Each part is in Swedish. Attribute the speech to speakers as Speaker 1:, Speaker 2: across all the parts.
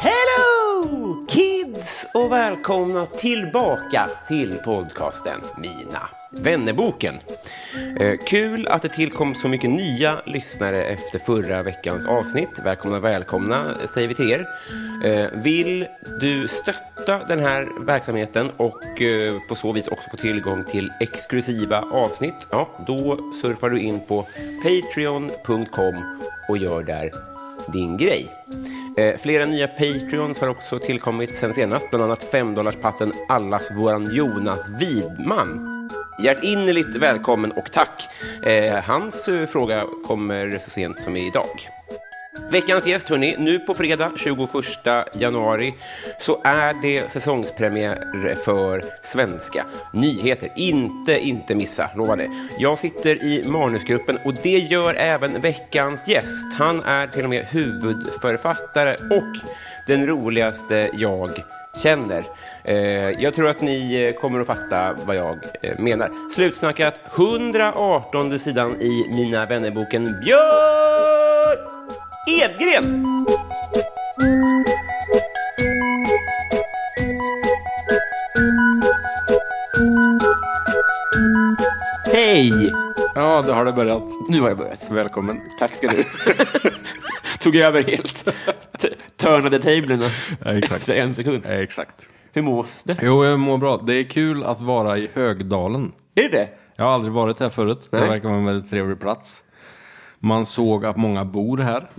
Speaker 1: Hello kids och välkomna tillbaka till podcasten Mina vännerboken. Eh, kul att det tillkom så mycket nya lyssnare efter förra veckans avsnitt. Välkomna, välkomna eh, säger vi till er. Eh, vill du stötta den här verksamheten och eh, på så vis också få tillgång till exklusiva avsnitt? Ja, då surfar du in på patreon.com och gör där din grej. Eh, flera nya Patreons har också tillkommit sen senast, bland annat 5-dollarspatten Allas våran Jonas Widman. Hjärtinnerligt välkommen och tack. Eh, hans eh, fråga kommer så sent som idag. Veckans gäst, hörni, nu på fredag 21 januari så är det säsongspremiär för Svenska nyheter. Inte, inte missa, lova det. Jag sitter i manusgruppen och det gör även veckans gäst. Han är till och med huvudförfattare och den roligaste jag känner. Eh, jag tror att ni eh, kommer att fatta vad jag eh, menar. Slutsnackat 118 sidan i Mina vännerboken Björn Edgren! Hej!
Speaker 2: Ja, då har det börjat.
Speaker 1: Nu har jag börjat.
Speaker 2: Välkommen.
Speaker 1: Tack ska du Tog över helt. T- Törnade tablerna.
Speaker 2: Ja, exakt.
Speaker 1: Efter en sekund.
Speaker 2: Exakt.
Speaker 1: Hur mås det?
Speaker 2: Jo, jag mår bra. Det är kul att vara i Högdalen.
Speaker 1: Är det det?
Speaker 2: Jag har aldrig varit här förut. Det
Speaker 1: Nej.
Speaker 2: verkar vara en väldigt trevlig plats. Man såg att många bor här,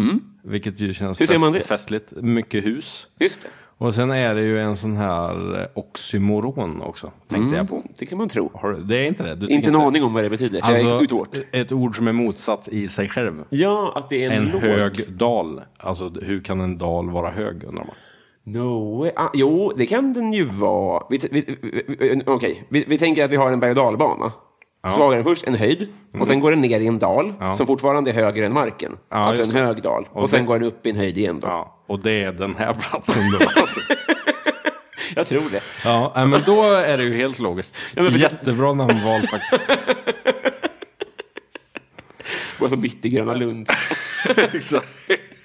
Speaker 2: vilket ju känns
Speaker 1: Mm. Hur ser man det?
Speaker 2: festligt. Mycket hus.
Speaker 1: Just det.
Speaker 2: Och sen är det ju en sån här eh, oxymoron också, tänkte jag på.
Speaker 1: Det kan man tro.
Speaker 2: Har du- Det är inte Alltså, eh, det? Du tycker
Speaker 1: Mm. Inte en aning om vad det betyder. så jag gick ut hårt.
Speaker 2: ett ord som är motsatt i sig själv.
Speaker 1: Ja, att det är en,
Speaker 2: En
Speaker 1: låg.
Speaker 2: hög dal. Alltså, hur kan en dal vara hög, undrar man.
Speaker 1: No way. Ah, jo, det kan den ju vara. Vi, vi, vi, okej, vi, vi tänker att vi har en berg och dalbana. Så har den först en höjd och sen går den ner i en dal
Speaker 2: Mm. Ja.
Speaker 1: som fortfarande är högre än marken.
Speaker 2: Ja,
Speaker 1: alltså en
Speaker 2: just det.
Speaker 1: hög dal. Och,
Speaker 2: Och
Speaker 1: sen
Speaker 2: det-
Speaker 1: går den upp i en höjd igen då.
Speaker 2: Ja, och det är den här platsen då. Alltså.
Speaker 1: Jag tror det.
Speaker 2: ja, nej, men då är det ju helt logiskt.
Speaker 1: Ja, men för-
Speaker 2: Jättebra namnval faktiskt.
Speaker 1: Går som bittergröna Lund.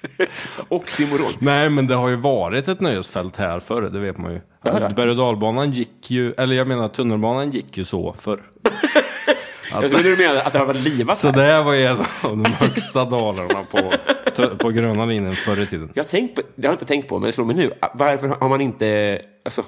Speaker 1: Oxymoron.
Speaker 2: Nej, men det har ju varit ett nöjesfält här förr, det vet man ju.
Speaker 1: Ja, ja.
Speaker 2: Berg och dalbanan gick ju, eller jag menar tunnelbanan gick ju så förr.
Speaker 1: Jag trodde du menade att det har varit livat
Speaker 2: Så
Speaker 1: här.
Speaker 2: det här var ju en av de högsta dalarna på, på gröna linjen förr i tiden.
Speaker 1: Jag har tänkt på, det har jag inte tänkt på, men det slår mig nu. Varför har man inte... Alltså,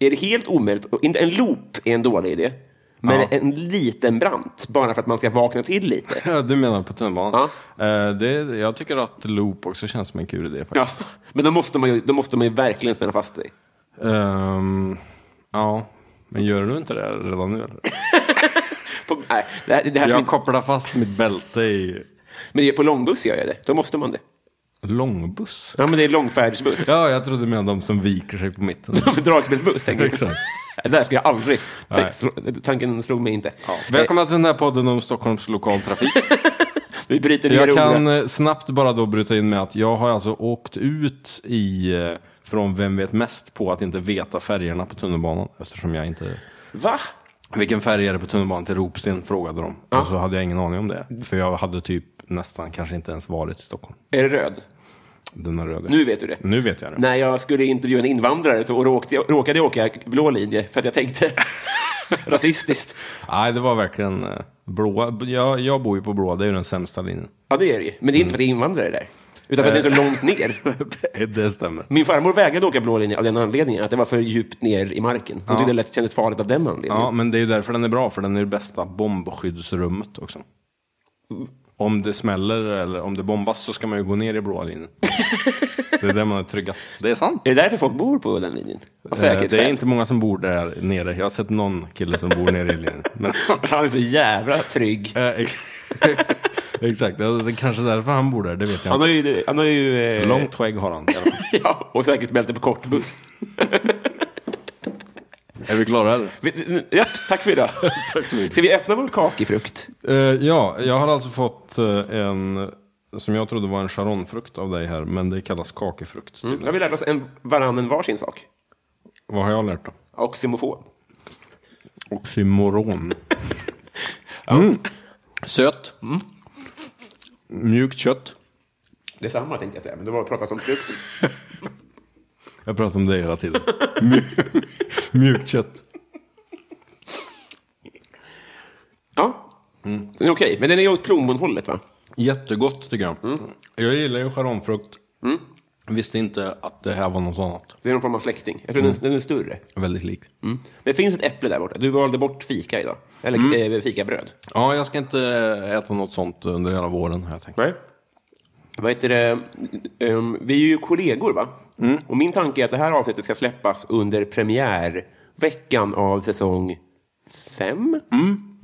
Speaker 1: är det helt omöjligt? Och Inte En loop är en dålig idé. Men
Speaker 2: Ja.
Speaker 1: en liten brant, bara för att man ska vakna till lite.
Speaker 2: Ja, Du menar på tunnelbanan? Eh, det, jag tycker att loop också känns som en kul idé faktiskt.
Speaker 1: Ja, men då måste man ju, då måste man ju verkligen spänna fast sig.
Speaker 2: Ehm, ja, men gör du inte det redan nu eller?
Speaker 1: På, nej, det här, det här
Speaker 2: Jag kopplar fast mitt bälte i
Speaker 1: men det är på långbuss gör jag det. Då måste man det.
Speaker 2: långbuss.
Speaker 1: Ja, men det är långfärdsbuss.
Speaker 2: Ja, jag trodde du menade de som viker sig på mitten.
Speaker 1: Dragspelsbuss, tänker jag.
Speaker 2: Exakt.
Speaker 1: Det där ska jag aldrig...
Speaker 2: Nej.
Speaker 1: Slå- Tanken slog mig inte.
Speaker 2: Välkomna till den här podden om Stockholms lokaltrafik.
Speaker 1: Eh, Vi bryter ner
Speaker 2: Jag
Speaker 1: ordet.
Speaker 2: kan eh, snabbt bara då bryta in med att jag har alltså åkt ut i, eh, från Vem vet mest på att inte veta färgerna på tunnelbanan. Eftersom jag inte...
Speaker 1: Va?
Speaker 2: Vilken färg är det på tunnelbanan till Ropsten frågade de. Och så hade jag ingen aning om det. För jag hade typ nästan kanske inte ens varit i Stockholm.
Speaker 1: Är det röd?
Speaker 2: Denna röda.
Speaker 1: Nu vet du det.
Speaker 2: Nu vet jag det.
Speaker 1: När jag skulle intervjua en invandrare så råkade jag, råkade jag åka blå linje för att jag tänkte rasistiskt.
Speaker 2: Nej, det var verkligen eh, blåa. Jag, jag bor ju på blåa, det är ju den sämsta linjen.
Speaker 1: Ja, det är det ju. Men det är inte för att det är invandrare där. Utan för att det
Speaker 2: Eh.
Speaker 1: är så långt ner.
Speaker 2: det stämmer.
Speaker 1: Min farmor vägrade åka blå linje av den anledningen, att det var för djupt ner i marken. Hon tyckte det lätt kändes farligt av den anledningen.
Speaker 2: Ja, men det är ju därför den är bra, för den är det bästa bombskyddsrummet också. Om det smäller eller om det bombas så ska man ju gå ner i blåa linjen. det är där man är tryggast. Det är sant.
Speaker 1: Är det därför folk bor på den linjen? Av säkerhetsskäl.
Speaker 2: Eh, Det är inte många som bor där nere. Jag har sett någon kille som bor nere i linjen. Men,
Speaker 1: Han är så jävla trygg.
Speaker 2: Eh, ex- Exakt, Ja, det är kanske därför han bor där, det vet jag
Speaker 1: Han
Speaker 2: inte.
Speaker 1: har ju... Han har ju eh,
Speaker 2: Långt skägg har han. i alla fall.
Speaker 1: Ja, och säkert bälte på kortbuss.
Speaker 2: Är vi klara eller?
Speaker 1: Vi- Ja, tack för idag.
Speaker 2: Tack så mycket.
Speaker 1: Ska vi öppna vår kakifrukt?
Speaker 2: Eh, ja, jag har alltså fått eh, en som jag trodde var en charonfrukt av dig här, men det kallas kakefrukt. typ. tydligen.
Speaker 1: Nu har vi lärt oss en, varann varsin sak.
Speaker 2: Vad har jag lärt då?
Speaker 1: Oxymofon.
Speaker 2: Oxymoron. Mm. Söt. Mjukt kött.
Speaker 1: Detsamma tänkte jag säga, men det var pratat om frukten.
Speaker 2: Jag pratar om det hela tiden. Mju- Mjukt kött.
Speaker 1: Ja, Mm. den är okej. Men den är åt plommonhållet, va?
Speaker 2: Jättegott tycker jag. Mm. Jag gillar ju charonfrukt. Visste inte att det här var något annat.
Speaker 1: Det är någon form av släkting. Jag tror
Speaker 2: Mm.
Speaker 1: den, den är större.
Speaker 2: Väldigt lik.
Speaker 1: Det finns ett äpple där borta. Du valde bort fika idag. Eller
Speaker 2: Mm.
Speaker 1: eh, fikabröd.
Speaker 2: Ja, jag ska inte äta något sånt under hela våren har jag tänkt.
Speaker 1: Nej. Vad heter det? Ehm, vi är ju kollegor, va?
Speaker 2: Mm.
Speaker 1: Och min tanke är att det här avsnittet ska släppas under premiärveckan av säsong fem.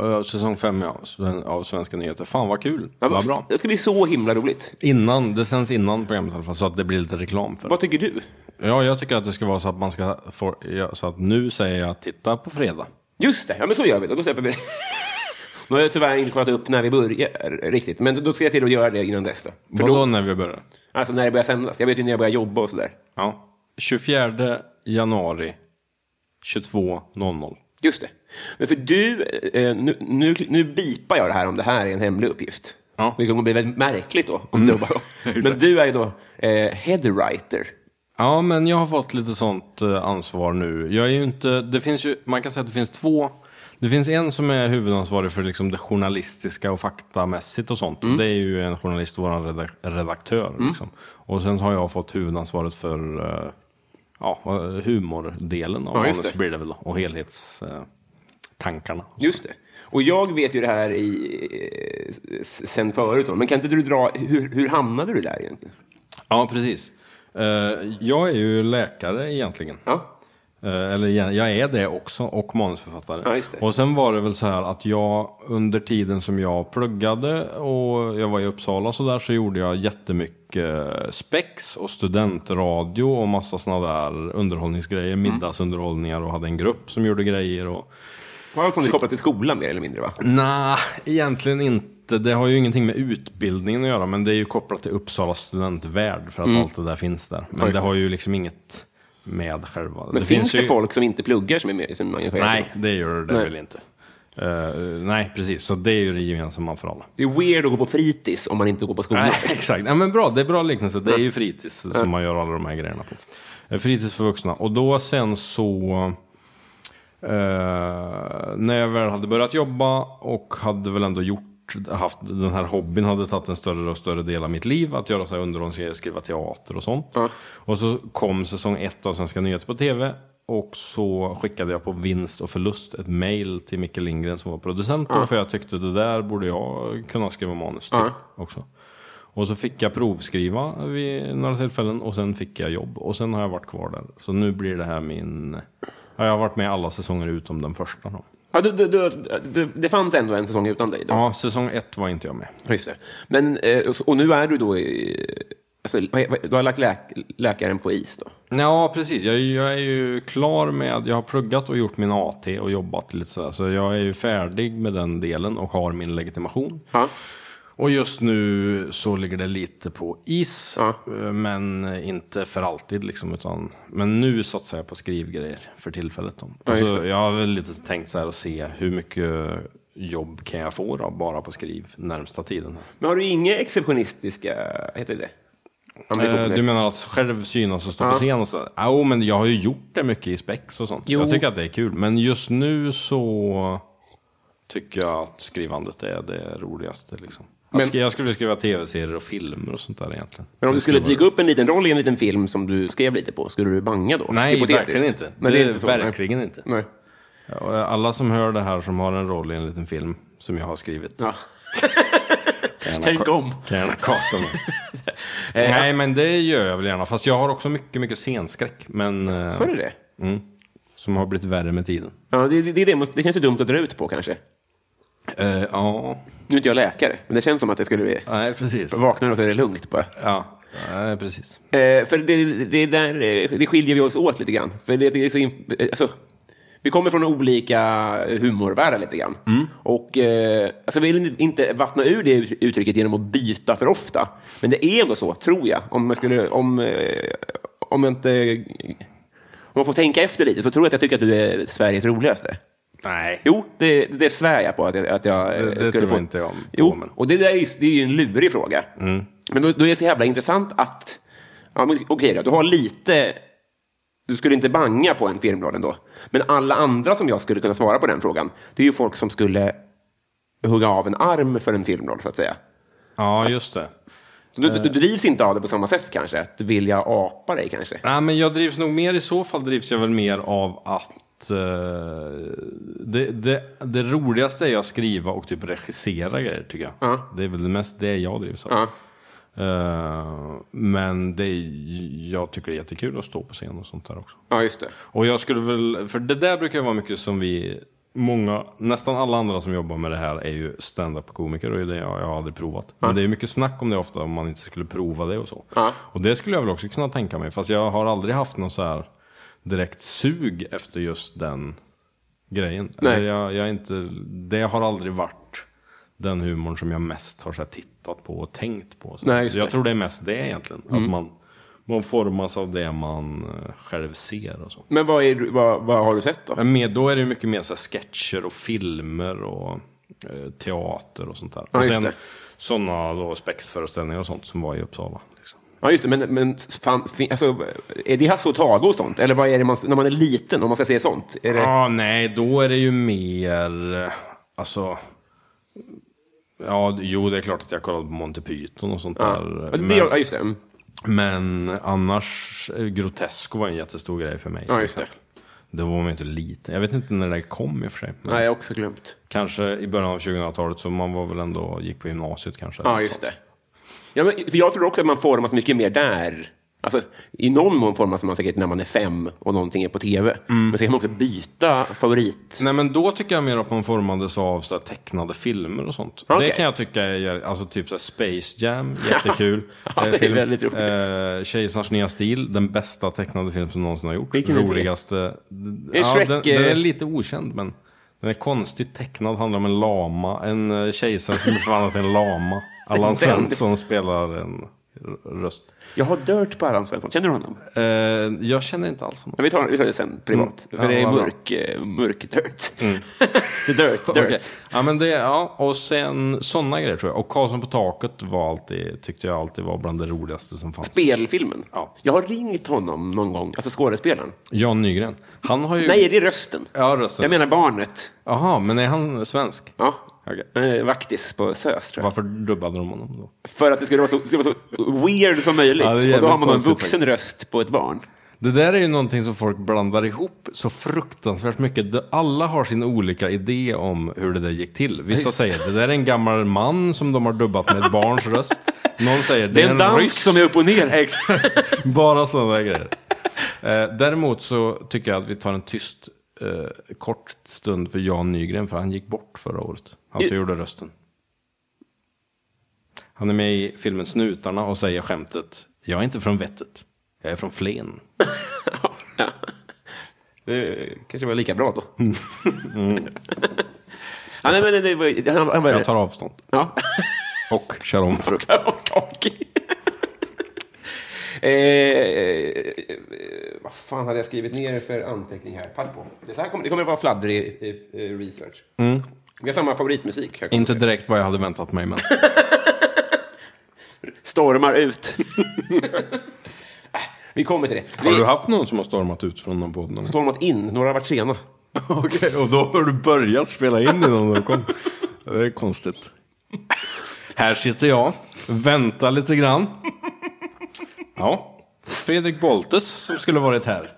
Speaker 2: Eh, Säsong 5 ja, Sven- av Svenska nyheter. Fan vad kul.
Speaker 1: Ja,
Speaker 2: vad bra.
Speaker 1: Det ska bli så himla roligt.
Speaker 2: Innan, det sänds innan programmet i alla fall, så att det blir lite reklam för det.
Speaker 1: Vad tycker du?
Speaker 2: Ja, jag tycker att det ska vara så att man ska få, ja, så att nu säger jag titta på fredag.
Speaker 1: Just det, ja men så gör vi då. Då släpper vi Nu har jag tyvärr inte kollat upp när vi börjar eh, riktigt, men då ska jag till att göra det innan dess då. För
Speaker 2: Vadå
Speaker 1: då,
Speaker 2: när vi börjar?
Speaker 1: alltså när det börjar sändas. Jag vet ju när jag börjar jobba och sådär.
Speaker 2: Ja. 24 januari 22.00.
Speaker 1: Just det. Men för du, eh, nu, nu, nu bipar jag det här om det här är en hemlig uppgift.
Speaker 2: Ja. Mm.
Speaker 1: Det kommer bli väldigt märkligt då. Om du bara, men du är ju då eh, headwriter.
Speaker 2: Ja, men jag har fått lite sånt eh, ansvar nu. Jag är ju inte, det finns ju, man kan säga att det finns två. Det finns en som är huvudansvarig för liksom det journalistiska och faktamässigt och sånt. Det är ju en journalist, vår redak- redaktör. Liksom. Och sen har jag fått huvudansvaret för eh, ja, humordelen av
Speaker 1: Ja, just
Speaker 2: manus
Speaker 1: det.
Speaker 2: blir det väl då, och helhetstankarna.
Speaker 1: Just det. Och jag vet ju det här i, eh, s- sen förut då. Men kan inte du dra, hur, hur hamnade du där egentligen?
Speaker 2: Ja, precis. Eh, jag är ju läkare egentligen.
Speaker 1: Ja.
Speaker 2: Eh, Eller igen, jag är det också och manusförfattare.
Speaker 1: Ja, just det.
Speaker 2: Och sen var det väl så här att jag under tiden som jag pluggade och jag var i Uppsala och så där så gjorde jag jättemycket spex och studentradio och massa sådana där underhållningsgrejer,
Speaker 1: Mm.
Speaker 2: middagsunderhållningar och hade en grupp som gjorde grejer och
Speaker 1: Har allt som är kopplat till skolan mer eller mindre va?
Speaker 2: Nej, egentligen inte. Det har ju ingenting med utbildningen att göra, men det är ju kopplat till Uppsala studentvärld för att
Speaker 1: Mm.
Speaker 2: allt det där finns där. Men
Speaker 1: just
Speaker 2: det
Speaker 1: det.
Speaker 2: har ju liksom inget med själva...
Speaker 1: Men finns, det
Speaker 2: ju...
Speaker 1: folk som inte pluggar som är med? Som engagerar sig?
Speaker 2: Nej, det gör det
Speaker 1: Nej.
Speaker 2: väl inte. Eh, nej, precis. Så det är ju det gemensamma för alla.
Speaker 1: Det är weird att gå på fritids om man inte går på skolan.
Speaker 2: Nej, exakt. Ja, men bra, det är bra liknelse. Det är ju fritids som man gör alla de här grejerna på. Eh, Fritids för vuxna. Och då sen så... eh, när jag väl hade börjat jobba och hade väl ändå gjort haft den här hobbyn hade tagit en större och större del av mitt liv. Att göra så här underhållningsgrejer, skriva teater och sånt. Och så kom säsong ett av Svenska nyheter på tv. Och så skickade jag på vinst och förlust ett mail till Micke Lindgren som var producent. då, För jag tyckte det där borde jag kunna skriva manus till också. Och så fick jag provskriva vid några tillfällen och sen fick jag jobb. Och sen har jag varit kvar där. Så nu blir det här min... Ja, jag har varit med alla säsonger utom den första då.
Speaker 1: Ja, du, du, du, du, det fanns ändå en säsong utan dig. Då.
Speaker 2: Ja, säsong ett var inte jag med.
Speaker 1: Just det. Men, eh, och så- och nu är du då i... Alltså, vad- vad- du har lagt läk, läkaren på is då?
Speaker 2: Ja, precis. Jag, är ju- jag är ju klar med... Jag har pluggat och gjort min AT och jobbat lite sådär. Så jag är ju färdig med den delen och har min legitimation.
Speaker 1: Ja.
Speaker 2: Och just nu så ligger det lite på is.
Speaker 1: Ja.
Speaker 2: eh, Men inte för alltid liksom. Utan, men nu satsar jag på skrivgrejer för tillfället. Då.
Speaker 1: Ja, just
Speaker 2: alltså, jag har väl lite tänkt så här och se hur mycket jobb kan jag få då, bara på skriv närmsta tiden.
Speaker 1: Men har du inga exceptionistiska... Heter det
Speaker 2: Eh,
Speaker 1: ambitioner?
Speaker 2: Du menar att själv synas och stå på scen och så? Jo, men jag har ju gjort det mycket i spex och sånt.
Speaker 1: Jo.
Speaker 2: Jag tycker att det är kul. Men just nu så tycker jag att skrivandet är det roligaste. Liksom.
Speaker 1: Men-
Speaker 2: Men... Jag skulle skriva tv-serier och filmer och sånt där egentligen.
Speaker 1: Men om
Speaker 2: Det
Speaker 1: du skulle
Speaker 2: vara-
Speaker 1: dyka upp en liten roll i en liten film som du skrev lite på, skulle du banga då?
Speaker 2: Nej,
Speaker 1: Hypotetiskt.
Speaker 2: verkligen inte.
Speaker 1: Men det, är inte så? nej.
Speaker 2: verkligen inte.
Speaker 1: Nej.
Speaker 2: Ja, och Alla som hör det här som har en roll i en liten film som jag har skrivit.
Speaker 1: Ja.
Speaker 2: gärna
Speaker 1: Tänk
Speaker 2: ko-
Speaker 1: om.
Speaker 2: Kan gärna kasta mig.
Speaker 1: Eh,
Speaker 2: Nej, men det gör jag väl gärna. Fast jag har också mycket, mycket scenskräck. Men, eh,
Speaker 1: Hör du det?
Speaker 2: mm, som har blivit värre med tiden.
Speaker 1: Ja, det, det, det, är det, man- det känns ju dumt att dra ut på kanske.
Speaker 2: Eh, ja,
Speaker 1: Nu är inte jag läkare, men det känns som att det skulle bli...
Speaker 2: nej precis.
Speaker 1: Vaknar och så är det lugnt bara.
Speaker 2: Ja, nej, precis.
Speaker 1: Eh, för det, det, är där, eh, det skiljer vi oss åt lite grann. För det, det är så, in- eh, alltså, vi kommer från olika humorvärldar lite grann. Och, eh, alltså, vi vill inte vattna ur det ut- uttrycket genom att byta för ofta. Men det är ändå så, tror jag. Om jag, skulle, om, eh, om jag inte... Om man får tänka efter lite så tror jag att jag tycker att du är Sveriges roligaste.
Speaker 2: Nej.
Speaker 1: Jo, det, det svär jag på att jag, att jag eh,
Speaker 2: det
Speaker 1: skulle
Speaker 2: tror
Speaker 1: på.
Speaker 2: inte jag på,
Speaker 1: Jo,
Speaker 2: men- Mm.
Speaker 1: och det, där är, ju, det är ju en lurig fråga. Men då, då är det så jävla intressant att... Ja, men Okej då, du har lite... Du skulle inte banga på en filmroll ändå. Men alla andra som jag skulle kunna svara på den frågan, det är ju folk som skulle hugga av en arm för en filmroll, så att säga.
Speaker 2: Ja, just det.
Speaker 1: Du, du,
Speaker 2: Eh.
Speaker 1: du drivs inte av det på samma sätt kanske, att vilja apa dig kanske.
Speaker 2: Nej, men jag drivs nog mer, i så fall drivs jag väl mer av att eh, det, det, det roligaste är att skriva och typ regissera grejer tycker jag.
Speaker 1: Ja.
Speaker 2: Det är väl det mest det jag drivs av.
Speaker 1: Ja.
Speaker 2: Eh, men det, är- jag tycker det är jättekul att stå på scen och sånt där också.
Speaker 1: Ja, just det.
Speaker 2: Och jag skulle väl, för det där brukar ju vara mycket som vi, många, nästan alla andra som jobbar med det här är ju stand-up komiker och det jag, jag har aldrig provat. Men det är ju mycket snack om det ofta om man inte skulle prova det och så.
Speaker 1: Ja.
Speaker 2: Och det skulle jag väl också kunna tänka mig, fast jag har aldrig haft någon så här direkt sug efter just den grejen.
Speaker 1: Nej.
Speaker 2: Eller Jag, jag är inte, det har aldrig varit den humorn som jag mest har så här tittat på och tänkt på. Så
Speaker 1: Nej, just
Speaker 2: jag
Speaker 1: det. Mm.
Speaker 2: tror det är mest det egentligen. Att man, man formas av det man eh, själv ser och så.
Speaker 1: Men vad, är, du- vad, vad har du sett då?
Speaker 2: Men med, då är det ju mycket mer så här sketcher och filmer och eh, teater och sånt där.
Speaker 1: Ja,
Speaker 2: och
Speaker 1: just
Speaker 2: sen
Speaker 1: det.
Speaker 2: sådana då spexföreställningar och sånt som var i Uppsala. Liksom.
Speaker 1: Ja, just det. Men, men fan, fin- alltså, är det Hasse och Tage och sånt? Eller vad är det man, när man är liten, om man ska säga sånt? Är det,
Speaker 2: Ja, nej, då är det ju mer, eh, alltså... Ja, jo, det är klart att jag kollade på Monty Python och sånt där.
Speaker 1: Ja,
Speaker 2: eh,
Speaker 1: det, ja, just det. Mm.
Speaker 2: Men annars, eh, Grotesco var en jättestor grej för mig.
Speaker 1: Ja,
Speaker 2: till
Speaker 1: just det.
Speaker 2: exempel. Då var man ju inte liten. Jag vet inte när det kom i och för sig. men
Speaker 1: Nej, jag har också glömt.
Speaker 2: Kanske i början av 2000-talet, så man var väl ändå, gick på gymnasiet kanske. eller
Speaker 1: Ja,
Speaker 2: något
Speaker 1: just
Speaker 2: sånt.
Speaker 1: det. Ja, men, för jag tror också att man formas mycket mer där. Alltså, I någon mån formas man säkert när man är fem och någonting är på tv. Men sen kan man också byta favorit.
Speaker 2: Mm. Nej men då tycker jag mer att man formades av så här, tecknade filmer och sånt.
Speaker 1: Okej.
Speaker 2: Det kan jag tycka är, alltså typ så här, Space Jam, jättekul.
Speaker 1: Ja, det är
Speaker 2: eh, film.
Speaker 1: väldigt roligt.
Speaker 2: Eh, Kejsarens nya stil, den bästa tecknade film som någonsin har gjorts.
Speaker 1: Vilken är det?
Speaker 2: Roligaste.
Speaker 1: Är
Speaker 2: ja,
Speaker 1: Shrek,
Speaker 2: den,
Speaker 1: eh,
Speaker 2: den är lite okänd men den är konstigt tecknad, handlar om en lama, en eh, kejsare som förvandlas till en lama. Allan Svensson spelar en r- röst.
Speaker 1: Jag har Dirt på Allan Svensson. Känner du honom?
Speaker 2: Eh, jag känner inte alls honom.
Speaker 1: Ja, vi, tar, vi tar det sen, privat.
Speaker 2: Mm.
Speaker 1: För det
Speaker 2: Ja,
Speaker 1: är
Speaker 2: vad bra. Mm.
Speaker 1: mörk, eh, mörk Dirt. The Dirt, Dirt.
Speaker 2: Okej. Ja, men det, ja, och sen sådana grejer tror jag. Och Karlsson på taket var alltid, tyckte jag alltid var bland det roligaste som fanns.
Speaker 1: Spelfilmen.
Speaker 2: Ja.
Speaker 1: Jag har ringt honom någon gång, alltså skådespelaren.
Speaker 2: Jan Nygren. Han har ju...
Speaker 1: Nej, det är rösten.
Speaker 2: Ja, rösten.
Speaker 1: Jag menar barnet.
Speaker 2: Jaha, men är han svensk?
Speaker 1: Ja.
Speaker 2: Okej.
Speaker 1: Eh, Vaktis på SÖS, tror jag.
Speaker 2: Varför dubbade de honom då?
Speaker 1: För att det skulle vara så, det skulle vara så weird som möjligt.
Speaker 2: Ja, det är
Speaker 1: och då
Speaker 2: jävligt
Speaker 1: har man då en
Speaker 2: konstigt
Speaker 1: vuxen röst på ett barn.
Speaker 2: Det där är ju någonting som folk blandar ihop så fruktansvärt mycket. De- Alla har sin olika idé om hur det där gick till. Vissa säger det där är en gammal man som de har dubbat med ett barns röst. Någon säger
Speaker 1: Det är en dansk
Speaker 2: ryss."
Speaker 1: som är upp och ner.
Speaker 2: Exakt. Bara sådana där grejer. Eh, däremot så tycker jag att vi tar en tyst eh, kort stund för Jan Nygren, för han gick bort förra året. Han som gjorde rösten. Han är med i filmen Snutarna och säger skämtet Jag är inte från vettet, jag är från Flen.
Speaker 1: Ja. Det kanske var lika bra då. ja, nej, men det- det var, han, han var
Speaker 2: Mm. Jag tar avstånd
Speaker 1: Ja.
Speaker 2: och kör om frukt.
Speaker 1: Och- och- eh, eh, vad fan hade jag skrivit ner för anteckning här? Pass på. Det, så här kommer, det kommer att vara fladdrig eh, eh, research.
Speaker 2: Mm.
Speaker 1: Vi har samma favoritmusik. här kommer
Speaker 2: Inte
Speaker 1: det.
Speaker 2: direkt vad jag hade väntat mig, men
Speaker 3: stormar ut.
Speaker 1: Äh, Vi kommer till det.
Speaker 2: Har du
Speaker 1: Vi
Speaker 2: haft någon som har stormat ut från någon podd? någon gång?
Speaker 1: stormat in, några har varit sena.
Speaker 2: Okej, och då har du börjat spela in innan de kom. Det är konstigt. Här sitter jag, väntar lite grann. Ja, Fredrik Boltes som skulle varit här.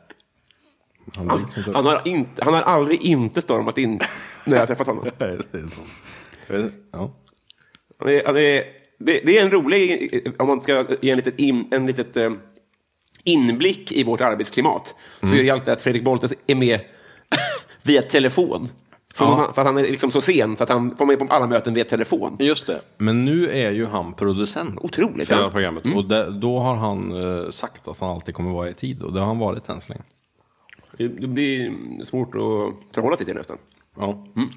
Speaker 2: Han dog.
Speaker 1: Han har, inte, han har aldrig inte stormat in när jag har träffat honom.
Speaker 2: Nej, det är så. Jag vet inte. Ja.
Speaker 1: Han är, han är, det, det är en rolig, om man ska ge en litet, in, en litet eh, inblick i vårt arbetsklimat,
Speaker 2: Mm.
Speaker 1: så är det alltid att Fredrik Boltes är med via telefon. För,
Speaker 2: Ja.
Speaker 1: han, för att han är liksom så sen, så att han får med på alla möten via telefon.
Speaker 2: Just det, men nu är ju han producent.
Speaker 1: Otroligt,
Speaker 2: För det
Speaker 1: ja.
Speaker 2: här programmet. Och där- då har han eh, sagt att han alltid kommer vara i tid och det har han varit än så länge.
Speaker 1: Det, det blir svårt att förhålla sig till nästan.
Speaker 2: Ja. Mm.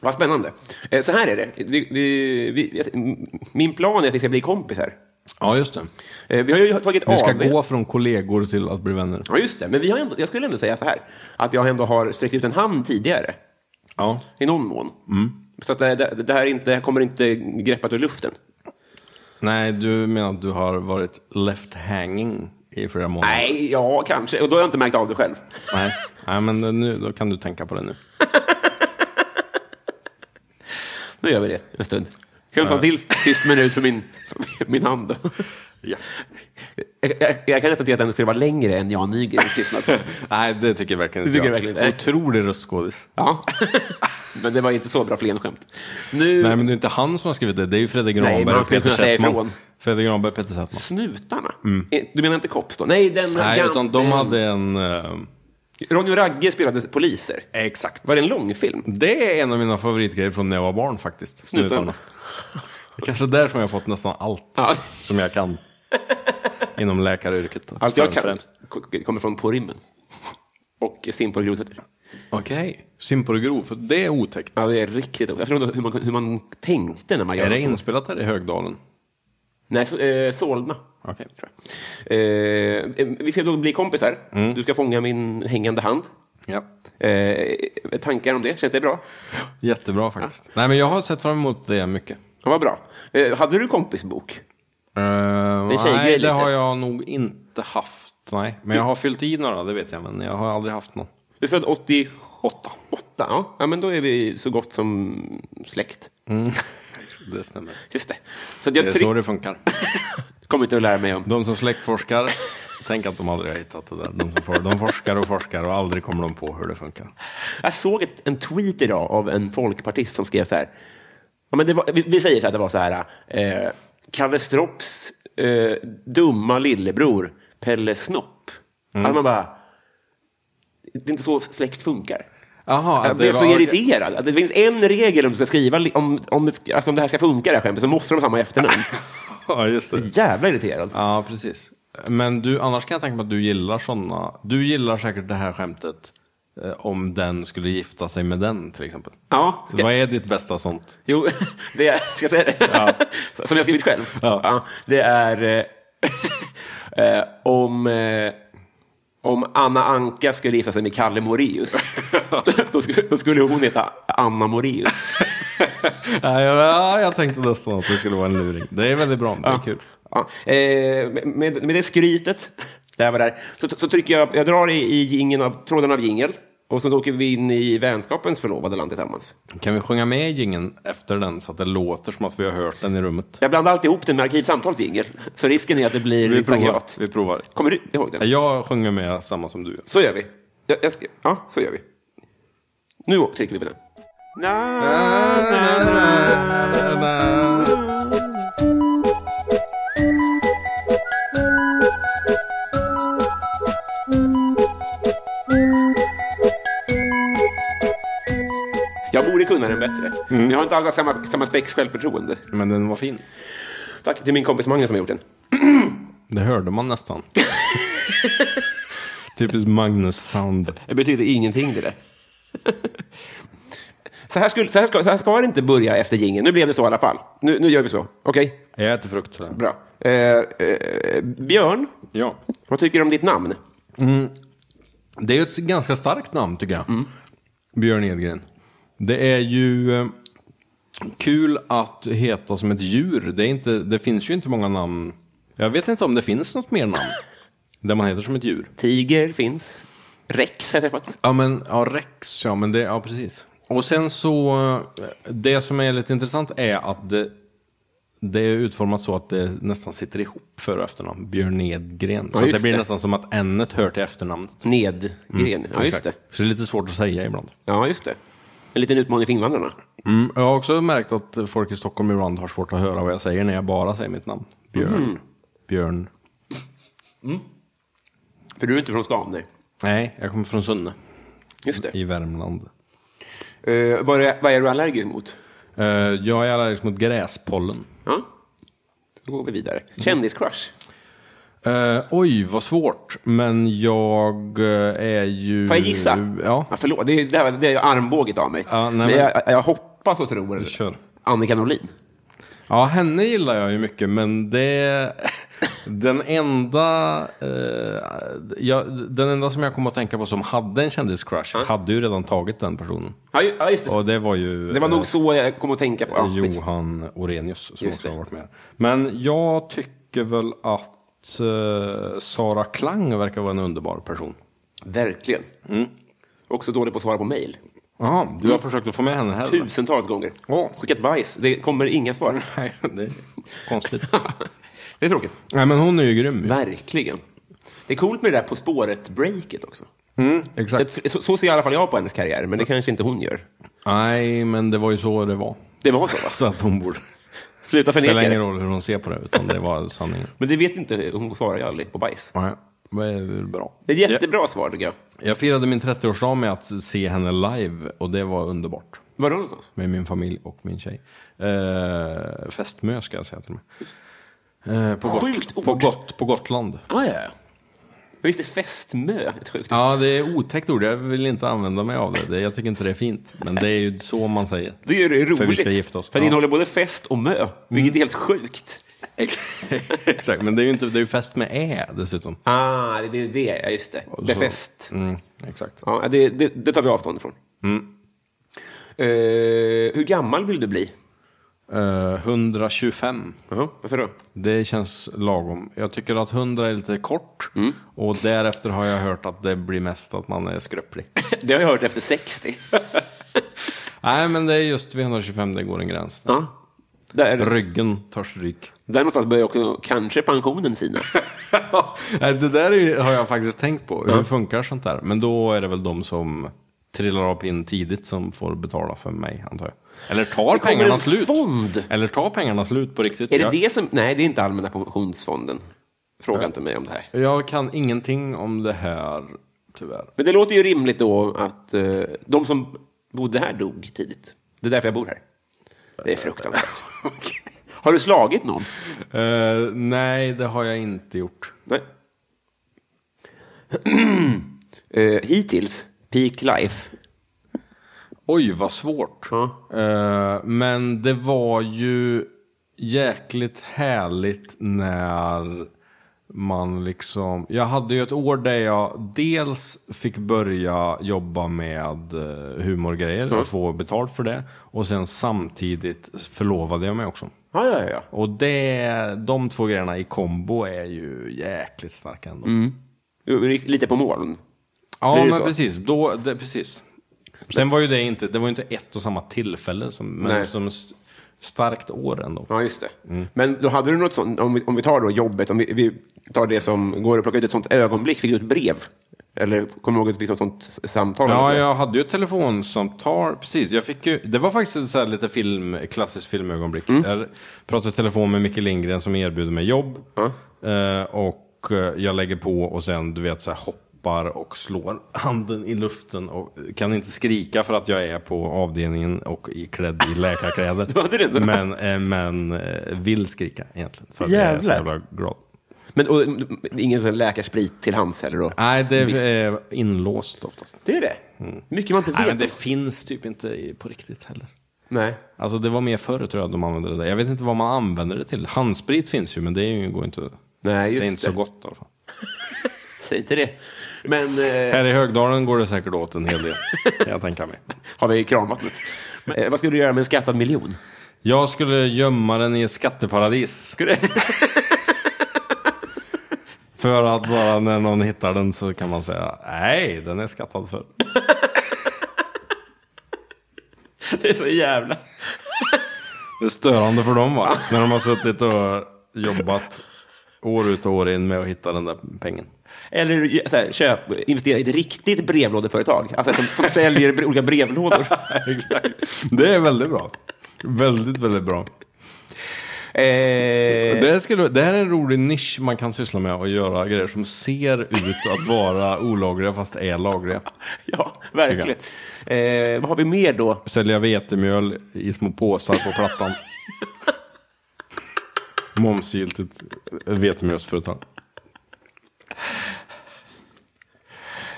Speaker 1: Vad spännande. Eh, Så här är det. Vi, vi, vi, jag- min plan är att vi ska bli kompisar.
Speaker 2: ja, just det.
Speaker 1: Eh, Vi har ju tagit av...
Speaker 2: Vi ska gå från kollegor till att bli vänner.
Speaker 1: Ja, just det. Men vi har ändå, jag skulle ändå säga så här, att jag ändå har sträckt ut en hand tidigare,
Speaker 2: Ja.
Speaker 1: i någon mån.
Speaker 2: Mm.
Speaker 1: Så att det, det, det, här är inte, det här kommer inte greppat ur luften.
Speaker 2: Nej, du menar att du har varit left hanging i flera månader?
Speaker 1: Nej, ja, kanske. Och då har jag inte märkt av det själv.
Speaker 2: Nej, Nej men nu, då kan du tänka på det nu.
Speaker 1: Nu gör vi det en stund. Kan vi ta en till tyst minut för min, för min hand? då? Jag, jag, jag kan nästan tycka att den skulle vara längre än Jan Nygrens tystnad.
Speaker 2: Nej, det tycker jag verkligen
Speaker 1: Det tycker jag verkligen inte.
Speaker 2: Otrolig röstskådis.
Speaker 1: Ja. Men det var inte så bra flenskämt. Nu...
Speaker 2: Nej, men det är inte han som har skrivit det. Det är ju Fredrik
Speaker 1: men
Speaker 2: Granberg
Speaker 1: han
Speaker 2: och
Speaker 1: skulle
Speaker 2: Peter
Speaker 1: kunna säga
Speaker 2: Settman.
Speaker 1: ifrån.
Speaker 2: Fredrik Granberg och Peter Settman.
Speaker 1: Snutarna? Eh, Du menar inte Kops då? Nej, den...
Speaker 2: Mm. Nej,
Speaker 1: gam-
Speaker 2: utan de
Speaker 1: den-
Speaker 2: hade en... eh,
Speaker 1: Ronny och Ragge spelade poliser.
Speaker 2: Exakt.
Speaker 1: Var det en långfilm?
Speaker 2: Det är en av mina favoritgrejer från när jag var barn faktiskt.
Speaker 1: Snutarna.
Speaker 2: Snutarna. Det är Kanske där som jag har fått nästan allt
Speaker 1: Ja.
Speaker 2: som jag kan. Inom läkaryrket.
Speaker 1: Allt jag
Speaker 2: främst.
Speaker 1: kan k- kommer från På rymmen. Och Simpor grodfötter.
Speaker 2: Okej, simpor och grov. För det är otäckt.
Speaker 1: Ja, det är riktigt... Jag förstår inte hur man, hur man tänkte när man gör
Speaker 2: Är det
Speaker 1: så.
Speaker 2: inspelat här i Högdalen?
Speaker 1: Nej, så, eh, Solna.
Speaker 2: Okej.
Speaker 1: tror jag. Eh, eh, vi ska då bli kompisar.
Speaker 2: Mm.
Speaker 1: Du ska fånga min hängande hand.
Speaker 2: Ja.
Speaker 1: Eh, tankar om det? Känns det bra?
Speaker 2: Jättebra faktiskt. Nej, men jag har sett fram emot det mycket.
Speaker 1: Ja, vad bra. Eh, hade du kompisbok?
Speaker 2: Eh,
Speaker 1: tjejgrej
Speaker 2: nej, det
Speaker 1: lite.
Speaker 2: har jag nog inte haft. Nej, men jag har fyllt i några, det vet jag. Men jag har aldrig haft någon.
Speaker 1: Du är född 88? 8, ja. ja, men då är vi så gott som släkt.
Speaker 2: Mm. Det stämmer.
Speaker 1: Just det. Så att
Speaker 2: Det är
Speaker 1: jag
Speaker 2: så
Speaker 1: tryck...
Speaker 2: det funkar.
Speaker 1: kommer inte att lära mig om.
Speaker 2: De som släktforskar, tänk att de aldrig har hittat det där. De, som for, de forskar och forskar och aldrig kommer de på hur det funkar.
Speaker 1: Jag såg ett, en tweet idag av en folkpartist som skrev så här. Ja, men det var, vi, vi säger så här, det var så här. Eh, Kalle Stropps eh, dumma lillebror Pelle Snopp. Att man bara... Det är inte så släkt funkar.
Speaker 2: Jaha,
Speaker 1: Jag blev så irriterad. Att det finns en regel om du ska skriva, li- om, om, det, ska- alltså om det här ska funka det här skämtet, så måste de ha samma efternamn.
Speaker 2: Ja, just det.
Speaker 1: Jävla irriterad.
Speaker 2: Ja, precis. Men du, annars kan jag tänka mig att du gillar sådana. Du gillar säkert det här skämtet eh, om den skulle gifta sig med den till exempel.
Speaker 1: Ja, ska-
Speaker 2: Vad är ditt bästa sånt?
Speaker 1: Jo, det är, ska jag säga det? Som jag skrivit själv?
Speaker 2: Ja.
Speaker 1: det är eh, eh, om, eh, om Anna Anka skulle gifta sig med Kalle Moreus. då, skulle, då skulle hon heta Anna Moreus.
Speaker 2: Ja, jag, jag tänkte nästan att det skulle vara en luring. Det är väldigt bra, det är kul.
Speaker 1: Ja, eh, med, med det skrytet, det här var där, så, så trycker jag, jag drar i, i jingeln av, tråden av jingel och så åker vi in i vänskapens förlovade land tillsammans.
Speaker 2: Kan vi sjunga med gingen efter den så att det låter som att vi har hört den i rummet?
Speaker 1: Jag blandar alltid ihop den med arkivsamtals jingel, så risken är att det blir plagiat.
Speaker 2: Vi provar.
Speaker 1: Kommer du ihåg den?
Speaker 2: Jag sjunger med samma som du.
Speaker 1: Så gör vi. Ja, jag ska, ja, så gör vi. Nu trycker vi på den. Na, na, na. Jag borde kunna den bättre. Men jag har inte alls samma, samma spex självförtroende.
Speaker 2: Men den var fin.
Speaker 1: Tack till min kompis Magnus som har gjort den.
Speaker 2: Det hörde man nästan. Typiskt Magnus-sound.
Speaker 1: Det betyder ingenting det där. Så här, skulle, så, här ska, så här ska det inte börja efter jingeln. Nu blev det så i alla fall. Nu, nu gör vi så. Okej,
Speaker 2: Jag äter frukt. sådär.
Speaker 1: bra. Eh, eh, Björn,
Speaker 2: Ja.
Speaker 1: vad tycker du om ditt namn?
Speaker 2: Det är ju ett
Speaker 1: Mm.
Speaker 2: ganska starkt namn tycker jag. Björn Edgren. Det är ju... eh, Kul att heta som ett djur. Det, är inte, det finns ju inte många namn. Jag vet inte om det finns något mer namn. där man heter som ett djur.
Speaker 1: Tiger finns. Rex har jag träffat.
Speaker 2: Ja, men ja, Rex, ja, men det, ja, precis. Och sen så, eh, det som är lite intressant är att det, det är utformat så att det nästan sitter ihop för och efternamn. Björn Edgren.
Speaker 1: Ja,
Speaker 2: Så att det
Speaker 1: just
Speaker 2: blir
Speaker 1: det.
Speaker 2: nästan som att n-et hör till efternamnet.
Speaker 1: Nedgren. Ja, just
Speaker 2: Exakt.
Speaker 1: det.
Speaker 2: Så det är lite svårt att säga ibland.
Speaker 1: Ja, just det. En liten utmaning för invandrarna.
Speaker 2: Mm, jag har också märkt att folk i Stockholm ibland har svårt att höra vad jag säger när jag bara säger mitt namn. Björn. Björn.
Speaker 1: För du är inte från stan, nej.
Speaker 2: Nej, jag kommer från Sunne
Speaker 1: Just det.
Speaker 2: i Värmland.
Speaker 1: Eh, vad, är, vad är du allergisk mot?
Speaker 2: Eh, jag är allergisk mot gräspollen.
Speaker 1: Ja. Då går vi vidare. Kändiscrush.
Speaker 2: Eh, oj, vad svårt. Men jag eh, är ju...
Speaker 1: Får jag gissa?
Speaker 2: Mm, Ja.
Speaker 1: förlåt, det är, det här, det är armbåget av mig.
Speaker 2: Ja, nej,
Speaker 1: men
Speaker 2: men-
Speaker 1: Jag, jag hoppas och tror det.
Speaker 2: Kör.
Speaker 1: Annika Norlin.
Speaker 2: ja, henne gillar jag ju mycket. Men det... Den enda, eh, jag, den enda som jag kom att tänka på som hade en kändiscrush hade ju redan tagit den personen.
Speaker 1: Ja, ju- ja, just det.
Speaker 2: Och det var ju...
Speaker 1: Det var
Speaker 2: eh,
Speaker 1: nog så jag kom att tänka på. Ja, skit.
Speaker 2: Johan Orenius som
Speaker 1: Just
Speaker 2: också
Speaker 1: det.
Speaker 2: har varit med. Men jag tycker väl att eh, Sara Klang verkar vara en underbar person.
Speaker 1: Verkligen.
Speaker 2: Mm.
Speaker 1: Också dålig på att svara på mejl.
Speaker 2: Jaha, du har försökt att få med henne här? eller?
Speaker 1: Tusentals gånger.
Speaker 2: Ja.
Speaker 1: Skickat bajs. Det kommer inga svar.
Speaker 2: Nej, det är konstigt.
Speaker 1: det är tråkigt.
Speaker 2: Nej, men hon är ju grym. ju.
Speaker 1: Verkligen. Det är coolt med det där På spåret-breaket också.
Speaker 2: Mm, exakt.
Speaker 1: Det- Så, så ser i alla fall jag på hennes karriär, men det kanske inte hon gör.
Speaker 2: Nej, men det var ju så det var.
Speaker 1: Det var så, va?
Speaker 2: Så Alltså att hon borde...
Speaker 1: Sluta
Speaker 2: Det spelar
Speaker 1: förneka
Speaker 2: ingen
Speaker 1: det.
Speaker 2: roll hur hon ser på det, utan det var sanningen.
Speaker 1: Men det vet inte, hon svarar ju aldrig på bajs.
Speaker 2: Nej, det är väl bra.
Speaker 1: Det är ett jättebra svar, tycker jag.
Speaker 2: Jag firade min 30-årsdag med att se henne live och det var underbart.
Speaker 1: Var det någonstans?
Speaker 2: Med min familj och min tjej. Eh, fästmö ska jag säga till mig. Eh, på,
Speaker 1: Sjukt
Speaker 2: gott,
Speaker 1: ord.
Speaker 2: på, gott, på Gotland.
Speaker 1: Ah, ja, ja. Visst är fästmö ett sjukt
Speaker 2: Ja, det är otäckt ord. Jag vill inte använda mig av det. det. Jag tycker inte det är fint. Men det är ju så man säger.
Speaker 1: Det är ju roligt.
Speaker 2: För vi ska gifta oss.
Speaker 1: För det
Speaker 2: Ja.
Speaker 1: innehåller både fest och mö, vilket är helt sjukt.
Speaker 2: Exakt, men det är ju inte, det är ju fest med ä dessutom.
Speaker 1: Ah, det är det, ja just det. Befäst.
Speaker 2: Mm, exakt.
Speaker 1: Ja, det, det, det tar vi avstånd ifrån.
Speaker 2: Mm.
Speaker 1: Eh, hur gammal vill du bli?
Speaker 2: Eh, 125.
Speaker 1: Jaha, varför då?
Speaker 2: Det känns lagom. Jag tycker att 100 är lite kort.
Speaker 1: Mm.
Speaker 2: Och därefter har jag hört att det blir mest att man är skröplig.
Speaker 1: Det har jag hört efter 60.
Speaker 2: Nej, men det är just vid 125 det går en gräns.
Speaker 1: ja. Där,
Speaker 2: Ryggen tar stryk.
Speaker 1: där någonstans börjar också kanske pensionen sina.
Speaker 2: Nej, det där är, ju- har jag faktiskt tänkt på. Hur funkar sånt där? Men då är det väl de som trillar av pinn tidigt som får betala för mig, antar jag. Eller tar
Speaker 1: Det kommer
Speaker 2: pengarna
Speaker 1: en
Speaker 2: slut.
Speaker 1: fond.
Speaker 2: Eller tar pengarna slut på riktigt.
Speaker 1: Är det
Speaker 2: jag,
Speaker 1: det som... Nej, det är inte Allmänna pensionsfonden. Fråga inte mig om det här.
Speaker 2: jag kan ingenting om det här, tyvärr.
Speaker 1: Men det låter ju rimligt då att eh, de som bodde här dog tidigt. Det är därför jag bor här. Det är fruktansvärt. Har du slagit någon?
Speaker 2: Eh, nej, det har jag inte gjort.
Speaker 1: Nej. Eh, hittills, peak life.
Speaker 2: Oj, vad svårt.
Speaker 1: Ja.
Speaker 2: Eh, men det var ju jäkligt härligt när man liksom... Jag hade ju ett år där jag dels fick börja jobba med eh, humorgrejer och få betalt för det. Och sen samtidigt förlovade jag mig också.
Speaker 1: Ja, ja, ja.
Speaker 2: Och det, de två grejerna i kombo är ju jäkligt starka ändå.
Speaker 1: Lite på moln.
Speaker 2: Ja,
Speaker 1: Blir det
Speaker 2: men
Speaker 1: så?
Speaker 2: precis. Då, det, precis. Sen var ju det inte, det var ju inte ett och samma tillfälle, som,
Speaker 1: Nej.
Speaker 2: men som st- starkt år ändå.
Speaker 1: Ja, just det. Mm. Men då hade du något sånt, om vi, om vi tar då jobbet, om vi, vi tar det som går att plocka ut ett sånt ögonblick, fick du ett brev? Eller kommer du ihåg att vi fick något sånt samtal? Alltså?
Speaker 2: Ja,
Speaker 1: ja.
Speaker 2: jag hade ju ett telefonsamtal. Precis, jag fick ju, det var faktiskt ett så här lite film, klassiskt filmögonblick.
Speaker 1: Mm.
Speaker 2: Jag pratade i telefon med Micke Lindgren som erbjuder mig jobb. Eh, och eh, jag lägger på och sen du vet så här hoppar och slår handen i luften. Och kan inte skrika för att jag är på avdelningen och i klädd i läkarkläder.
Speaker 1: hade det ändå.
Speaker 2: men eh, men eh, vill skrika egentligen. För att jag är så
Speaker 1: Jävlar.
Speaker 2: jävla glad.
Speaker 1: Men och, ingen sån läkarsprit till hands heller då?
Speaker 2: Nej, det är inlåst oftast.
Speaker 1: Det är det. Mycket man inte vet.
Speaker 2: Mm. Nej, men det finns typ inte i- på riktigt heller.
Speaker 1: Nej.
Speaker 2: Alltså det var mer förr tror jag de använde det där. Jag vet inte vad man använder det till. Handsprit finns ju men det är ju, går inte.
Speaker 1: Nej, just
Speaker 2: det är inte
Speaker 1: det.
Speaker 2: så gott i alla fall.
Speaker 1: Säg inte det. Men eh,
Speaker 2: Här i Högdalen går det säkert åt en hel del. kan jag tänka mig.
Speaker 1: har vi kranvattnet. Eh, vad skulle du göra med en skattad miljon?
Speaker 2: Jag skulle gömma den i ett skatteparadis.
Speaker 1: Skulle...
Speaker 2: För att bara när någon hittar den så kan man säga nej, den är skattad för.
Speaker 1: det är så jävla...
Speaker 2: Det är störande för dem va? När de har suttit och jobbat år ut och år in med att hitta den där pengen.
Speaker 1: Eller så här, köp, investera i ett riktigt brevlådeföretag. Alltså som, som säljer bre- olika brevlådor.
Speaker 2: Exakt. Det är väldigt bra. Väldigt, väldigt bra.
Speaker 1: Eh,
Speaker 2: Det, här skulle, det här är en rolig nisch man kan syssla med och göra grejer som ser ut att vara olagliga fast är lagliga.
Speaker 1: ja, verkligen. Eh, vad har vi mer då?
Speaker 2: Sälja vetemjöl i små påsar på plattan. Momsgiltigt vetemjölsföretag.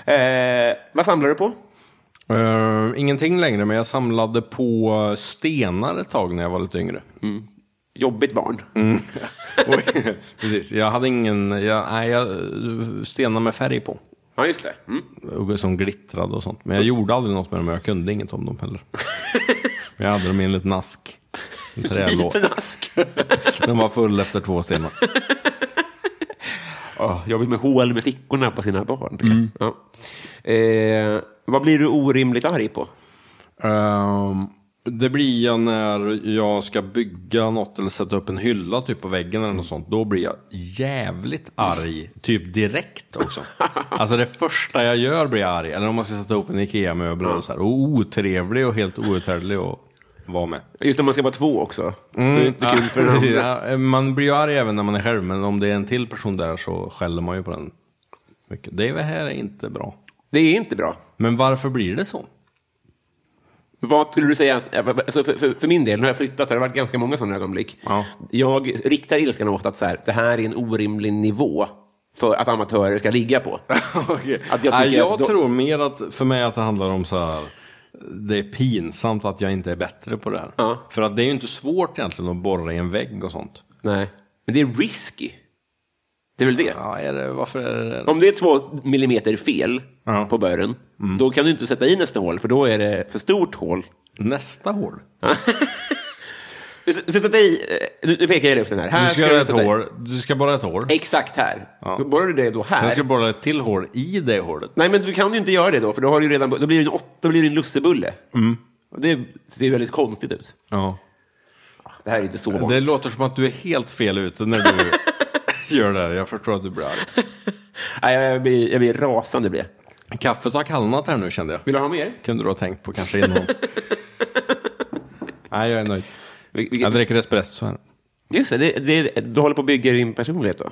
Speaker 1: Eh, vad samlar du på?
Speaker 2: Eh, ingenting längre, men jag samlade på stenar ett tag när jag var lite yngre.
Speaker 1: Jobbigt barn.
Speaker 2: Mm. Och, precis, jag hade ingen, jag, nej, jag, stenar med färg på.
Speaker 1: Ja, just det. Mm.
Speaker 2: Och Som glittrade och sånt. Men jag gjorde aldrig något med dem, jag kunde inget om dem heller. Men jag hade dem i en liten ask. En trälåda.
Speaker 1: Liten ask.
Speaker 2: Den var full efter två stenar.
Speaker 1: Ja, jobbigt med hål med fickorna på sina barn. Ja. Eh, vad blir du orimligt arg på?
Speaker 2: Ehm, det blir jag när jag ska bygga något eller sätta upp en hylla typ på väggen eller något sånt. Då blir jag jävligt arg, typ direkt också. Alltså det första jag gör blir jag arg. Eller om man ska sätta upp en Ikea-möbel eller så här. Och otrevlig och helt outhärdlig att vara med.
Speaker 1: Just när man ska vara två också. Det är inte kul för den
Speaker 2: Precis,
Speaker 1: andra.
Speaker 2: Mm. ja, eh, man blir ju arg även när man är själv. Men om det är en till person där så skäller man ju på den. Mycket. Det här är inte bra.
Speaker 1: Det är inte bra.
Speaker 2: Men varför blir det så?
Speaker 1: Vad skulle du säga? att- Alltså för, för, för min del, nu har jag flyttat, så har det varit ganska många sådana ögonblick.
Speaker 2: Ja.
Speaker 1: Jag riktar ilskan åt att så här, det här är en orimlig nivå för att amatörer ska ligga på.
Speaker 2: Okej.
Speaker 1: Att jag
Speaker 2: jag
Speaker 1: tycker
Speaker 2: jag
Speaker 1: att då-
Speaker 2: tror mer att för mig att det handlar om så här. Det är pinsamt att jag inte är bättre på det här.
Speaker 1: Ja.
Speaker 2: För att det är ju inte svårt egentligen att borra i en vägg och sånt.
Speaker 1: Nej. Men det är risky. Det är väl det?
Speaker 2: Ja, är det, varför är det det?
Speaker 1: Om det är två millimeter fel
Speaker 2: Ja. Mm.
Speaker 1: på bören, då kan du inte sätta i nästa hål, för då är det för stort hål.
Speaker 2: Nästa hål.
Speaker 1: S- Sätta i, eh, nu nu pekar jag i luften här. här
Speaker 2: Du ska göra ett
Speaker 1: sätta i-
Speaker 2: hål. Du ska borra ett hål.
Speaker 1: Exakt här.
Speaker 2: Ja.
Speaker 1: Ja. Borrar du det då här?
Speaker 2: Sen ska du borra ett till hål i det hålet.
Speaker 1: Nej, men du kan ju inte göra det då, för då, har du ju redan, då blir det en, åtta, då blir det en lussebulle.
Speaker 2: Mm.
Speaker 1: Och det ser ju väldigt konstigt ut.
Speaker 2: Ja.
Speaker 1: Det här är inte så
Speaker 2: Det
Speaker 1: vanligt.
Speaker 2: låter som att du är helt fel ute när du gör det här. Jag förstår att du blir arg.
Speaker 1: Nej, jag, jag, blir, jag blir rasande. Blir jag.
Speaker 2: Kaffet har kallnat här nu kände jag.
Speaker 1: Vill du ha mer?
Speaker 2: Kunde du ha tänkt på kanske innan. Nej, jag är nöjd.
Speaker 1: Vil- vilket-
Speaker 2: Jag dricker espresso här.
Speaker 1: Just det, det, det, du håller på att bygga din personlighet då?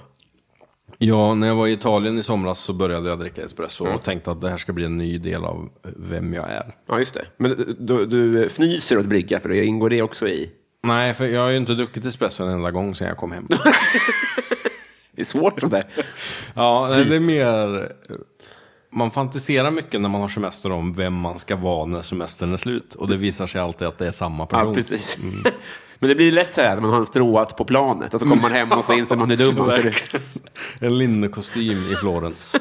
Speaker 2: Ja, när jag var i Italien i somras så började jag dricka espresso
Speaker 1: Mm.
Speaker 2: och tänkte att det här ska bli en ny del av vem jag är.
Speaker 1: Ja, just det. Men du, du fnyser åt brygga, för det ingår det också i?
Speaker 2: Nej, för jag har ju inte druckit espresso en enda gång sedan jag kom hem.
Speaker 1: Det är svårt sånt där.
Speaker 2: ja, nej, det är mer... Man fantiserar mycket när man har semester om vem man ska vara när semestern är slut. Och det visar sig alltid att det är samma
Speaker 1: Ja,
Speaker 2: person.
Speaker 1: precis. Mm. Men det blir lätt så här när man har en stråat på planet och så kommer man hem och så inser man hur dum man ser ut.
Speaker 2: en linnekostym i Florens.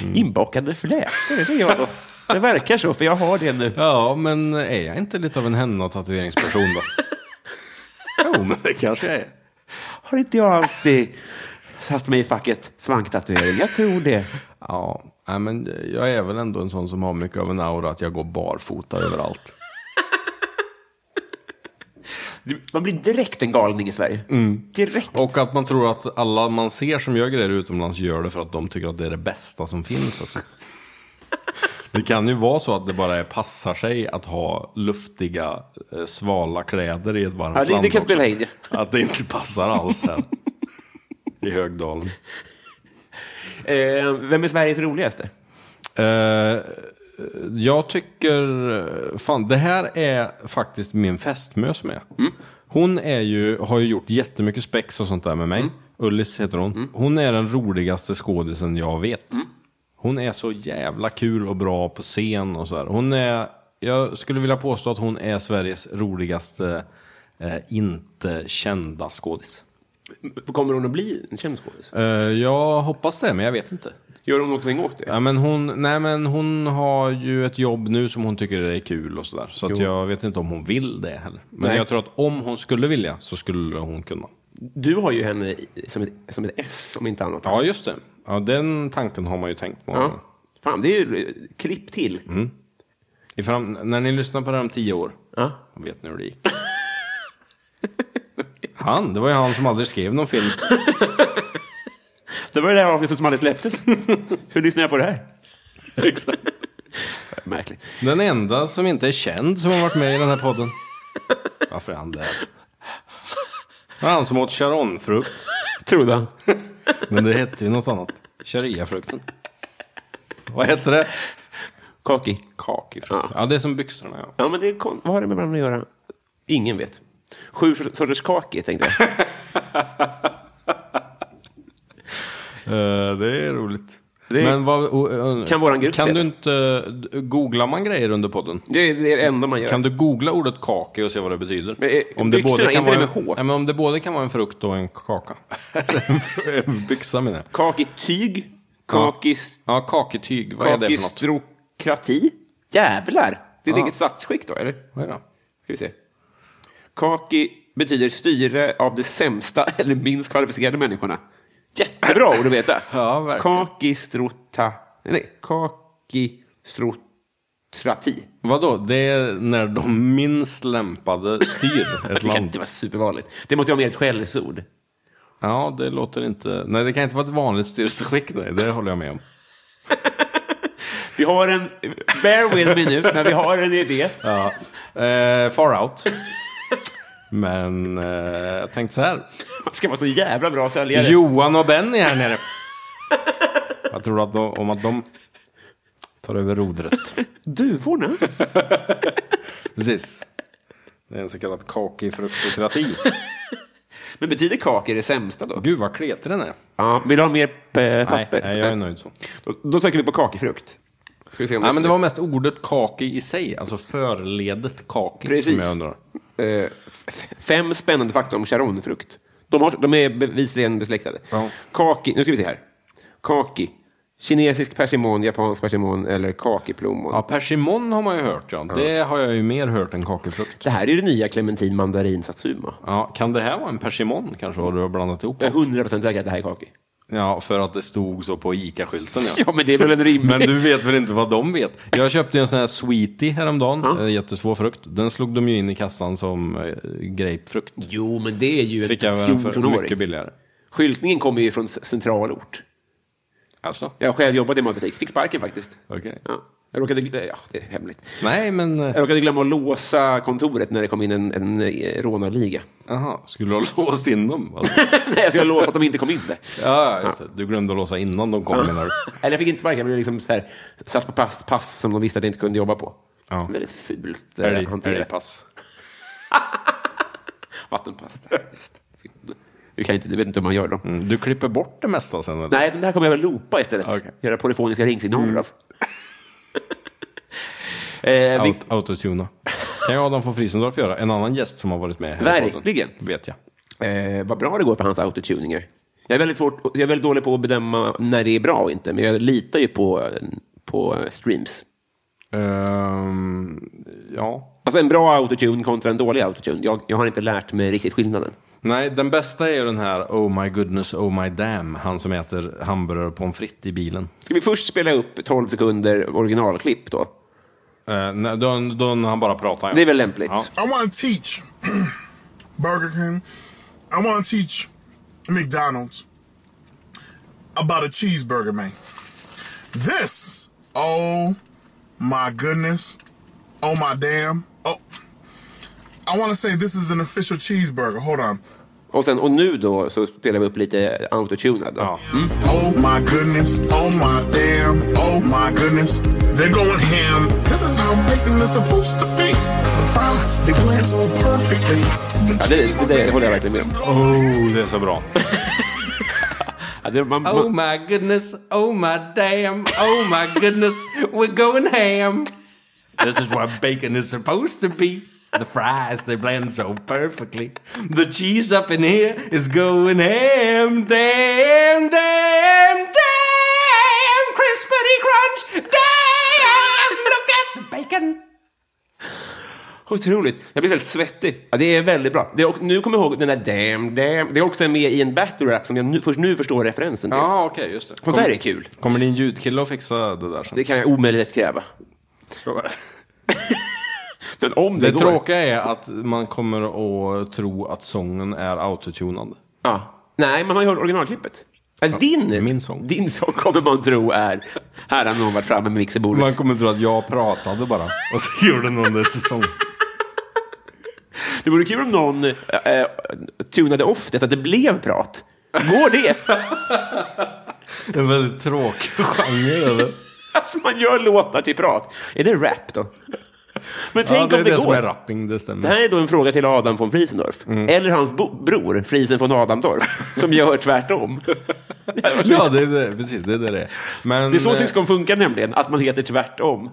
Speaker 1: Mm. Inbakade flätor, det är jag då. Det verkar så, för jag har det nu.
Speaker 2: Ja, men är jag inte lite av en henna och tatueringsperson då? jo, men det kanske jag är.
Speaker 1: Har inte jag alltid satt mig i facket svanktatuering? Jag tror det.
Speaker 2: Ja, nej, men jag är väl ändå en sån som har mycket av en aura att jag går barfota överallt.
Speaker 1: Man blir direkt en galning i Sverige. Direkt.
Speaker 2: Och att man tror att alla man ser som gör grejer utomlands gör det för att de tycker att det är det bästa som finns också. Det kan ju vara så att det bara är- passar sig att ha luftiga, eh, svala kläder i ett varmt
Speaker 1: Ja, det- det
Speaker 2: land
Speaker 1: kan
Speaker 2: också.
Speaker 1: spela in, ja.
Speaker 2: Att det inte passar alls här. I Högdalen.
Speaker 1: Eh, vem är Sveriges roligaste?
Speaker 2: Eh, jag tycker, fan det här är faktiskt min fästmö som är. Hon är ju, har ju gjort jättemycket spex och sånt där med mig. Ullis heter hon. Hon är den roligaste skådisen jag vet. Hon är så jävla kul och bra på scen och sådär. Hon är, jag skulle vilja påstå att hon är Sveriges roligaste eh, inte kända skådis.
Speaker 1: Kommer Mm. hon att bli en känd skådis?
Speaker 2: Mm. Eh, jag hoppas det, men jag vet inte.
Speaker 1: Gör de någonting åt det?
Speaker 2: Ja, men hon, nej, men hon har ju ett jobb nu som hon tycker är kul och sådär. Så att
Speaker 1: Jo.
Speaker 2: jag vet inte om hon vill det heller. Men
Speaker 1: Nej.
Speaker 2: jag tror att om hon skulle vilja så skulle hon kunna.
Speaker 1: Du har ju henne i- som ett, som ett S, om inte annat.
Speaker 2: Ja, just det. Ja, den tanken har man ju tänkt på.
Speaker 1: Ja. Fan, det är ju eh, klipp till.
Speaker 2: I fram, när ni lyssnar på det här om tio år,
Speaker 1: Ja.
Speaker 2: vet ni hur det gick. Han, det var ju han som aldrig skrev någon film.
Speaker 1: Det var ju det här avsnittet som aldrig släpptes. Hur lyssnar jag på det här? Exakt. Märkligt.
Speaker 2: Den enda som inte är känd som har varit med i den här podden. Varför är han där? Det var Han som åt charonfrukt.
Speaker 1: Trodde han.
Speaker 2: Men det hette ju något annat. Shariafrukten. Vad hette det?
Speaker 1: Kaki.
Speaker 2: Kakifrukt. Ja, det är som byxorna ja.
Speaker 1: Ja, men det är kon- vad har det med varandra att göra? Ingen vet. Sju sor- sorters kaki, tänkte jag.
Speaker 2: Eh, det är roligt.
Speaker 1: Det-
Speaker 2: Men vad, o- ö-
Speaker 1: Kan våran grupp
Speaker 2: kan
Speaker 1: veta?
Speaker 2: du inte... d- Googlar man grejer under podden?
Speaker 1: Det är det är det enda man gör.
Speaker 2: Kan du googla ordet kaka och se vad det betyder?
Speaker 1: Men, eh, byxorna, inte
Speaker 2: vara
Speaker 1: det med
Speaker 2: en,
Speaker 1: H?
Speaker 2: Nej, men om det både kan vara en frukt och en kaka. en fr- en byxa menar jag.
Speaker 1: Kakityg. Kakis...
Speaker 2: Ja, kaketyg. Vad är det för något?
Speaker 1: Kakistrokrati. Jävlar! Det är ett
Speaker 2: Ja.
Speaker 1: eget statsskick då, eller?
Speaker 2: Vad är det?
Speaker 1: Ska vi se. Kaki betyder styre av de sämsta eller minst kvalificerade människorna. Jättebra ord att veta.
Speaker 2: Ja, verkligen.
Speaker 1: Kakistrota... Nej, kakistrotrati.
Speaker 2: Vadå? Det är när de minst lämpade styr
Speaker 1: Det kan
Speaker 2: ett
Speaker 1: inte
Speaker 2: land.
Speaker 1: vara supervanligt. Det måste ju vara mer ett skällsord.
Speaker 2: Ja, det låter inte... Nej, det kan inte vara ett vanligt styrelseskick. Nej, det håller jag med om.
Speaker 1: Vi har en... Bear with me nu, men vi har en idé.
Speaker 2: Ja. Eh, far out. Men eh, jag tänkte så här.
Speaker 1: Man ska vara så jävla bra säljare.
Speaker 2: Johan och Benny här nere. Vad tror du att de, om att de tar över rodret?
Speaker 1: Duvorna?
Speaker 2: Precis. Det är en så kallad kakifruktokrati.
Speaker 1: Men betyder kaki det sämsta då?
Speaker 2: Gud vad kletig den är.
Speaker 1: Ja, vill du ha mer eh,
Speaker 2: Nej,
Speaker 1: papper?
Speaker 2: nej, jag är nöjd så.
Speaker 1: Då, då söker vi på kakifrukt. Ska vi se om
Speaker 2: Nej, men det var mest ordet kaki i sig, alltså förledet kaki
Speaker 1: Precis.
Speaker 2: som jag undrar.
Speaker 1: Eh, f- fem spännande fakta om charonfrukt. De, har, de är bevisligen besläktade.
Speaker 2: Ja.
Speaker 1: Kaki, nu ska vi se här. Kaki. Kinesisk persimon, japansk persimon eller kakiplommon.
Speaker 2: Ja, persimon har man ju hört, ja. Det har jag ju mer hört än kakifrukt.
Speaker 1: Det här är det nya clementin, mandarin, satsuma.
Speaker 2: Ja, kan det här vara en persimon kanske, vad du har blandat ihop?
Speaker 1: Jag är hundra procent säker att det här är kaki.
Speaker 2: Ja, för att det stod så på ICA-skylten, ja.
Speaker 1: Ja, men det är väl en rimlig...
Speaker 2: Men du vet väl inte vad de vet? Jag köpte ju en sån här sweetie häromdagen, mm. jättesvår frukt. Den slog de ju in i kassan som eh, grapefrukt.
Speaker 1: Jo, men det är ju en
Speaker 2: Fick jag väl den för
Speaker 1: 14-åring.
Speaker 2: mycket billigare.
Speaker 1: Skyltningen kommer ju från c- centralort.
Speaker 2: Alltså?
Speaker 1: Jag har själv jobbat i matbutik. Fick sparken faktiskt.
Speaker 2: Okej.
Speaker 1: Ja. Jag råkade... gl- Ja, det är hemligt.
Speaker 2: Nej, men... eh,
Speaker 1: Jag råkade glömma att låsa kontoret när det kom in en, en eh, rånarliga.
Speaker 2: Jaha, skulle du ha låst in dem? Alltså.
Speaker 1: Nej, jag skulle ha låst att de inte kom in där.
Speaker 2: Ja, just det. Du glömde att låsa innan de kom, menar du?
Speaker 1: Eller jag fick inte sparken, jag blev liksom så här, satt på pass, pass som de visste att jag inte kunde jobba på.
Speaker 2: Ja.
Speaker 1: Väldigt fult eh, hanterat.
Speaker 2: Älgpass.
Speaker 1: Vattenpass. där. Just det. Du, kan inte, du vet inte hur man gör dem.
Speaker 2: Mm, du klipper bort det mesta sen, eller?
Speaker 1: Nej, den där kommer jag väl loopa istället.
Speaker 2: Okej.
Speaker 1: Göra polyfoniska ringsignaler av. eh, vi,
Speaker 2: Out, autotuna. Kan jag och Adam von Friesendorf göra? En annan gäst som har varit med här i podden.
Speaker 1: Verkligen.
Speaker 2: Vet jag.
Speaker 1: eh, vad bra det går för hans autotuningar. Jag är, väldigt svårt, jag är väldigt dålig på att bedöma när det är bra och inte, men jag litar ju på, på streams.
Speaker 2: Ehm, ja.
Speaker 1: Alltså en bra autotune kontra en dålig autotune. Jag, jag har inte lärt mig riktigt skillnaden.
Speaker 2: Nej, den bästa är ju den här Oh my goodness, oh my damn. Han som äter hamburgare och pommes frites i bilen.
Speaker 1: Ska vi först spela upp 12 sekunder originalklipp då?
Speaker 2: Eh, nej, då, då när han bara pratar. Ja.
Speaker 1: Det är väl lämpligt?
Speaker 2: Ja.
Speaker 3: I want to teach Burger King. I want to teach McDonald's about a cheeseburger, man. This, oh my goodness, oh my damn, oh. I want to say this is an official cheeseburger. Hold on.
Speaker 1: Och, sen, och nu då så spelar vi upp lite autotunad. Då.
Speaker 2: Ja.
Speaker 3: Oh my goodness, oh my damn, oh my goodness, they're going ham. This is how bacon is supposed to be. The fries, they blend so perfectly.
Speaker 1: Ja, det, det, det håller jag verkligen med om.
Speaker 2: Oh, det är så bra.
Speaker 1: Ja, det, man,
Speaker 2: Oh
Speaker 1: man,
Speaker 2: my goodness, oh my damn, oh my goodness, we're going ham. This is what bacon is supposed to be. The fries, they blend so perfectly. The cheese up in here is going ham, damn, damn, damn.
Speaker 1: Otroligt. Jag blir väldigt svettig. Ja, det är väldigt bra. Det är, också- nu kommer jag ihåg den där damn, damn. Det är också med i en battle rap som jag nu, först nu förstår referensen till.
Speaker 2: Ja, okej, just det.
Speaker 1: Sånt
Speaker 2: Kom-
Speaker 1: där är kul.
Speaker 2: Kommer din ljudkille att fixa det där sen?
Speaker 1: Det kan jag omöjligt kräva. Men om det,
Speaker 2: Det
Speaker 1: går.
Speaker 2: tråkiga är att man kommer att tro att sången är autotunad.
Speaker 1: Ja. Nej, man har ju hört originalklippet. Eller din,
Speaker 2: min sång.
Speaker 1: din sång kommer man tro är... Här har någon varit framme med mixerbordet.
Speaker 2: Man kommer att tro att jag pratade bara och så gjorde någon det till sång.
Speaker 1: Det vore kul om någon eh, eh, tunade off det så att det blev prat. Går det?
Speaker 2: En väldigt tråkig genre. Eller?
Speaker 1: att man gör låtar till prat. Är det rap då? Men
Speaker 2: ja,
Speaker 1: tänk
Speaker 2: det är
Speaker 1: om det,
Speaker 2: det som
Speaker 1: går.
Speaker 2: är Mm. rapping, det stämmer.
Speaker 1: Det här är då en fråga till Adam von Friesendorf. Eller hans bo- bror, Friesen von Adamdorf, som gör tvärtom.
Speaker 2: Ja, det är det. precis det är det det är. Men,
Speaker 1: Det är så
Speaker 2: eh, Mm.
Speaker 1: syskon funkar nämligen, att man heter tvärtom.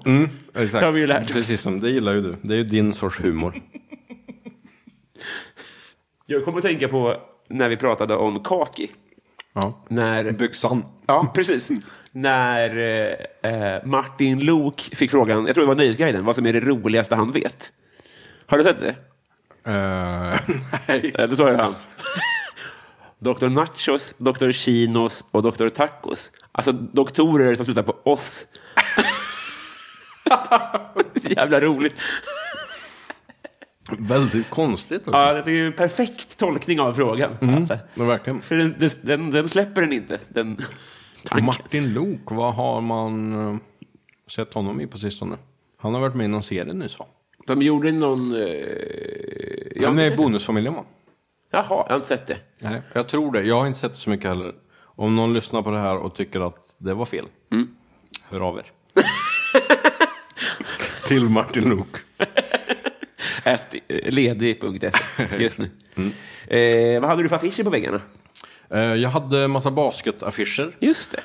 Speaker 2: Exakt.
Speaker 1: Det har vi ju lärt oss.
Speaker 2: Precis som, det gillar ju du. Det är ju din sorts humor.
Speaker 1: Jag kommer att tänka på när vi pratade om Kaki.
Speaker 2: Ja.
Speaker 1: När,
Speaker 2: Byxan.
Speaker 1: ja, precis. När eh, eh, Martin Lok fick frågan, jag tror det var Nöjesguiden, vad som är det roligaste han vet. Har du sett det?
Speaker 2: Eh, nej.
Speaker 1: Eh, Då sa jag han. Dr. Nachos, Dr. Chinos och Dr. Tacos. Alltså doktorer som slutar på oss. Så jävla roligt.
Speaker 2: Väldigt konstigt också.
Speaker 1: Ja, det är ju en perfekt tolkning av frågan.
Speaker 2: Mm.
Speaker 1: Alltså,
Speaker 2: Ja, verkligen.
Speaker 1: för den, den- den, den släpper den inte, den tanken.
Speaker 2: Martin Lok, vad har man eh, sett honom i på sistone? Han har varit med i någon serie nyss va?
Speaker 1: De gjorde någon... eh,
Speaker 2: Ja, han är i Bonusfamiljen va?
Speaker 1: Jaha, jag har inte sett det.
Speaker 2: Nej, jag tror det. Jag har inte sett så mycket heller. Om någon lyssnar på det här och tycker att det var fel,
Speaker 1: Mm.
Speaker 2: hör av er. Till Martin Lok.
Speaker 1: Ett eh, ledig.se just nu.
Speaker 2: Mm.
Speaker 1: Eh, vad hade du för affischer på väggarna?
Speaker 2: Eh, Jag hade massa basketaffischer.
Speaker 1: Just det.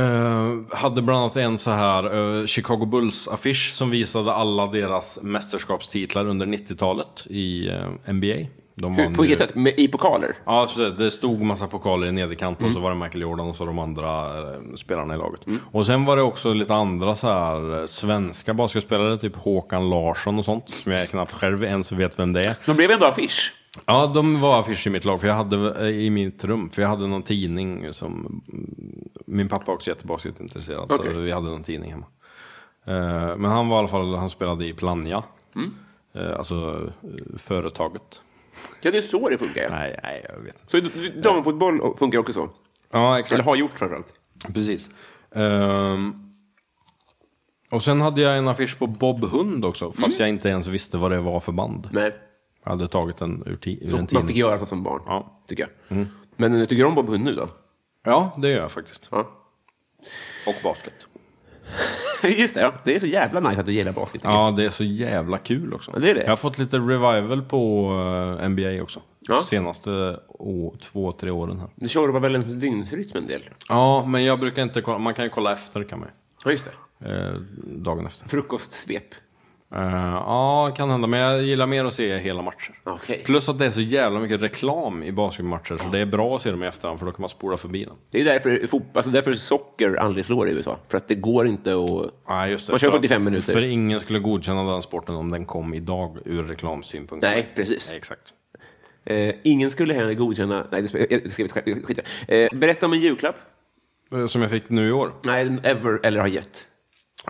Speaker 2: Eh, hade bland annat en så här eh, Chicago Bulls-affisch som visade alla deras mästerskapstitlar under 90-talet i eh, NBA. De
Speaker 1: Hur,
Speaker 2: vann
Speaker 1: på
Speaker 2: ju-
Speaker 1: vilket sätt? Med, I pokaler?
Speaker 2: Ja, precis. det stod massa pokaler i nederkant och så var det Michael Jordan och så de andra eh, spelarna i laget. Och sen var det också lite andra så här eh, svenska basketspelare, typ Håkan Larsson och sånt, som jag knappt själv ens vet vem det är.
Speaker 1: De blev ändå affisch.
Speaker 2: Ja, de var affischer i mitt lag, för jag hade eh, i mitt rum, för jag hade någon tidning som mm, min pappa var också jättebasketintresserad,
Speaker 1: Okej.
Speaker 2: så vi hade någon tidning hemma. Eh, Men han var i alla fall, han spelade i Plannja, Eh, alltså eh, företaget.
Speaker 1: Ja, det är så det funkar. Ja.
Speaker 2: Nej, nej, jag vet inte.
Speaker 1: Så d- d- damfotboll funkar också så?
Speaker 2: Ja, exakt.
Speaker 1: Eller har gjort framförallt?
Speaker 2: Precis. Ehm, och sen hade jag en affisch på Bob Hund också,
Speaker 1: Mm.
Speaker 2: fast jag inte ens visste vad det var för band.
Speaker 1: Nej.
Speaker 2: Jag hade tagit den ur, ti- ur en
Speaker 1: Så man fick
Speaker 2: tidning.
Speaker 1: göra så som barn,
Speaker 2: Ja. Mm.
Speaker 1: tycker jag. Men eh, tycker du om Bob Hund nu då?
Speaker 2: Ja, det gör jag faktiskt.
Speaker 1: Ja.
Speaker 2: Och basket.
Speaker 1: Just det, ja. det är så jävla nice att du gillar basket. tycker jag.
Speaker 2: Ja, det är så jävla kul också.
Speaker 1: Ja, det är det.
Speaker 2: Jag har fått lite revival på eh, NBA också.
Speaker 1: Ja.
Speaker 2: Senaste å- två, tre åren här.
Speaker 1: Du tjorvar väl en dygnsrytm en del?
Speaker 2: Ja, men jag brukar inte kolla. Man kan ju kolla efter kan man ju.
Speaker 1: Ja, just det.
Speaker 2: Eh, dagen efter.
Speaker 1: Frukostsvep.
Speaker 2: Eh, ja, kan hända. Men jag gillar mer att se hela matcher.
Speaker 1: Okej.
Speaker 2: Plus att det är så jävla mycket reklam i basketmatcher, så det är bra att se dem i efterhand, för då kan man spola förbi den.
Speaker 1: Det är därför, fot- alltså därför socker aldrig slår i USA. För att det går inte att...
Speaker 2: Nej, just det.
Speaker 1: Man kör
Speaker 2: För att-
Speaker 1: 45 minuter.
Speaker 2: För ingen skulle godkänna den sporten om den kom idag ur reklamsynpunkt.
Speaker 1: Nej, precis.
Speaker 2: Nej, exakt.
Speaker 1: Eh, ingen skulle heller godkänna... Nej, det ska jag ska vi sk- skita eh, Berätta om en julklapp.
Speaker 2: Eh, Som jag fick nu i år.
Speaker 1: Nej, den ever eller har gett.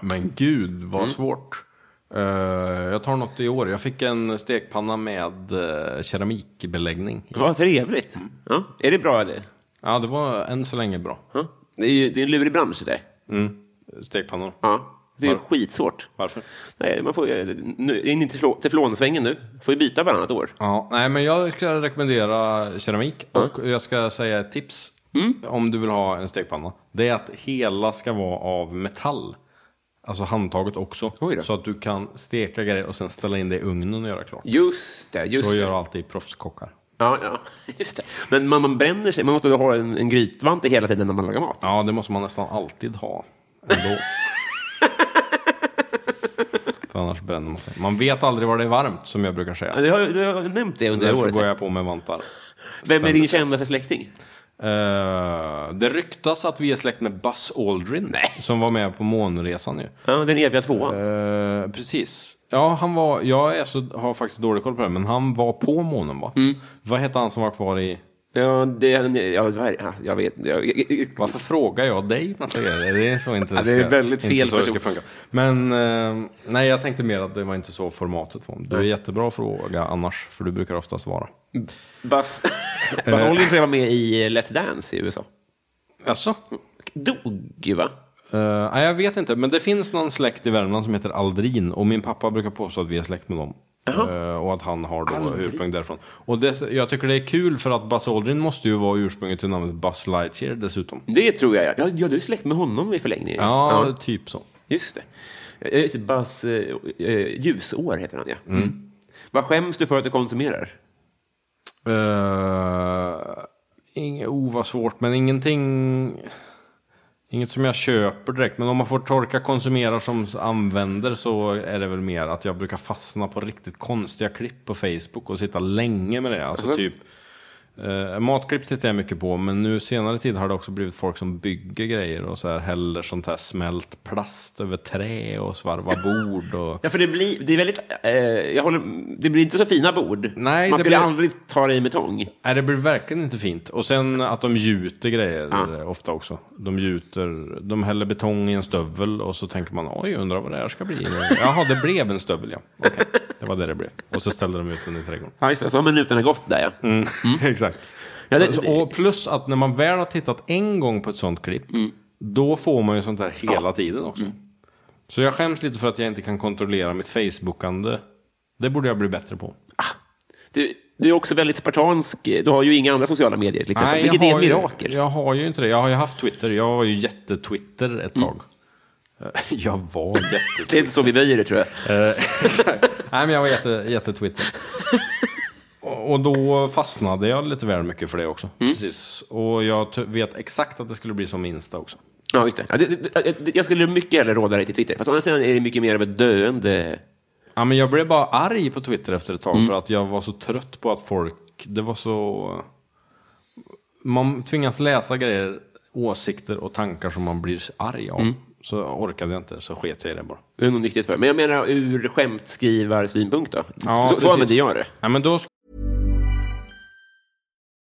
Speaker 2: Men gud, vad
Speaker 1: Mm.
Speaker 2: svårt. Eh, jag tar något i år. Jag fick en stekpanna med eh, keramikbeläggning.
Speaker 1: Vad trevligt. Ja. Är det bra eller?
Speaker 2: Ja, det var än så länge bra.
Speaker 1: Ja. Det är ju det är en lurig bransch det där.
Speaker 2: Mm. Stekpannor.
Speaker 1: Ja. Det är ju
Speaker 2: Var-
Speaker 1: skitsvårt.
Speaker 2: Varför?
Speaker 1: Nej, man får ju... Nu, är ni inte teflon- teflonsvängen nu? Får ju byta varannat år.
Speaker 2: Ja, nej, men jag ska rekommendera keramik och jag ska säga ett tips
Speaker 1: Mm.
Speaker 2: om du vill ha en stekpanna. Det är att hela ska vara av metall. Alltså handtaget också.
Speaker 1: Oj då.
Speaker 2: Så att du kan steka grejer och sen ställa in det i ugnen och göra klart.
Speaker 1: Just det, just
Speaker 2: Så
Speaker 1: det.
Speaker 2: gör alltid proffskockar.
Speaker 1: Ja, ja, just det. Men man, man bränner sig. Man måste ha en, en grytvante hela tiden när man lagar mat.
Speaker 2: Ja, det måste man nästan alltid ha. Ändå. För annars bränner man sig. Man vet aldrig var det är varmt, som jag brukar
Speaker 1: Ja,
Speaker 2: säga.
Speaker 1: Du har, du har nämnt det under
Speaker 2: Därför
Speaker 1: året.
Speaker 2: går jag på med vantar.
Speaker 1: Vem är din
Speaker 2: ständigt.
Speaker 1: kändaste släkting?
Speaker 2: Eh, det ryktas att vi är släkt med Buzz Aldrin. Som var med på månresan ju.
Speaker 1: Ja, den eviga tvåan.
Speaker 2: Eh, precis. Ja, han var, jag är så, har faktiskt dålig koll på det, men han var på månen va? Vad hette han som var kvar i...
Speaker 1: Ja, det, ja, det här- ja, jag vet jag,
Speaker 2: Varför frågar jag dig massa grejer? Det är så inte
Speaker 1: Ja, det är
Speaker 2: ska-
Speaker 1: väldigt
Speaker 2: inte
Speaker 1: fel
Speaker 2: så det ska
Speaker 1: person.
Speaker 2: funka. Men eh, nej, jag tänkte mer att det var inte så formatet var. Du är jättebra fråga annars, för du brukar oftast svara.
Speaker 1: Buzz
Speaker 2: Eh.
Speaker 1: Buzz Aldrin skulle vara med i eh, Let's Dance i USA.
Speaker 2: Jaså?
Speaker 1: Dog ju, va?
Speaker 2: Eh, nej, jag vet inte, men det finns någon släkt i Värmland som heter Aldrin och min pappa brukar påstå att vi är släkt med dem. Eh, och att han har då ursprung därifrån. Och det, jag tycker det är kul för att Buzz Aldrin måste ju vara ursprunget till namnet Buzz Lightyear dessutom.
Speaker 1: Det tror jag. Ja, ja du är släkt med honom i förlängningen.
Speaker 2: Ja, typ så.
Speaker 1: Just det. Eh, just det, Buzz eh, eh, Ljusår heter han, ja. Mm. Vad skäms du för att du konsumerar?
Speaker 2: Uh, inget, oh vad svårt, men ingenting... Inget som jag köper direkt, men om man får torka konsumerar som använder så är det väl mer att jag brukar fastna på riktigt konstiga klipp på Facebook och sitta länge med det. Alltså typ, eh, matklipp tittar jag mycket på, men nu senare tid har det också blivit folk som bygger grejer och så här, häller sånt här smält plast över trä och svarvar bord. Och...
Speaker 1: Ja, för det blir, det är väldigt, eh, jag håller, det blir inte så fina bord.
Speaker 2: Nej,
Speaker 1: Man
Speaker 2: det
Speaker 1: skulle
Speaker 2: blir-
Speaker 1: aldrig ta det i med tång.
Speaker 2: Nej, det blir verkligen inte fint. Och sen att de gjuter grejer ofta också. De gjuter, de häller betong i en stövel och så tänker man oj, undrar vad det här ska bli. Jaha, det blev en stövel ja. Okej, det var det det blev. Och så ställde de ut den i trädgården.
Speaker 1: Ja, just det. Så har minuten har gått där, ja.
Speaker 2: Mm. Exakt.
Speaker 1: Mm. Ja, det-
Speaker 2: Alltså, och plus att när man väl har tittat en gång på ett sånt klipp,
Speaker 1: Mm.
Speaker 2: då får man ju sånt där hela tiden också. Så jag skäms lite för att jag inte kan kontrollera mitt Facebookande. Det borde jag bli bättre på.
Speaker 1: Du, du är också väldigt spartansk. Du har ju inga andra sociala medier, till exempel. vilket
Speaker 2: jag
Speaker 1: är ett
Speaker 2: har ju-
Speaker 1: mirakel.
Speaker 2: Jag har ju inte det. Jag har ju haft Twitter. Jag var ju jättetwitter ett tag. Eh, Jag var jätte...
Speaker 1: Det är inte så vi böjer det, tror jag.
Speaker 2: Nej, men jag var jätte, jättetwitter. Och och då fastnade jag lite väl mycket för det också. Precis. Och jag t- vet exakt att det skulle bli som Insta också.
Speaker 1: Ja, just det. Ja, det, det, det. Jag skulle mycket hellre råda dig till Twitter. Fast å andra sidan är det mycket mer av ett döende...
Speaker 2: Ja, men jag blev bara arg på Twitter efter ett tag för att jag var så trött på att folk, det var så... Man tvingas läsa grejer, åsikter och tankar som man blir arg av. Så orkade jag inte, så sket jag i det bara.
Speaker 1: Det är nog nyttigt för. Men jag menar ur skämtskrivarsynpunkt då. så, så
Speaker 2: precis.
Speaker 1: använder jag det.
Speaker 2: Ja, men då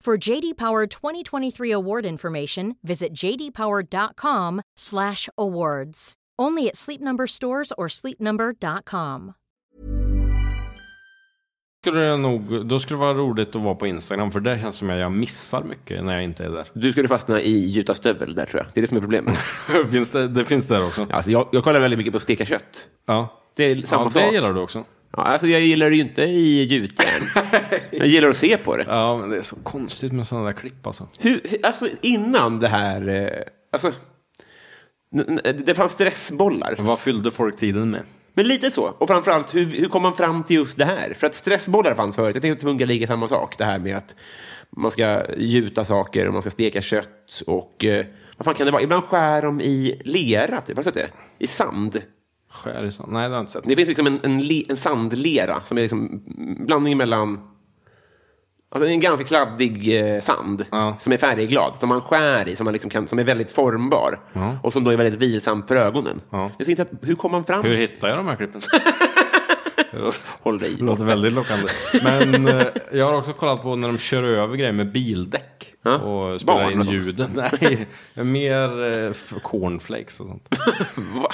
Speaker 4: For JD Power 2023 award information, visit jdpower.com/awards. Only at Sleep Number stores or sleepnumber.com.
Speaker 2: skulle, jag nog, då skulle det vara roligt att vara på Instagram, för där känns det som att jag missar mycket när jag inte är där.
Speaker 1: Du skulle fastna i gjuta stövel där, tror jag. Det är det som är problemet.
Speaker 2: finns det, det finns där också.
Speaker 1: alltså, jag, jag kollar väldigt mycket på att steka kött.
Speaker 2: Ja,
Speaker 1: Det är samma
Speaker 2: ja det
Speaker 1: sak.
Speaker 2: gillar du också.
Speaker 1: Ja, alltså, jag gillar det ju inte i gjutjärn. jag gillar att se på det.
Speaker 2: Ja, men det är så konstigt med sådana där klipp alltså.
Speaker 1: Hur, hur- alltså, innan det här... eh, Alltså, n- n- det fanns stressbollar.
Speaker 2: Vad fyllde folk tiden med?
Speaker 1: Men lite så. Och framförallt, hur, hur kom man fram till just det här? För att stressbollar fanns förut. Jag tänkte att det ligger samma sak. Det här med att man ska gjuta saker och man ska steka kött och... Eh, vad fan kan det vara? Ibland skär de i lera, typ. Har du sett det? I sand.
Speaker 2: Skär i sånt? Nej, det har jag inte sett.
Speaker 1: Det finns liksom en, en, le, en sandlera som är liksom blandning mellan... Alltså en ganska kladdig eh, sand
Speaker 2: Ja.
Speaker 1: som är färgglad, som man skär i, som, man liksom kan, som är väldigt formbar och som då är väldigt vilsam för ögonen.
Speaker 2: Ja.
Speaker 1: Jag tänkte att hur kom man fram?
Speaker 2: Hur hittar jag de här klippen?
Speaker 1: Håll dig
Speaker 2: Det låter väldigt lockande. Men eh, jag har också kollat på när de kör över grejer med bildäck.
Speaker 1: Ja.
Speaker 2: Och spelade
Speaker 1: Barn
Speaker 2: in
Speaker 1: då?
Speaker 2: ljuden. Nej, mer eh, f- cornflakes och sånt.
Speaker 1: Va?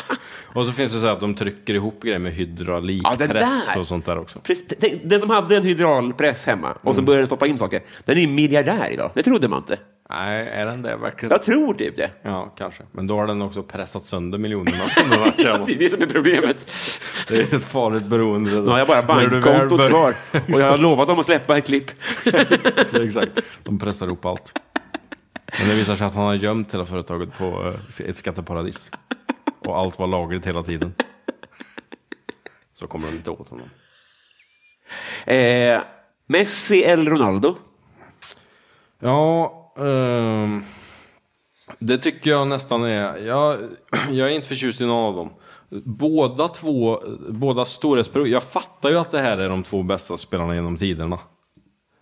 Speaker 2: Och så finns det så här att de trycker ihop grejer med
Speaker 1: Ja, det
Speaker 2: hydraulikpress
Speaker 1: där.
Speaker 2: och sånt där också.
Speaker 1: Precis, tänk, den som hade en hydraulpress hemma och så började den stoppa in saker, den är ju miljardär idag. Det trodde man inte.
Speaker 2: Nej, är den det verkligen?
Speaker 1: Jag tror typ det.
Speaker 2: Ja, kanske. Men då har den också pressat sönder miljonerna som den har tjänat.
Speaker 1: Det är det som är problemet.
Speaker 2: Det är ett farligt beroende.
Speaker 1: Nu har jag bara
Speaker 2: När du väl
Speaker 1: bankkontot
Speaker 2: börjar-
Speaker 1: kvar och jag har lovat dem att släppa ett klipp.
Speaker 2: Exakt, de pressar ihop allt. Men det visar sig att han har gömt hela företaget på eh, ett skatteparadis. Och allt var lagligt hela tiden. Så kommer de inte åt honom.
Speaker 1: Eh, Messi eller Ronaldo?
Speaker 2: Ja, ehm, det tycker jag nästan är... Jag, jag är inte förtjust i någon av dem. Båda två, båda storhetsperioder. Jag fattar ju att det här är de två bästa spelarna genom tiderna.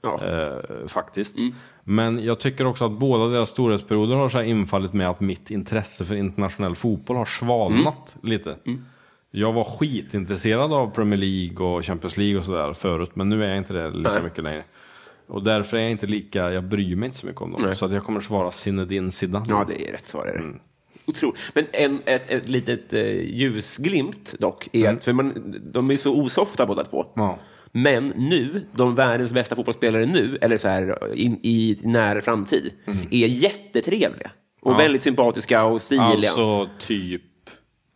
Speaker 1: Ja.
Speaker 2: eh, faktiskt.
Speaker 1: Mm.
Speaker 2: Men jag tycker också att båda deras storhetsperioder har så här infallit med att mitt intresse för internationell fotboll har svalnat
Speaker 1: Mm.
Speaker 2: lite. Jag var skitintresserad av Premier League och Champions League och sådär förut, men nu är jag inte det lika
Speaker 1: Nej.
Speaker 2: mycket längre. Och därför är jag inte lika, jag bryr mig inte så mycket om dem.
Speaker 1: Nej.
Speaker 2: Så att jag kommer svara Zinedine Zidane.
Speaker 1: Ja, det är rätt svar. Är det. Otroligt. Mm. Men en, ett, ett litet eh, ljusglimt dock, är att för man, de är så osofta båda två.
Speaker 2: Ja.
Speaker 1: Men nu, de världens bästa fotbollsspelare nu, eller så här in, i nära framtid, är jättetrevliga. Och
Speaker 2: Ja.
Speaker 1: väldigt sympatiska och stiliga. Alltså,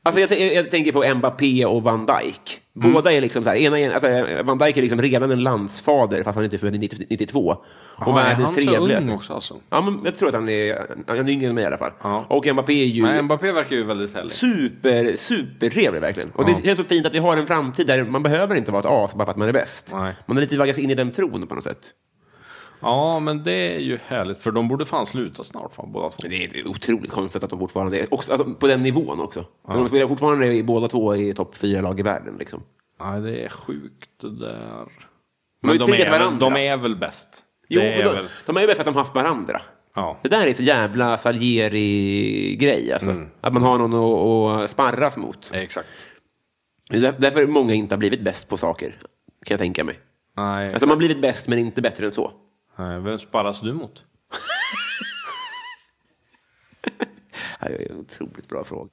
Speaker 2: Alltså
Speaker 1: jag,
Speaker 2: typ,
Speaker 1: t- jag tänker på Mbappé och Van Dijk. Båda är liksom så här, ena, är- alltså, Van Dijk är liksom redan en landsfader, fast han är inte född i 90 92. Och
Speaker 2: Jaha, är
Speaker 1: världens
Speaker 2: han så
Speaker 1: trevligaste.
Speaker 2: ung också, alltså?
Speaker 1: Ja, men jag tror att han är, han är yngre än mig i alla fall.
Speaker 2: Ja.
Speaker 1: Och Mbappé är ju
Speaker 2: men Mbappé verkar ju väldigt härlig.
Speaker 1: super, supertrevlig verkligen. Och det känns så fint att vi har en framtid där man behöver inte vara ett as bara för att man är bäst.
Speaker 2: Nej.
Speaker 1: Man har lite vaggats in i den tron på något sätt.
Speaker 2: Ja, men det är ju härligt, för de borde fan sluta snart, fan, båda två.
Speaker 1: Men det är otroligt konstigt att de fortfarande är också, alltså, på den nivån också. För De spelar fortfarande i båda två i topp fyra lag i världen. Liksom.
Speaker 2: Nej, det är sjukt det där.
Speaker 1: har ju
Speaker 2: Men de
Speaker 1: triggat
Speaker 2: är, väl,
Speaker 1: varandra.
Speaker 2: de är väl bäst?
Speaker 1: Jo,
Speaker 2: det är
Speaker 1: men de,
Speaker 2: väl,
Speaker 1: de är ju bäst att de har haft varandra.
Speaker 2: ja.
Speaker 1: Det där är så jävla Salieri-grej. Alltså.
Speaker 2: Mm.
Speaker 1: Att man har någon att, att sparras mot.
Speaker 2: Exakt.
Speaker 1: Det är där- därför många inte har blivit bäst på saker, kan jag tänka mig.
Speaker 2: Nej,
Speaker 1: Alltså, man har blivit bäst, men inte bättre än så.
Speaker 2: nej, vem sparras du mot?
Speaker 1: Ja, Det är en otroligt bra fråga.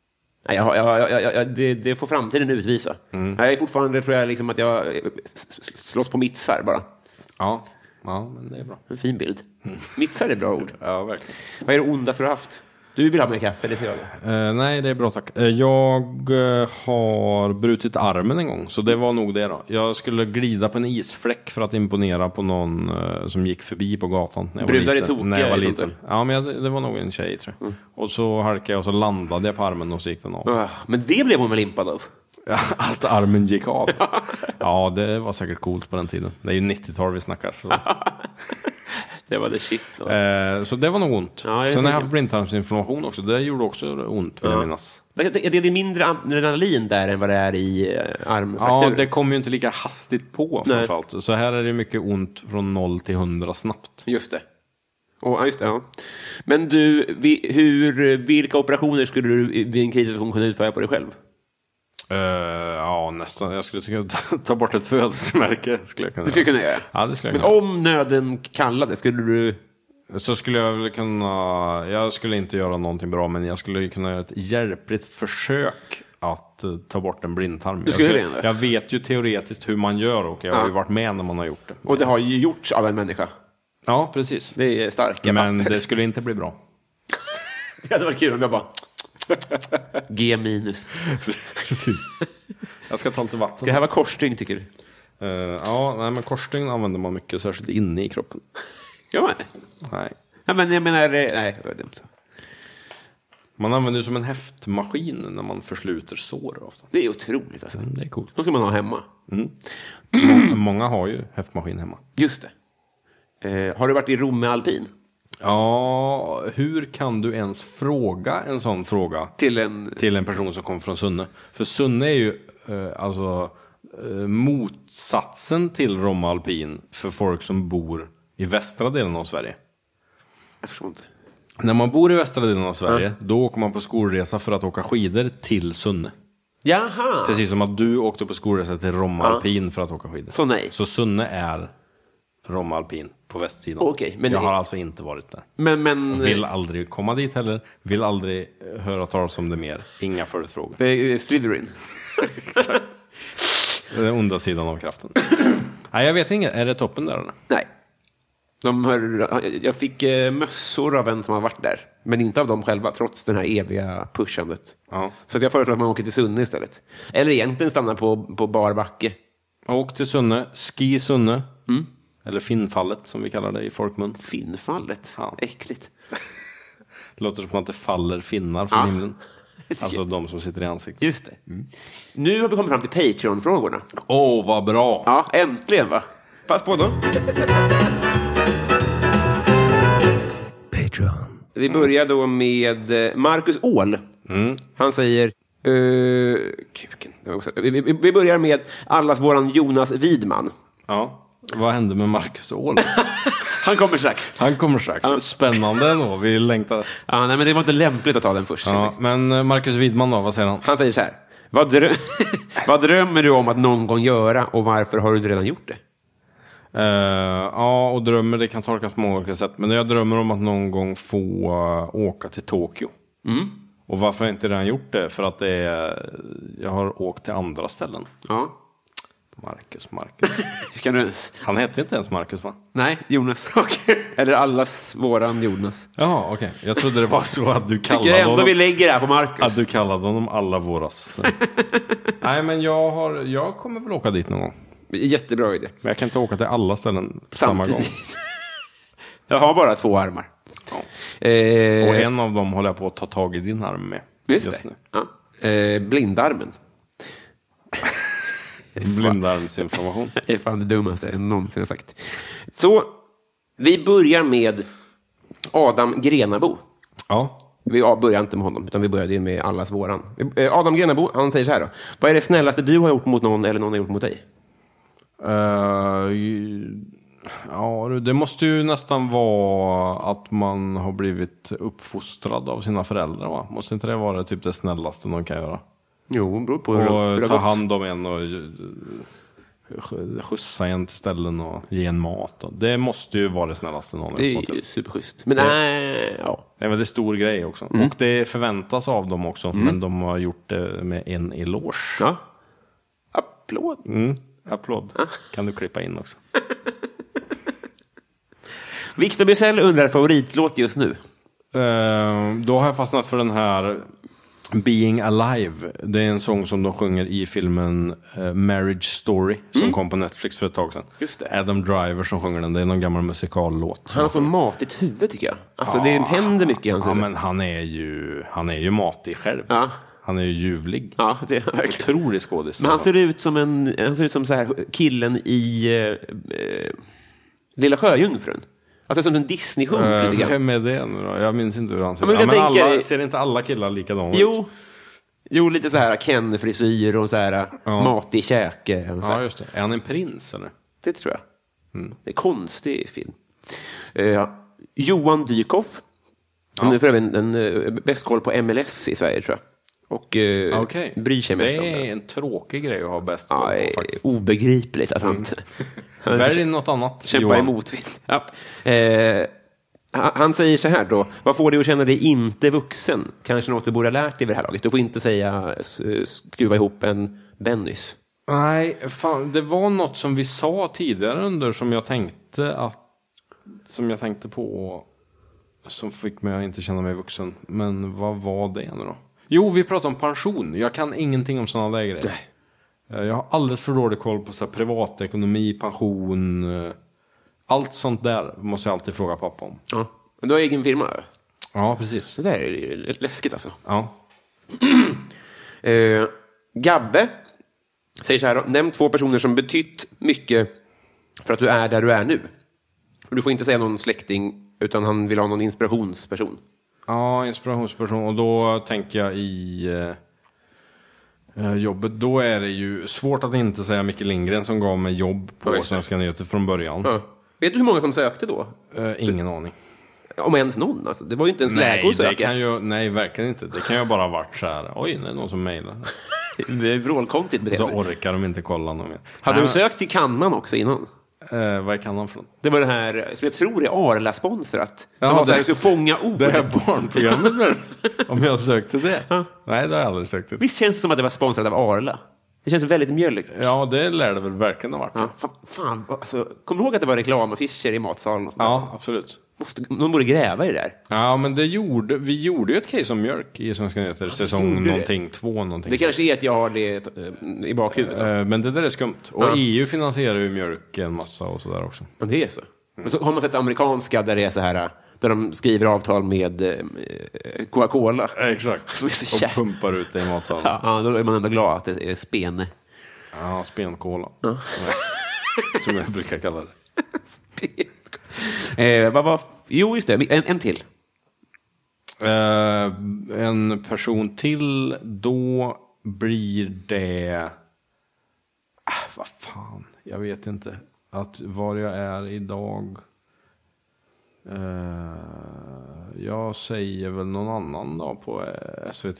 Speaker 1: Nej, Jag, jag, jag, jag, jag, det, det får framtiden utvisa.
Speaker 2: Mm.
Speaker 1: Jag är fortfarande, tror jag, liksom att jag eh, s- s- slåss på mittsar bara.
Speaker 2: Ja. ja, men det är bra.
Speaker 1: En fin bild. Mittsar är bra ord.
Speaker 2: Mm. Ja, verkligen.
Speaker 1: Vad är det ondaste du har haft? Du vill ha mer kaffe, det ser jag.
Speaker 2: Eh, nej, det är bra tack. Eh, jag eh, har brutit armen en gång, så det var nog det då. Jag skulle glida på en isfläck för att imponera på någon eh, som gick förbi på gatan. När jag
Speaker 1: Brudar
Speaker 2: var
Speaker 1: är
Speaker 2: liten,
Speaker 1: tokiga
Speaker 2: när jag var
Speaker 1: i sånt Mm.
Speaker 2: liten. Ja, men jag, det var nog en tjej tror jag. Och så halkade jag och så landade jag på armen och så gick den av.
Speaker 1: Ah, Men det blev hon väl impad av?
Speaker 2: Ja, Att armen gick av. Ja, det var säkert coolt på den tiden. Det är ju 90-tal vi snackar. Så,
Speaker 1: Det var det shit. Alltså.
Speaker 2: eh, så det var nog ont.
Speaker 1: Ja, jag
Speaker 2: Sen har
Speaker 1: tänker-
Speaker 2: jag haft blindtarmsinflammation också. Det gjorde också ont vill jag minnas.
Speaker 1: Det, det, det är mindre adrenalin där än vad det är i eh,
Speaker 2: Ja,
Speaker 1: armfrakturer.
Speaker 2: det kom ju inte lika hastigt på
Speaker 1: Nej.
Speaker 2: framförallt. Så här är det mycket ont från 0 till 100 snabbt.
Speaker 1: Just det. Och, ja, just det ja. Men du, vi, hur, vilka operationer skulle du i- vid en krissituation kunna utföra på dig själv?
Speaker 2: Eh, ja, nästan. Jag skulle tycka att ta bort ett födelsemärke. Skulle jag kunna
Speaker 1: Det skulle du kunna göra?
Speaker 2: Ja, det skulle jag
Speaker 1: Men
Speaker 2: kunna.
Speaker 1: om nöden kallade, skulle du...
Speaker 2: Så skulle jag väl kunna, jag skulle inte göra någonting bra men jag skulle kunna göra ett hjälpligt försök att eh, ta bort en blindtarm. Jag,
Speaker 1: skulle det, eller?
Speaker 2: jag vet ju teoretiskt hur man gör och jag har
Speaker 1: Ja.
Speaker 2: ju varit med när man har gjort det.
Speaker 1: Och det har ju gjorts av en människa.
Speaker 2: Ja, precis.
Speaker 1: Det är starka
Speaker 2: Men
Speaker 1: papper.
Speaker 2: det skulle inte bli bra.
Speaker 1: Det hade varit kul om jag bara... G minus.
Speaker 2: precis. Jag ska ta lite vatten.
Speaker 1: Det här var korsstygn, tycker du?
Speaker 2: Eh, ja, nej, men korsstygn använder man mycket, särskilt inne i kroppen.
Speaker 1: Ja,
Speaker 2: Nej.
Speaker 1: ja, men jag menar... eh, Nej, det var dumt.
Speaker 2: Man använder ju som en häftmaskin när man försluter sår ofta.
Speaker 1: Det är otroligt, alltså.
Speaker 2: Mm, Det är coolt.
Speaker 1: De ska man ha hemma. Mm.
Speaker 2: Många har ju häftmaskin hemma.
Speaker 1: Just det. Eh, har du varit i Rom med alpin?
Speaker 2: Ja, hur kan du ens fråga en sån fråga
Speaker 1: Till en...
Speaker 2: till en person som kommer från Sunne? För Sunne är ju eh, alltså eh, motsatsen till Romme Alpin för folk som bor i västra delen av Sverige.
Speaker 1: Jag förstår inte.
Speaker 2: När man bor i västra delen av Sverige, då åker man på skolresa för att åka skidor till Sunne.
Speaker 1: Jaha!
Speaker 2: Precis som att du åkte på skolresa till Romme Alpin för att åka skidor.
Speaker 1: Så nej.
Speaker 2: Så Sunne är Rom Alpin på västsidan.
Speaker 1: Okej, men-
Speaker 2: jag har alltså inte varit där.
Speaker 1: Men, men eh,
Speaker 2: Vill aldrig komma dit heller. Vill aldrig eh, höra talas om det mer. Inga följdfrågor.
Speaker 1: det är Slytherin.
Speaker 2: Det är Den onda sidan av kraften. Nej, jag vet inte. Är det toppen där eller?
Speaker 1: Nej. De hör, jag fick eh, mössor av en som har varit där. Men inte av dem själva, trots den här eviga pushandet.
Speaker 2: Ja.
Speaker 1: Så att jag föreslår att man åker till Sunne istället. Eller egentligen stanna på, på bar backe.
Speaker 2: Åk till Sunne. Ski Sunne. Eller Finnfallet som vi kallar det i folkmun.
Speaker 1: Finnfallet.
Speaker 2: Ja.
Speaker 1: Äckligt.
Speaker 2: Det låter som att det faller finnar från
Speaker 1: Ja.
Speaker 2: himlen. Alltså de som sitter i ansiktet.
Speaker 1: Just det. Mm. Nu har vi kommit fram till Patreon-frågorna.
Speaker 2: Åh, vad bra!
Speaker 1: Ja, äntligen va? Pass på då.
Speaker 5: Patreon.
Speaker 1: Vi börjar då med eh, Marcus Åhl. Han säger... eh, kuken. Det var också- Vi, vi, vi börjar med allas våran Jonas Widman.
Speaker 2: Ja. Vad hände med Marcus Åhl?
Speaker 1: Han kommer strax.
Speaker 2: Han kommer strax. Spännande ändå. Vi längtar.
Speaker 1: Ja, nej, men det var inte lämpligt att ta den först.
Speaker 2: Ja, men eh, Marcus Widman då, vad säger han?
Speaker 1: Han säger så här. Vad, drö- vad drömmer du om att någon gång göra och varför har du inte redan gjort det?
Speaker 2: Eh, ja, och drömmer, det kan tolkas på många olika sätt. Men jag drömmer om att någon gång få eh, åka till Tokyo.
Speaker 1: Mm.
Speaker 2: Och varför har jag inte redan gjort det? För att det är, jag har åkt till andra ställen.
Speaker 1: Ja.
Speaker 2: Marcus, Marcus.
Speaker 1: Hur kan du ens?
Speaker 2: Han hette inte ens Marcus va?
Speaker 1: Nej, Jonas. Okej. Eller allas våran Jonas.
Speaker 2: Jaha, okej. Jag trodde det var så att du
Speaker 1: Tycker
Speaker 2: kallade
Speaker 1: jag ändå
Speaker 2: honom...
Speaker 1: vi lägger det här på
Speaker 2: Att
Speaker 1: Marcus.
Speaker 2: du kallade honom alla våras. Nej, men jag, har, jag kommer väl åka dit någon gång.
Speaker 1: Jättebra idé.
Speaker 2: Men jag kan inte åka till alla ställen på samma gång.
Speaker 1: Samtidigt. jag har bara två armar. Eh,
Speaker 2: Och en av dem håller jag på att ta tag i din arm med.
Speaker 1: Just, det. Ja. Eh, blindarmen.
Speaker 2: Blindarmsinflammation.
Speaker 1: Det är fan det dummaste jag någonsin har sagt. Så vi börjar med Adam Grenabo.
Speaker 2: Ja.
Speaker 1: Vi började inte med honom, utan vi började ju med allas våran. Eh, Adam Grenabo, han säger så här då. Vad är det snällaste du har gjort mot någon eller någon har gjort mot dig?
Speaker 2: Eh, ja, du, det måste ju nästan vara att man har blivit uppfostrad av sina föräldrar va? Måste inte det vara typ det snällaste någon kan göra?
Speaker 1: Jo, beror på
Speaker 2: Och
Speaker 1: det
Speaker 2: ta
Speaker 1: har gått.
Speaker 2: hand om en och eh, sk- skjutsa en till ställen och ge en mat. och- Det måste ju vara det snällaste någon har
Speaker 1: Det
Speaker 2: gjort mot
Speaker 1: är ju
Speaker 2: en.
Speaker 1: superschysst. Men nej, ja.
Speaker 2: Det är en väldigt stor grej också.
Speaker 1: Mm.
Speaker 2: Och det förväntas av dem också, men de har gjort det med en eloge.
Speaker 1: ja. Applåd.
Speaker 2: Mm. Applåd.
Speaker 1: Ah.
Speaker 2: Kan du klippa in också.
Speaker 1: Victor Bysell undrar favoritlåt just nu.
Speaker 2: Eh, då har jag fastnat för den här Being Alive. Det är en sång som de sjunger i filmen eh, Marriage Story som kom på Netflix för ett tag sedan.
Speaker 1: Mm. Just det.
Speaker 2: Adam Driver som sjunger den. Det är någon gammal musikallåt.
Speaker 1: Han har så matigt huvud tycker jag. Alltså det händer mycket i hans
Speaker 2: Ja,
Speaker 1: huvud.
Speaker 2: men han är ju, han är ju matig själv.
Speaker 1: Ja.
Speaker 2: Han är ju ljuvlig.
Speaker 1: Ja, det är verkligen.
Speaker 2: Otrolig skådis.
Speaker 1: Men han
Speaker 2: alltså.
Speaker 1: ser ut som en, han ser ut som så här killen i eh, eh, Lilla Sjöjungfrun. Alltså som en Disney-hunk lite
Speaker 2: Eh,
Speaker 1: grann.
Speaker 2: Vem är det nu då? Jag minns inte hur han ser
Speaker 1: Ja, men
Speaker 2: ut.
Speaker 1: jag
Speaker 2: men
Speaker 1: tänker
Speaker 2: alla,
Speaker 1: dig-
Speaker 2: ser inte alla killar likadana ut?
Speaker 1: Jo, jo, lite så här Ken-frisyr och så här matig käke. Och så här.
Speaker 2: Ja, just det. Är han en prins eller?
Speaker 1: Det tror jag.
Speaker 2: Mm.
Speaker 1: Det är konstig film. Eh, Johan Dykhoff. Han är för övrigt en, en, eh, bäst koll på MLS i Sverige tror jag. Och eh,
Speaker 2: Ah, Okej.
Speaker 1: bryr sig mest
Speaker 2: Det
Speaker 1: om det.
Speaker 2: är en tråkig grej att ha bäst koll
Speaker 1: Ja,
Speaker 2: på
Speaker 1: det är
Speaker 2: faktiskt.
Speaker 1: obegripligt att han inte... Han
Speaker 2: Välj något annat.
Speaker 1: Kämpa
Speaker 2: Johan.
Speaker 1: emot vind. Ja. Eh, han- han säger så här då. Vad får dig att känna dig inte vuxen? Kanske något du borde ha lärt dig vid det här laget. Du får inte säga s- skruva ihop en Bennys.
Speaker 2: Nej, fan, det var något som vi sa tidigare under som jag tänkte att som jag tänkte på som fick mig att inte känna mig vuxen. Men vad var det nu då? Jo, vi pratade om pension. Jag kan ingenting om sådana där grejer. Eh, Jag har alldeles för dålig koll på så här, privatekonomi, pension. eh, Allt sånt där måste jag alltid fråga pappa om.
Speaker 1: Ja. Men du har egen firma?
Speaker 2: Ja, precis.
Speaker 1: Det där är ju läskigt alltså.
Speaker 2: Ja.
Speaker 1: Eh, Gabbe säger så här. då. Nämn två personer som betytt mycket för att du är där du är nu. Och Du får inte säga någon släkting, utan han vill ha någon inspirationsperson.
Speaker 2: Ja, inspirationsperson. Och då tänker jag i eh, eh, jobbet. Då är det ju svårt att inte säga Micke Lindgren som gav mig jobb på
Speaker 1: Ja, just det.
Speaker 2: Svenska nyheter från början.
Speaker 1: Ja. Vet du hur många som sökte då?
Speaker 2: Eh, ingen aning.
Speaker 1: Om ens någon. Alltså. Det var ju inte ens läge att
Speaker 2: det
Speaker 1: söka.
Speaker 2: kan ju, nej, verkligen inte. Det kan ju bara ha varit så här. Oj, det är någon som mejlar.
Speaker 1: Det är vrålkonstigt
Speaker 2: Så
Speaker 1: beteende.
Speaker 2: orkar de inte kolla någon mer.
Speaker 1: Hade
Speaker 2: Alltså, nej,
Speaker 1: de sökt till kannan också innan?
Speaker 2: Eh, vad kan han för något?
Speaker 1: Det var det här som jag tror är Arla-sponsrat.
Speaker 2: Ja,
Speaker 1: som var
Speaker 2: det-
Speaker 1: så här, skulle fånga ord.
Speaker 2: Det här barnprogrammet med Om jag sökte det? Nej, det har jag aldrig sökt till.
Speaker 1: Visst känns det som att det var sponsrat av Arla? Det känns väldigt mjölk.
Speaker 2: Ja, det lär det väl verkligen ha varit.
Speaker 1: Ja, fan, fan, vad- alltså, kommer du ihåg att det var reklamaffischer i matsalen? Och sånt
Speaker 2: Ja, absolut.
Speaker 1: där? Måste, de borde gräva i det där.
Speaker 2: Ja, men det gjorde, vi gjorde ju ett case om mjölk i Svenska nyheter,
Speaker 1: gjorde
Speaker 2: säsong
Speaker 1: det.
Speaker 2: någonting, två någonting.
Speaker 1: Det kanske är att jag har det eh, i bakhuvudet.
Speaker 2: Eh, Men det där är skumt. Och
Speaker 1: Ja.
Speaker 2: EU finansierar ju mjölk en massa och sådär också.
Speaker 1: Men det är så. Men så har man sett amerikanska där det är så här, eh, där de skriver avtal med eh, eh, Coca-Cola.
Speaker 2: Exakt.
Speaker 1: Som är så
Speaker 2: och
Speaker 1: jävla-
Speaker 2: pumpar ut det i matsalen.
Speaker 1: Ja,
Speaker 2: Ja,
Speaker 1: ja, då är man ändå glad att det är spene.
Speaker 2: spenkola. Som jag brukar kalla det.
Speaker 1: eh, vad var... Jo, just det. En, en till.
Speaker 2: Eh, en person till, då blir det... Ah, vad fan, jag vet inte. Att var jag är idag... Eh, jag säger väl någon annan då på eh, SVT.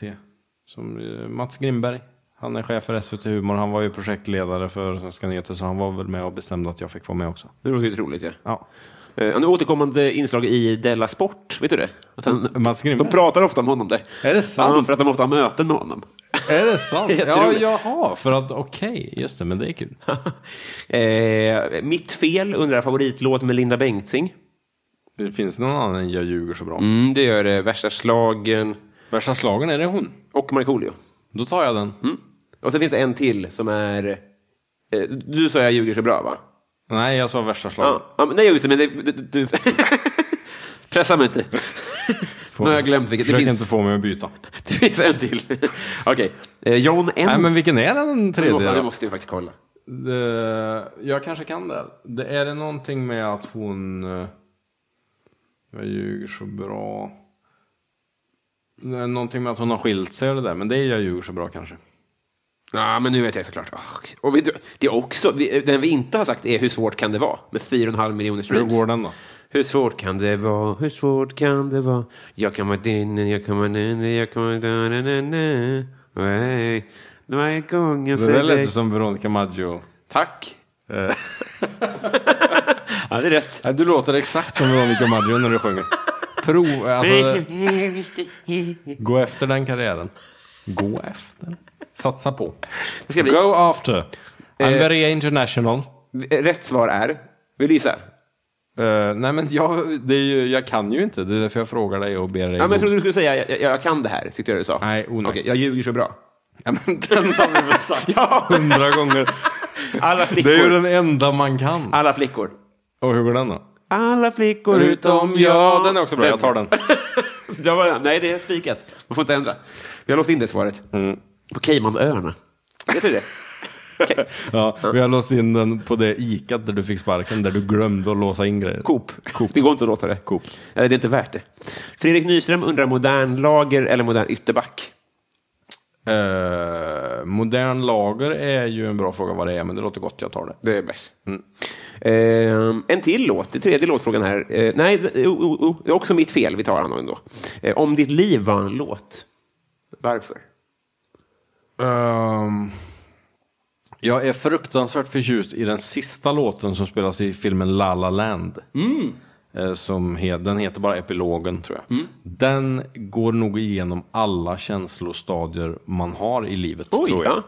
Speaker 2: Som eh, Mats Grimberg. Han är chef för SVT Humor. Han var ju projektledare för Svenska nyheter så han var väl med och bestämde att jag fick vara med också.
Speaker 1: Det var ju otroligt. Ja.
Speaker 2: Ja.
Speaker 1: Eh, en återkommande inslag i Della Sport, vet du det? Att han,
Speaker 2: Mats Grimberg?
Speaker 1: De pratar ofta om honom där.
Speaker 2: Alltså, Är det sant?
Speaker 1: Ja, för att de ofta har möten med honom.
Speaker 2: Är det sant? ja,
Speaker 1: Jätteroligt.
Speaker 2: jaha, för att okej, just det, men det är kul.
Speaker 1: eh, mitt fel undrar favoritlåt med Linda Bengtzing.
Speaker 2: Det finns någon annan än Jag ljuger så bra.
Speaker 1: Mm, det gör det. Värsta slagen
Speaker 2: Värsta slagen, är det hon?
Speaker 1: och Markoolio.
Speaker 2: Då tar jag den.
Speaker 1: Mm. Och så finns det en till som är... Eh, du sa jag ljuger så bra, va?
Speaker 2: Nej, jag sa värsta slagen.
Speaker 1: Ja. ja men, nej, just det, men det, du... du pressa mig inte. Nu har jag glömt vilket. Det
Speaker 2: Försök
Speaker 1: finns,
Speaker 2: inte få mig att byta.
Speaker 1: det finns en till. Okej. Eh, John N.
Speaker 2: Nej, men vilken är den
Speaker 1: Du måste-
Speaker 2: tredje?
Speaker 1: Du
Speaker 2: då?
Speaker 1: måste ju faktiskt kolla.
Speaker 2: Det, jag kanske kan det. det. Är det någonting med att hon... eh, Jag ljuger så bra. Det är Någonting med att hon har skilt sig och det där. Men det är Jag ljuger så bra kanske.
Speaker 1: Ja, men nu vet jag såklart. Ah, Och vi, det är också, vi, den vi inte har sagt är hur svårt kan det vara med 4,5 miljoner
Speaker 2: Hur
Speaker 1: streams.
Speaker 2: går den då?
Speaker 1: Hur svårt kan det vara? Hur svårt kan det vara? Jag kan vara din, jag kan vara din, jag kan vara din, na, na, na. Hey. Varje gång jag
Speaker 2: Det där
Speaker 1: ser
Speaker 2: lät ju
Speaker 1: dig.
Speaker 2: som Veronica Maggio.
Speaker 1: Tack.
Speaker 2: Eh.
Speaker 1: ja, det är rätt.
Speaker 2: Nej, Du låter exakt som Veronica Maggio när du sjunger. Prov, alltså, gå efter den karriären. Gå efter. Satsa på.
Speaker 1: Det ska bli-
Speaker 2: Go after. I'm
Speaker 1: Eh.
Speaker 2: very international.
Speaker 1: rätt svar är, vill du gissa?
Speaker 2: Eh, nej men jag, det är ju, jag kan ju inte, det är därför jag frågar dig och ber dig.
Speaker 1: Ja, men jag
Speaker 2: gå-
Speaker 1: trodde du skulle säga, jag, jag, jag kan det här, tyckte jag du sa.
Speaker 2: Nej, onödigt.
Speaker 1: Okej, jag ljuger så bra.
Speaker 2: Ja, men den har vi väl sagt
Speaker 1: Ja.
Speaker 2: hundra gånger.
Speaker 1: Alla flickor.
Speaker 2: Det är ju den enda man kan.
Speaker 1: Alla flickor.
Speaker 2: Och hur går den då?
Speaker 1: Alla flickor utom jag.
Speaker 2: Ja, den är också bra, jag tar den.
Speaker 1: Det var, nej, det är spikat. Man får inte ändra. Vi har låst in det svaret. På Caymanöarna. Vet du det? Ka-
Speaker 2: Ja, vi har låst in den på det ikat där du fick sparken, där du glömde att låsa in grejer.
Speaker 1: Coop. Det går inte att låta det.
Speaker 2: Coop.
Speaker 1: Eh, Det är inte värt det. Fredrik Nyström undrar modern lager eller modern ytterback.
Speaker 2: Eh, modern lager är ju en bra fråga vad det är, men det låter gott, jag tar det.
Speaker 1: Det är bäst. Mm. Eh, en till låt, det är tredje låtfrågan här. Eh, nej, det- jo, jo, jo, det är också mitt fel. Vi tar han ändå. Eh, om ditt liv var en låt, varför?
Speaker 2: Ehm, jag är fruktansvärt förtjust i den sista låten som spelas i filmen La La Land.
Speaker 1: Mm.
Speaker 2: Eh, Som he- den heter bara Epilogen tror jag. Den går nog igenom alla känslostadier man har i livet tror jag.
Speaker 1: ja.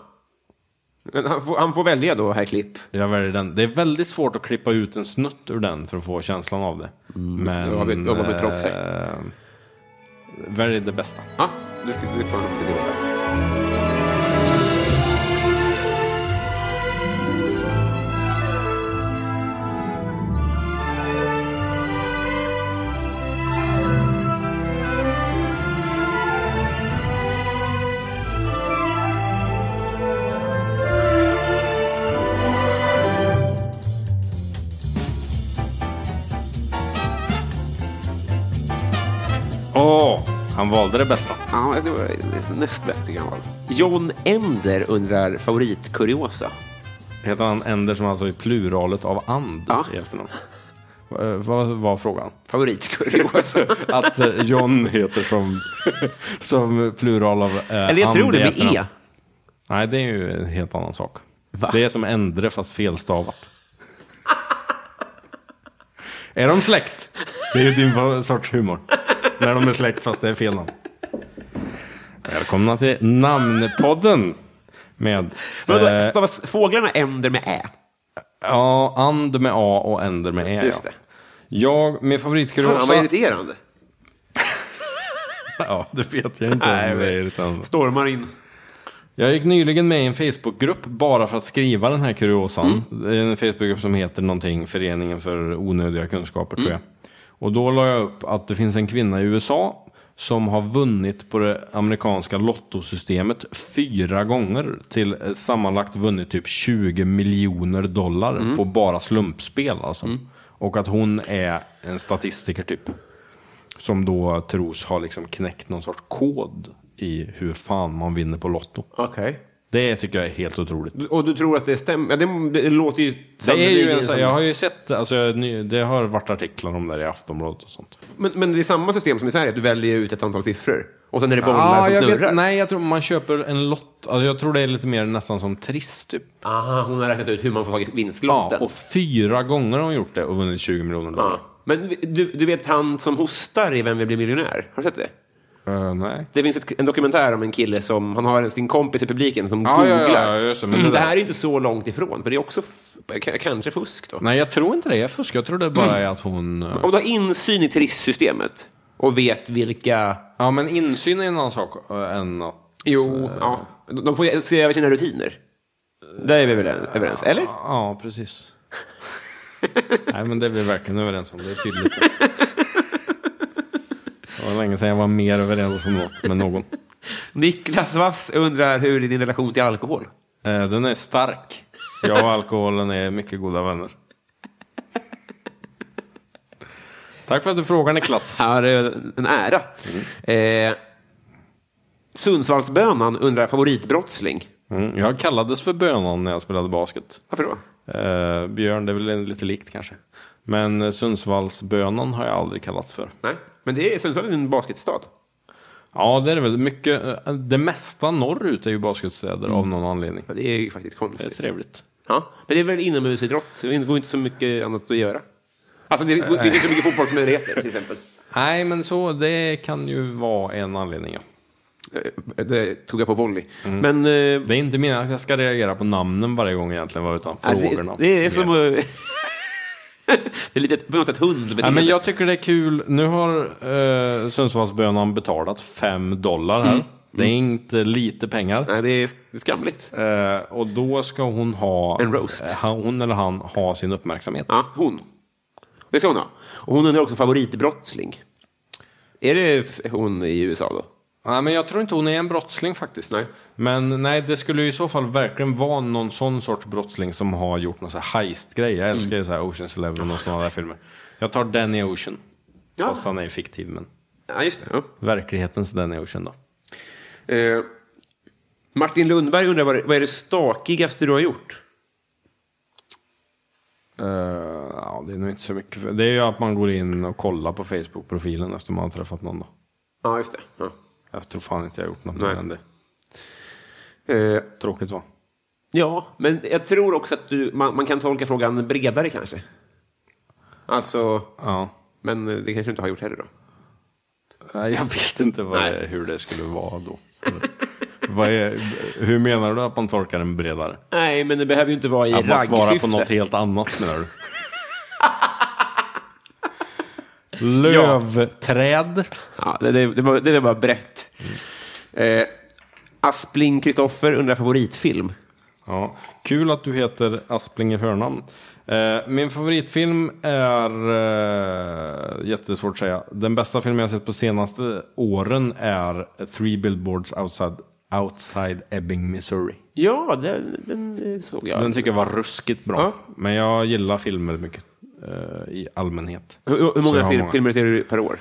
Speaker 1: Men han, får, han får välja då, herr Klipp.
Speaker 2: Jag väljer den. Det är väldigt svårt att klippa ut en snutt ur den för att få känslan av det. Men...
Speaker 1: då har vi- då Mm. var vi proffs
Speaker 2: ehm, Välj det bästa.
Speaker 1: Ja, det ska vi få till det.
Speaker 2: Åh, han valde det bästa.
Speaker 1: Ja, det var näst bäst tycker jag. John Ender undrar favoritkuriosa.
Speaker 2: Heter han Ender som alltså är pluralet av and
Speaker 1: Ja.
Speaker 2: i efternamn? Eh, Vad var frågan?
Speaker 1: Favoritkuriosa?
Speaker 2: Att eh, John heter som, som plural av eh,
Speaker 1: Eller jag
Speaker 2: and
Speaker 1: tror det
Speaker 2: i
Speaker 1: med
Speaker 2: efternamn.
Speaker 1: E.
Speaker 2: Nej, det är ju en helt annan sak.
Speaker 1: Va?
Speaker 2: Det är som Endre fast felstavat. Är de släkt? Det är ju din sorts humor. När de är släkt fast det är fel namn. Välkomna till Namnpodden. Med...
Speaker 1: Vadå,
Speaker 2: eh,
Speaker 1: stavas fåglarna änder med ä?
Speaker 2: ja, and med A och änder med E.
Speaker 1: Just
Speaker 2: ja.
Speaker 1: det.
Speaker 2: Jag, min favoritgrossa...
Speaker 1: Fan, vad irriterande.
Speaker 2: Ja, det vet jag inte. om
Speaker 1: Nej, jag
Speaker 2: det är
Speaker 1: vet.
Speaker 2: irriterande.
Speaker 1: Stormar in.
Speaker 2: Jag gick nyligen med i en Facebookgrupp bara för att skriva den här kuriosan. Det är en Facebookgrupp som heter någonting, Föreningen för onödiga kunskaper tror jag. Och då la jag upp att det finns en kvinna i USA som har vunnit på det amerikanska lottosystemet fyra gånger till eh, sammanlagt vunnit typ 20 miljoner dollar på bara slumpspel alltså. Och att hon är en statistiker typ. Som då tros ha liksom knäckt någon sorts kod i hur fan man vinner på Lotto.
Speaker 1: Okej.
Speaker 2: Det tycker jag är helt otroligt.
Speaker 1: Och du tror att det stämmer? Ja, det, det låter ju...
Speaker 2: Det är ju en,
Speaker 1: som-
Speaker 2: sån- jag har ju sett, alltså, jag- ny- det har varit artiklar om det här i Aftonbladet och sånt.
Speaker 1: men, men det är samma system som i Sverige, att du väljer ut ett antal siffror. Och sen är det bollar som
Speaker 2: jag
Speaker 1: snurrar.
Speaker 2: nej, jag tror man köper en lott. Alltså, jag tror det är lite mer nästan som Triss typ.
Speaker 1: Aha, hon har räknat ut hur man får tag i vinstlotten.
Speaker 2: Ja, och fyra gånger har hon gjort det och vunnit 20 miljoner dollar.
Speaker 1: Ja. Men du, du vet han som hostar i Vem vill bli miljonär? Har du sett det?
Speaker 2: Eh, nej.
Speaker 1: Det finns ett, en dokumentär om en kille som, han har sin kompis i publiken som
Speaker 2: Ja, ja, ja,
Speaker 1: googlar.
Speaker 2: ja, just det, men det
Speaker 1: det
Speaker 2: där-
Speaker 1: här är inte så långt ifrån, för det är också f- k- kanske fusk då.
Speaker 2: Nej, jag tror inte det är fusk. Jag tror det bara är att hon... eh,
Speaker 1: Om du har insyn i trisssystemet och vet vilka...
Speaker 2: Ja, men insyn är en annan sak eh, än att...
Speaker 1: Ja, eh, de får ju se över sina rutiner. Där är vi väl överens, eller?
Speaker 2: Ja, precis. Nej, men det är vi verkligen överens om. Det är tydligt. Det var länge sedan jag var mer överens om något med någon.
Speaker 1: Niklas Wass undrar hur är din relation till alkohol?
Speaker 2: Eh, Den är stark. Jag och alkoholen är mycket goda vänner. Tack för att du frågar Niklas.
Speaker 1: är en ära. Eh, Sundsvallsbönan undrar favoritbrottsling.
Speaker 2: Mm, jag kallades för Bönan när jag spelade basket.
Speaker 1: Varför då?
Speaker 2: Eh, Björn, det är väl lite likt kanske. Men eh, Sundsvallsbönan har jag aldrig kallats för.
Speaker 1: Nej, men det är Sundsvall är en basketstad.
Speaker 2: Ja, det är det väl. Mycket, eh, det mesta norrut är ju basketstäder av någon anledning.
Speaker 1: Ja, Det är ju faktiskt
Speaker 2: Det är
Speaker 1: konstigt.
Speaker 2: trevligt.
Speaker 1: Ja, men det är väl inomhusidrott. Det går inte så mycket annat att göra. Alltså det finns inte så mycket fotbollsmöjligheter till exempel.
Speaker 2: Nej, men så det kan ju vara en anledning. Ja.
Speaker 1: Eh, Det tog jag på volley. Men eh,
Speaker 2: Mm. Det är inte meningen att jag ska reagera på namnen varje gång egentligen, va, utan
Speaker 1: ja,
Speaker 2: frågorna.
Speaker 1: det, det är som...
Speaker 2: Mer.
Speaker 1: eh, det är lite på något sätt
Speaker 2: Nej, men
Speaker 1: hundbeteende.
Speaker 2: jag tycker det är kul. Nu har eh, Sundsvallsbönan betalat 5 dollar
Speaker 1: Mm.
Speaker 2: här. Det är inte lite pengar.
Speaker 1: Nej, det är det är skamligt.
Speaker 2: Eh, och då ska hon ha...
Speaker 1: En roast.
Speaker 2: eh, Hon eller han ha sin uppmärksamhet.
Speaker 1: Ja, hon. Det ska hon ha. Och hon undrar också favoritbrottsling. Är det f- hon i USA då?
Speaker 2: Nej, men jag tror inte hon är en brottsling faktiskt.
Speaker 1: Nej.
Speaker 2: Men nej, det skulle ju i så fall verkligen vara någon sån sorts brottsling som har gjort någon sån här heist-grej. Jag älskar
Speaker 1: Mm.
Speaker 2: ju så här Oceans Eleven och sådana där filmer. Jag tar Danny Ocean.
Speaker 1: Ja.
Speaker 2: Fast han är ju fiktiv, men
Speaker 1: Ja, just det.
Speaker 2: verklighetens Danny Ocean då.
Speaker 1: Ja. Eh, Martin Lundberg undrar vad, det, vad är det stakigaste du har gjort?
Speaker 2: Eh, ja, det är nog inte så mycket. För... Det är ju att man går in och kollar på Facebook-profilen efter man har träffat någon då.
Speaker 1: Ja, just det. Ja.
Speaker 2: Jag tror fan inte jag har gjort något
Speaker 1: Nej.
Speaker 2: mer än det.
Speaker 1: Eh,
Speaker 2: Tråkigt va?
Speaker 1: ja, men jag tror också att du, man, man kan tolka frågan bredare kanske. Alltså,
Speaker 2: Ja.
Speaker 1: men det kanske du inte har gjort heller då.
Speaker 2: Nej, Jag vet inte vad
Speaker 1: Nej.
Speaker 2: det, hur det skulle vara då. vad är, hur menar du att man torkar den bredare?
Speaker 1: Nej, men det behöver ju inte vara i
Speaker 2: Att man svarar på
Speaker 1: raggsyfte.
Speaker 2: något helt annat menar du? Lövträd.
Speaker 1: Ja, det, det, det, var, det var bara brett. Eh, Aspling Kristoffer undrar favoritfilm.
Speaker 2: Ja. Kul att du heter Aspling i förnamn. Eh, min favoritfilm är, eh, jättesvårt att säga, den bästa filmen jag sett på senaste åren är Three Billboards Outside, outside Ebbing, Missouri.
Speaker 1: Ja, den, den eh, såg jag.
Speaker 2: Den tycker jag var ruskigt bra.
Speaker 1: Ja.
Speaker 2: Men jag gillar filmer mycket eh, i allmänhet.
Speaker 1: hur, hur
Speaker 2: Så
Speaker 1: många,
Speaker 2: jag har
Speaker 1: ser, filmer ser du per år?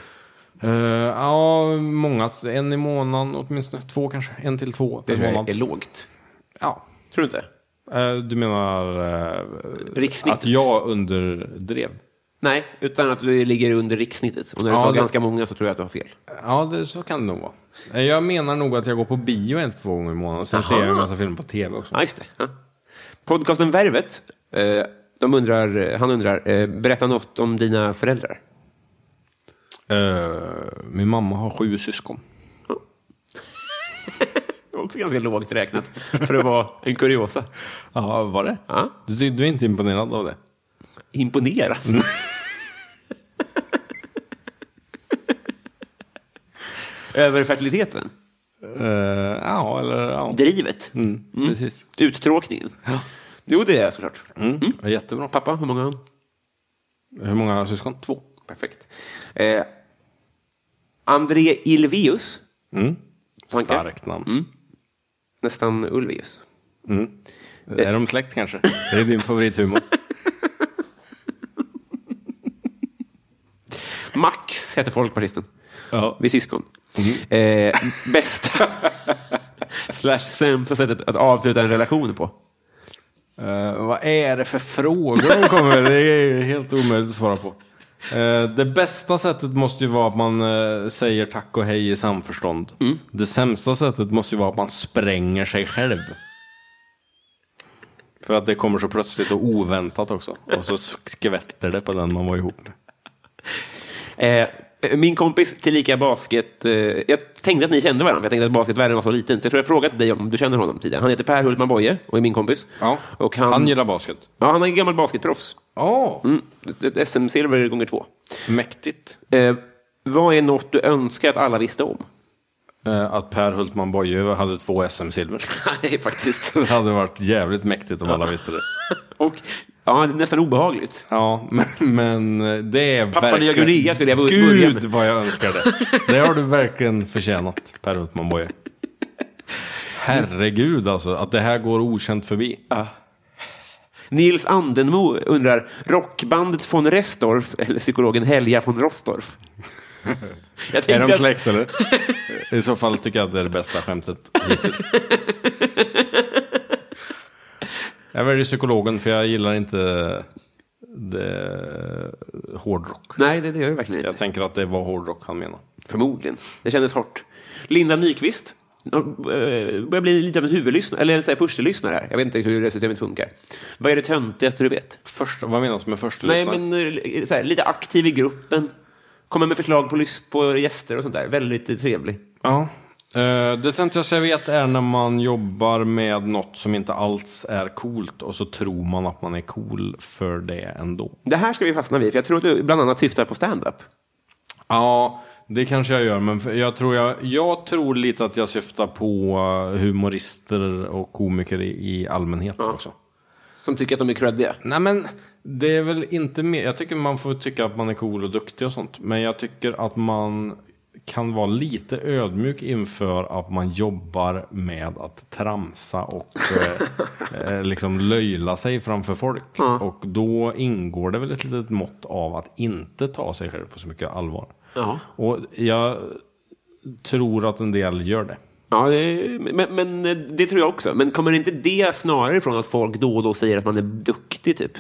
Speaker 2: Eh, ja, många. En i månaden åtminstone. Två kanske. En till två
Speaker 1: Det
Speaker 2: per månad.
Speaker 1: är lågt.
Speaker 2: Ja.
Speaker 1: Tror du inte?
Speaker 2: Eh, du menar eh,
Speaker 1: Rikssnittet?
Speaker 2: att jag underdrev?
Speaker 1: Nej, utan att du ligger under rikssnittet. Och när du
Speaker 2: Ja,
Speaker 1: sa
Speaker 2: det-
Speaker 1: ganska många så tror jag att du har fel.
Speaker 2: Ja, det, så kan det nog vara. Eh, Jag menar nog att jag går på bio en till två gånger i månaden. Sen ser jag en massa filmer på tv också.
Speaker 1: Ja, just det. Ja. Podcasten Värvet eh, De undrar, han undrar, eh, berätta något om dina föräldrar.
Speaker 2: Eh, min mamma har sju syskon.
Speaker 1: Det var också ganska lågt räknat för att vara en kuriosa.
Speaker 2: Ja, var det?
Speaker 1: Ja.
Speaker 2: Du, ty- du är inte imponerad av det?
Speaker 1: Imponerad.
Speaker 2: Mm.
Speaker 1: Över fertiliteten,
Speaker 2: Eh, ja, eller ja.
Speaker 1: drivet,
Speaker 2: Mm, Precis.
Speaker 1: uttråkningen. Jo, det är jag såklart.
Speaker 2: Mm. Jättebra.
Speaker 1: Pappa, hur många har han?
Speaker 2: Hur många syskon? Två.
Speaker 1: Perfekt. Eh, André Ilvius,
Speaker 2: Mm.
Speaker 1: Tankar?
Speaker 2: Starkt namn.
Speaker 1: nästan Ulvius.
Speaker 2: Är de släkt kanske? Det är din favorithumor.
Speaker 1: Max heter folkpartisten.
Speaker 2: ja.
Speaker 1: Vi är syskon. Eh, bästa slash sämsta sättet att avsluta en relation på.
Speaker 2: Eh, vad är det för frågor de kommer med? Det är helt omöjligt att svara på. Eh, det bästa sättet måste ju vara att man eh, säger tack och hej i samförstånd.
Speaker 1: Mm.
Speaker 2: Det sämsta sättet måste ju vara att man spränger sig själv. För att det kommer så plötsligt och oväntat också. Och så skvätter det på den man var ihop med.
Speaker 1: Eh, min kompis tillika basket... Eh, jag tänkte att ni kände varandra, för jag tänkte att basketvärlden var så liten. Så jag tror jag frågat dig om du känner honom tidigare. Han heter Per Hultman Boye och är min kompis. och han,
Speaker 2: han gillar basket.
Speaker 1: ja, han är en gammal basketproffs.
Speaker 2: Ja,
Speaker 1: Mm. Ett SM-silver gånger två.
Speaker 2: mäktigt.
Speaker 1: Eh, vad är något du önskar att alla visste om?
Speaker 2: Eh, att Per Hultman Boye hade två SM-silver.
Speaker 1: Nej, faktiskt.
Speaker 2: Det hade varit jävligt mäktigt om alla visste det.
Speaker 1: Och, ja, det är nästan obehagligt.
Speaker 2: Ja, men, men det är
Speaker 1: Pappa Nya Guinea skulle jag börja
Speaker 2: Gud
Speaker 1: med.
Speaker 2: vad jag önskar det. Det har du verkligen förtjänat, Per Hultman Boye. Herregud alltså, att det här går okänt förbi.
Speaker 1: Nils Andenmo undrar, rockbandet von Restorff eller psykologen Helga von Rostorff? Jag tänkte
Speaker 2: Är de
Speaker 1: att-
Speaker 2: släkt eller? I så fall tycker jag att det är det bästa skämtet hittills. Jag väljer psykologen för jag gillar inte det, hårdrock.
Speaker 1: Nej, det, det gör det verkligen inte.
Speaker 2: Jag tänker att det var hårdrock han menar.
Speaker 1: Förmodligen. Det kändes hårt. Linda Nyqvist. Eh, börjar bli lite av en huvudlyssnare, eller en sån här förstelyssnare här. Jag vet inte hur det systemet funkar. Vad är det töntigaste du vet?
Speaker 2: Först, vad menas med första
Speaker 1: Nej,
Speaker 2: lyssnaren?
Speaker 1: men eh, så här, lite aktiv i gruppen. Kommer med förslag på, lyst, på gäster och sånt där. Väldigt eh, trevlig.
Speaker 2: Ja. Eh, det töntigaste jag vet är när man jobbar med något som inte alls är coolt och så tror man att man är cool för det ändå.
Speaker 1: Det här ska vi fastna vid, för jag tror att du bland annat syftar på stand-up.
Speaker 2: Ja, det kanske jag gör, men för- jag tror, jag, jag tror lite att jag syftar på eh, humorister och komiker i, i allmänhet också.
Speaker 1: Som tycker att de är creddiga.
Speaker 2: Nej men, det är väl inte mer. Jag tycker man får tycka att man är cool och duktig och sånt. Men jag tycker att man kan vara lite ödmjuk inför att man jobbar med att tramsa och eh, eh, liksom löjla sig framför folk. Och då ingår det väl ett litet mått av att inte ta sig själv på så mycket allvar.
Speaker 1: Ja.
Speaker 2: Och jag tror att en del gör
Speaker 1: Eh,
Speaker 2: det.
Speaker 1: Ja, det, men, men eh, det tror jag också. Men kommer inte det snarare ifrån att folk då och då säger att man är duktig, typ?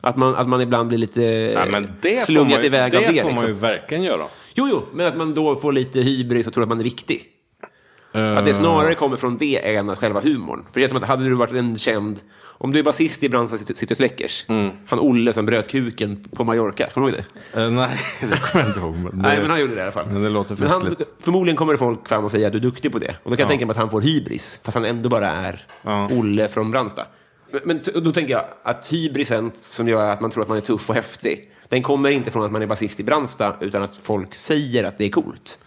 Speaker 1: Att man, att man ibland blir lite
Speaker 2: Nej, men det får man
Speaker 1: slungas
Speaker 2: ju,
Speaker 1: iväg
Speaker 2: det
Speaker 1: av det.
Speaker 2: får
Speaker 1: liksom.
Speaker 2: man ju verkligen göra.
Speaker 1: Jo, jo, men att man då får lite hybris och tror att man är viktig. Att
Speaker 2: Eh.
Speaker 1: det snarare kommer från det än att själva humorn. För det är som att hade du varit en känd... Om du är basist i Bransas City Släckers,
Speaker 2: Mm.
Speaker 1: han Olle som bröt kuken på Mallorca, kommer du ihåg det?
Speaker 2: Eh, nej, det kommer jag inte ihåg. men det-
Speaker 1: Nej, men han gjorde det i alla fall.
Speaker 2: Men det låter
Speaker 1: Men han,
Speaker 2: festligt.
Speaker 1: Förmodligen kommer det folk fram och säga att du är duktig på det. Och då kan jag tänka mig att han får hybris, fast han ändå bara är
Speaker 2: Ja.
Speaker 1: Olle från Brandsta. Men, men t- då tänker jag att hybrisen som gör att man tror att man är tuff och häftig, den kommer inte från att man är basist i Brandsta, utan att folk säger att det är coolt.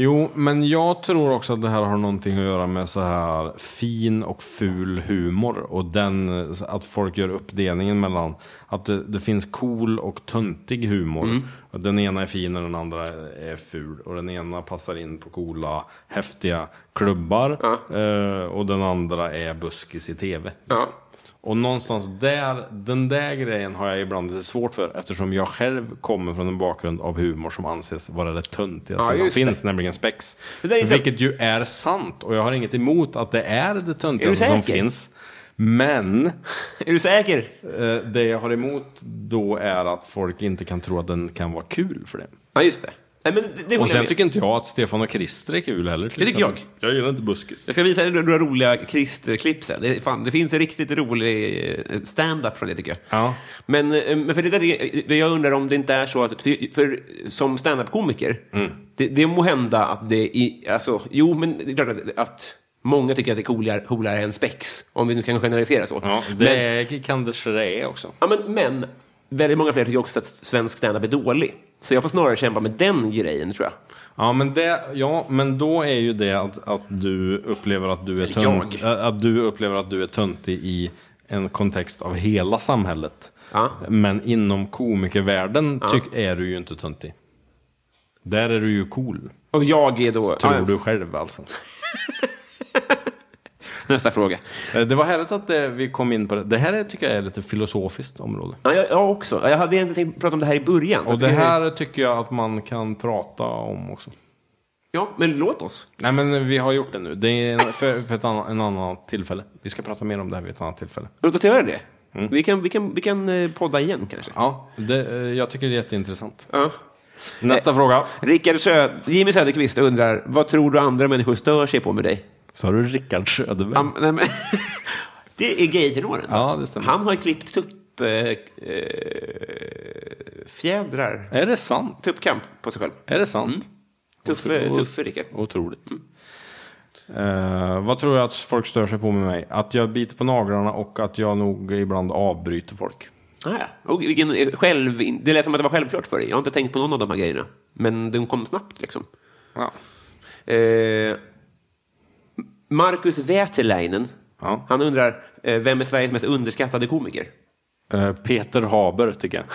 Speaker 2: Jo, men jag tror också att det här har någonting att göra med så här fin och ful humor. Och den, att folk gör uppdelningen mellan att det, det finns cool och töntig humor. Och Den ena är fin och den andra är ful. Och den ena passar in på coola, häftiga klubbar. Eh, och den andra är buskis i tv. liksom. Och någonstans där, den där grejen har jag ibland lite svårt för. Eftersom jag själv kommer från en bakgrund av humor som anses vara det töntigaste
Speaker 1: Ja,
Speaker 2: som
Speaker 1: just det.
Speaker 2: finns nämligen spex.
Speaker 1: Det där är inte-
Speaker 2: Vilket ju är sant och jag har inget emot att det är det
Speaker 1: Är du
Speaker 2: töntigaste
Speaker 1: säker?
Speaker 2: som finns. Men
Speaker 1: Är du säker?
Speaker 2: eh, det jag har emot då är att folk inte kan tro att den kan vara kul för det.
Speaker 1: Ja, just det. Nej, men det, det
Speaker 2: Och
Speaker 1: håller jag
Speaker 2: sen
Speaker 1: med.
Speaker 2: tycker inte jag att Stefan och Krister är kul heller. till
Speaker 1: Det tycker
Speaker 2: exempel. Jag gillar inte buskis.
Speaker 1: Jag ska visa er några roliga Christer-klipp sen. Det, är fan, det finns en riktigt rolig eh, stand-up från det tycker jag.
Speaker 2: Ja.
Speaker 1: Men, eh, men för det där, är- det jag undrar om det inte är så att, för, för som stand-up-komiker,
Speaker 2: Mm.
Speaker 1: det, det må hända att det är, alltså, jo men det är klart att, att många tycker att det är coolare, coolare än spex, om vi nu kan generalisera så.
Speaker 2: Ja,
Speaker 1: men,
Speaker 2: det kan det ske också.
Speaker 1: ja, men, men väldigt många fler tycker också att svensk stand-up är dålig. Så jag får snarare kämpa med den grejen tror jag.
Speaker 2: Ja men, det, ja, men då är ju det att, att du upplever att du är
Speaker 1: Eller
Speaker 2: tönt, äh, att du upplever att du är töntig i en kontext av hela samhället.
Speaker 1: Ja.
Speaker 2: Men inom komikervärlden tyck, är du ju inte töntig. Där är du ju cool,
Speaker 1: Och jag är då...
Speaker 2: tror
Speaker 1: Ja, ja.
Speaker 2: du själv alltså.
Speaker 1: Nästa fråga.
Speaker 2: Eh, Det var härligt att eh, vi kom in på det. Det här är, tycker jag är lite filosofiskt område.
Speaker 1: Ja, jag, jag också. Jag hade egentligen tänkt prata om det här i början. Eh,
Speaker 2: Och
Speaker 1: Jag
Speaker 2: det
Speaker 1: tycker-
Speaker 2: här tycker jag att man kan prata om också.
Speaker 1: Ja, men låt oss.
Speaker 2: Nej men vi har gjort det nu. Det är en- för, för ett annat, en annan tillfälle. Vi ska prata mer om det här vid ett annat tillfälle.
Speaker 1: Låt oss göra det.
Speaker 2: Mm.
Speaker 1: Vi, kan, vi, kan, vi kan eh, podda igen kanske.
Speaker 2: Ja, det, eh, jag tycker det är jätteintressant. Eh,
Speaker 1: Ja.
Speaker 2: Nästa fråga.
Speaker 1: Rickard Sö- Jimmy Söderqvist undrar, vad tror du andra människor stör sig på med dig?
Speaker 2: Sa du Rickard Söderberg?
Speaker 1: Am- nej, men, det är gaytenoren.
Speaker 2: Ja, det stämmer.
Speaker 1: Han har klippt tupp, eh, eh, fjädrar,
Speaker 2: Är det sant?
Speaker 1: tuppkamp på sig själv.
Speaker 2: Är det sant?
Speaker 1: Tuffe, tuffe Rickard.
Speaker 2: Otroligt. Eh, vad tror jag att folk stör sig på med mig? Att jag biter på naglarna och att jag nog ibland avbryter folk.
Speaker 1: Ah, ja. och vilken eh, själv, det lät som att det var självklart för dig. Jag har inte tänkt på någon av de här grejerna. Men de kom snabbt liksom.
Speaker 2: Ja.
Speaker 1: Eh, Marcus Wäterleinen,
Speaker 2: Ja.
Speaker 1: han undrar eh, vem är Sveriges mest underskattade komiker?
Speaker 2: Eh, Peter Haber tycker jag.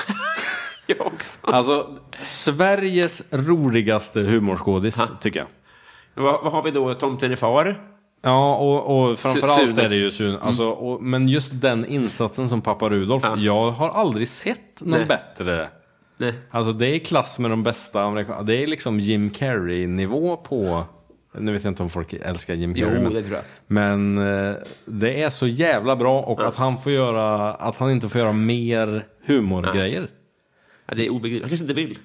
Speaker 1: Jag också.
Speaker 2: Alltså, Sveriges roligaste humorskådis tycker jag.
Speaker 1: Vad, vad har vi då? Tomten är far?
Speaker 2: Ja, och, och
Speaker 1: Su- Mm.
Speaker 2: framförallt
Speaker 1: Sune.
Speaker 2: är det ju Sune. Alltså, och, men just den insatsen som pappa Rudolf, jag har aldrig sett någon
Speaker 1: Nej.
Speaker 2: bättre.
Speaker 1: Nej.
Speaker 2: Alltså det är klass med de bästa amerikanerna. Det är liksom Jim Carrey-nivå på... Nu vet jag inte om folk älskar Jim
Speaker 1: Jo,
Speaker 2: Carrey. men,
Speaker 1: det tror jag.
Speaker 2: men eh, det är så jävla bra och att han får göra... Att han inte får göra mer humorgrejer.
Speaker 1: Ja, det är obegripligt. Han kanske inte vill.